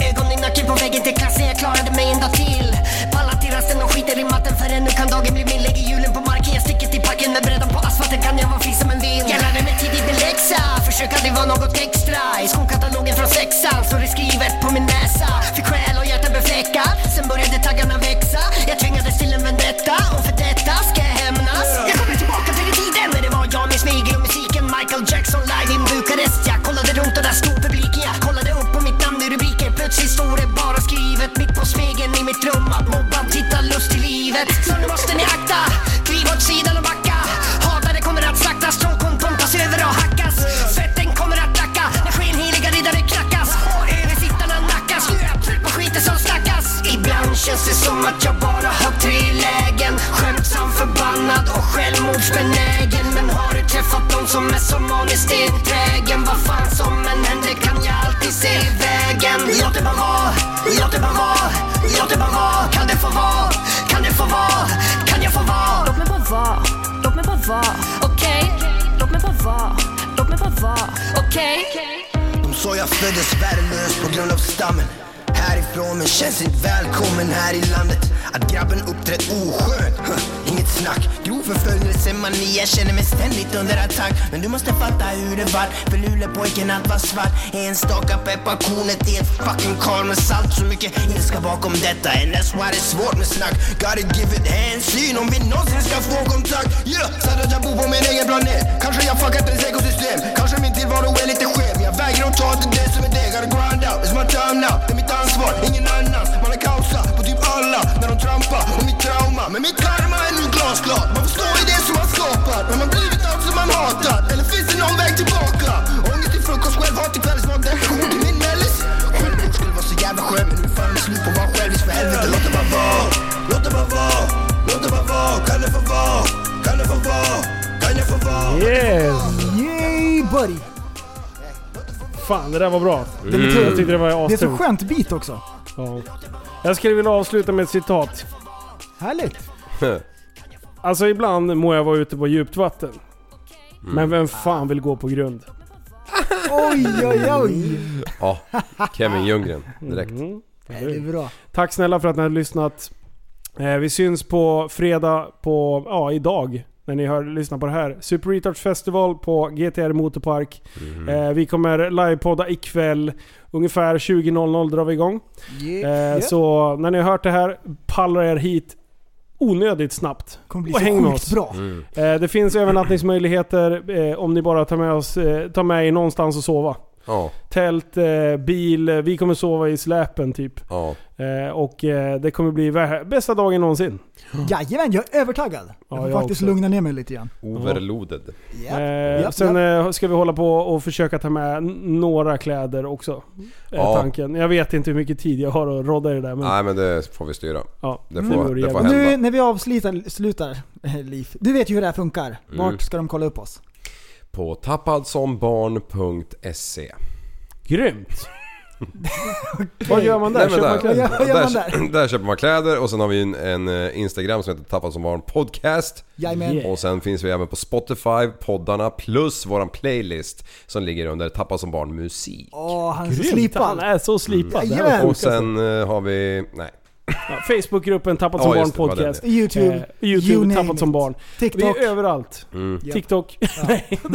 Ögonen i nacken på väggen till klassen, jag klarade mig en dag till Pallar till rasten och skiter i matten förrän nu kan dagen bli min Lägger hjulen på marken, jag sticker till parken med brädan på asfalten kan jag vara fri som en vind Jag lärde mig tidigt min läxa, försök aldrig vara något extra I skolkatalogen från sexan står det skrivet på min näsa Fick själ och hjärta befläckad, sen började taggarna växa Jag tvingades till en vendetta och för detta ska jag hämnas Jag kommer tillbaka till den tiden när det var jag med snigel och musiken Michael Jackson live i Bukarest Jag kollade runt och där stod publiken Jag kollade upp på mitt namn i rubriken Plötsligt står det bara skrivet mitt på spegeln i mitt rum Att mobban tittar lust i livet Så nu måste ni akta, kliv åt sidan och backa Hatare kommer att slaktas, tråkkonton tas över och hackas Svetten kommer att dacka när skenheliga riddare knackas Och översittarna nackas, nu är jag trött på skiten som snackas Ibland känns det som att jag bara har tre lägen Skämtsam, förbannad och självmordsbenägen Men har du träffat någon som är som Arne Stentägen? Vad fan som än händer kan jag alltid se vägen Låt det bara vara, låt det bara vara, låt det bara vara Kan det få vara, kan det få vara, kan jag få vara? Låt mig bara vara, låt mig bara vara, okej? sa jag föddes värdelös på grund av stammen Härifrån men känns inte välkommen här i landet Att grabben uppträtt oskön, huh, inget snack Grov förföljelse, mani, jag känner mig ständigt under attack Men du måste fatta hur det var, för lulepojken allt var svart Enstaka pepparkornet i ett fucking kar med salt Så mycket ilska bakom detta, and that's why det är svårt med snack Gotta give it hänsyn om vi någonsin ska få kontakt Yeah, satt att jag bor på min egen planet Kanske jag fuckat ens ekosystem Kanske min tillvaro är lite skev Jag vägrar att ta till det som är det Gotta grind out, it's my time now Det är mitt ansvar, ingen annans Man är kausa på typ alla när de trampar Och mitt trauma Men mitt karma är nu glasklart Man får stå i det som man skapat När man drivit allt som man hatat Eller finns det någon väg tillbaka? Ångest till frukost, självhat till kvällsmat Det är hot i min mellis Självmord skulle vara så jävla skönt Men nu är fan slut på att vara självis För helvete, låt det bara vara Låt det bara vara Låt det bara vara Kan det få vara Kan det få vara Kan jag få vara Yes! Yay buddy! Fan, det där var Mm. bra. Det är lite- Jag tyckte det var Det är så astrummt. skönt beat också. Ja. Jag skulle vilja avsluta med ett citat. Härligt. Alltså ibland må jag vara ute på djupt vatten. Mm. Men vem fan vill gå på grund? Oj, oj, oj. Ja, Kevin Ljunggren direkt. Det är bra. Mm. Tack snälla för att ni har lyssnat. Eh, vi syns på fredag på, ja idag. När ni hör, lyssnar på det här. Super Retards Festival på GTR Motorpark. Mhm. Eh, vi kommer livepodda ikväll. Ungefär 20.00 drar vi igång. Eh, Så när ni har hört det här, pallra er hit onödigt snabbt. kommer bli Och så häng med sjukt oss. bra. Mm. Eh, det finns övernattningsmöjligheter eh, om ni bara tar med, oss, eh, tar med er någonstans och sova. Ja. Tält, eh, bil, eh, vi kommer sova i släpen typ. Ja. Eh, och eh, det kommer bli vä- bästa dagen någonsin. Jajamän, jag är övertaggad. Jag får Mm. jag faktiskt också. lugna ner mig lite grann. Overloaded. Japp, Eh, japp, sen eh, ska vi hålla på och försöka ta med n- några kläder också. Är Ja. tanken. Jag vet inte hur mycket tid jag har att rodda i det där men... Nej men det får vi styra. Ja. Det Mm. får, det vore får jävligt. hända. Nu när vi avslutar, slutar, eh, Liv. Du vet ju hur det här funkar. Mm. Vart ska de kolla upp oss? På tappadsombarn.se Grymt! Vad gör man där? Nej, men Köper man kläder? där, där, där köper man kläder och sen har vi en, en eh, Instagram som heter Tappad som barn podcast. Jajamän. Yeah. Och sen finns vi även på Spotify, poddarna plus våran playlist som ligger under Tappad som barn musik. Åh, han är så Grymt, slipad. han är så slipad. Det här var Jajamän. Och sen eh, har vi... Nej. Mm. Ja, Facebookgruppen Tappat som Ja, barn just det, det var den, podcast. ja. YouTube, Eh, YouTube you Tappat name som it. barn. TikTok. Vi är överallt. Mm. TikTok. Nej, TikTok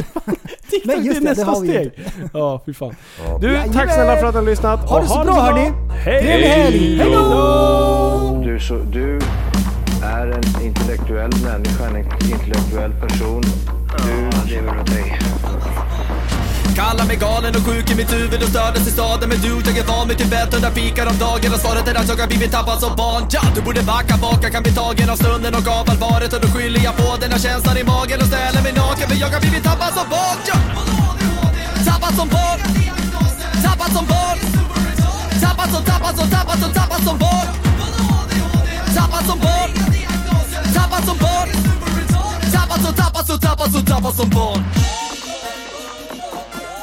Nej, det just är det, det nästa har vi steg. inte. Ja, fy fan. Ja. Du, tack Jajamän. snälla för att du har lyssnat. Ha och det så bra hörni! Trevlig helg! Hej då! Du, så, du är en intellektuell människa, en intellektuell person. Du lever av dig. Kallar mig galen och sjuk i mitt huvud och stördes i staden Men du, jag är van vid Tibet under fikar om dagen Och svaret är att jag har blivit tappad som barn ja, Du borde backa bak, jag kan bli tagen av stunden och av allvaret Och då skyller jag på den här känslan i magen och ställer mig naken För jag har blivit tappad som barn ja. Tappad som barn Tappad som barn Tappad som, tappad som, tappad som, tappad som barn Tappad som barn Tappad som barn Tappad som, tappad som, tappad som, tappad som barn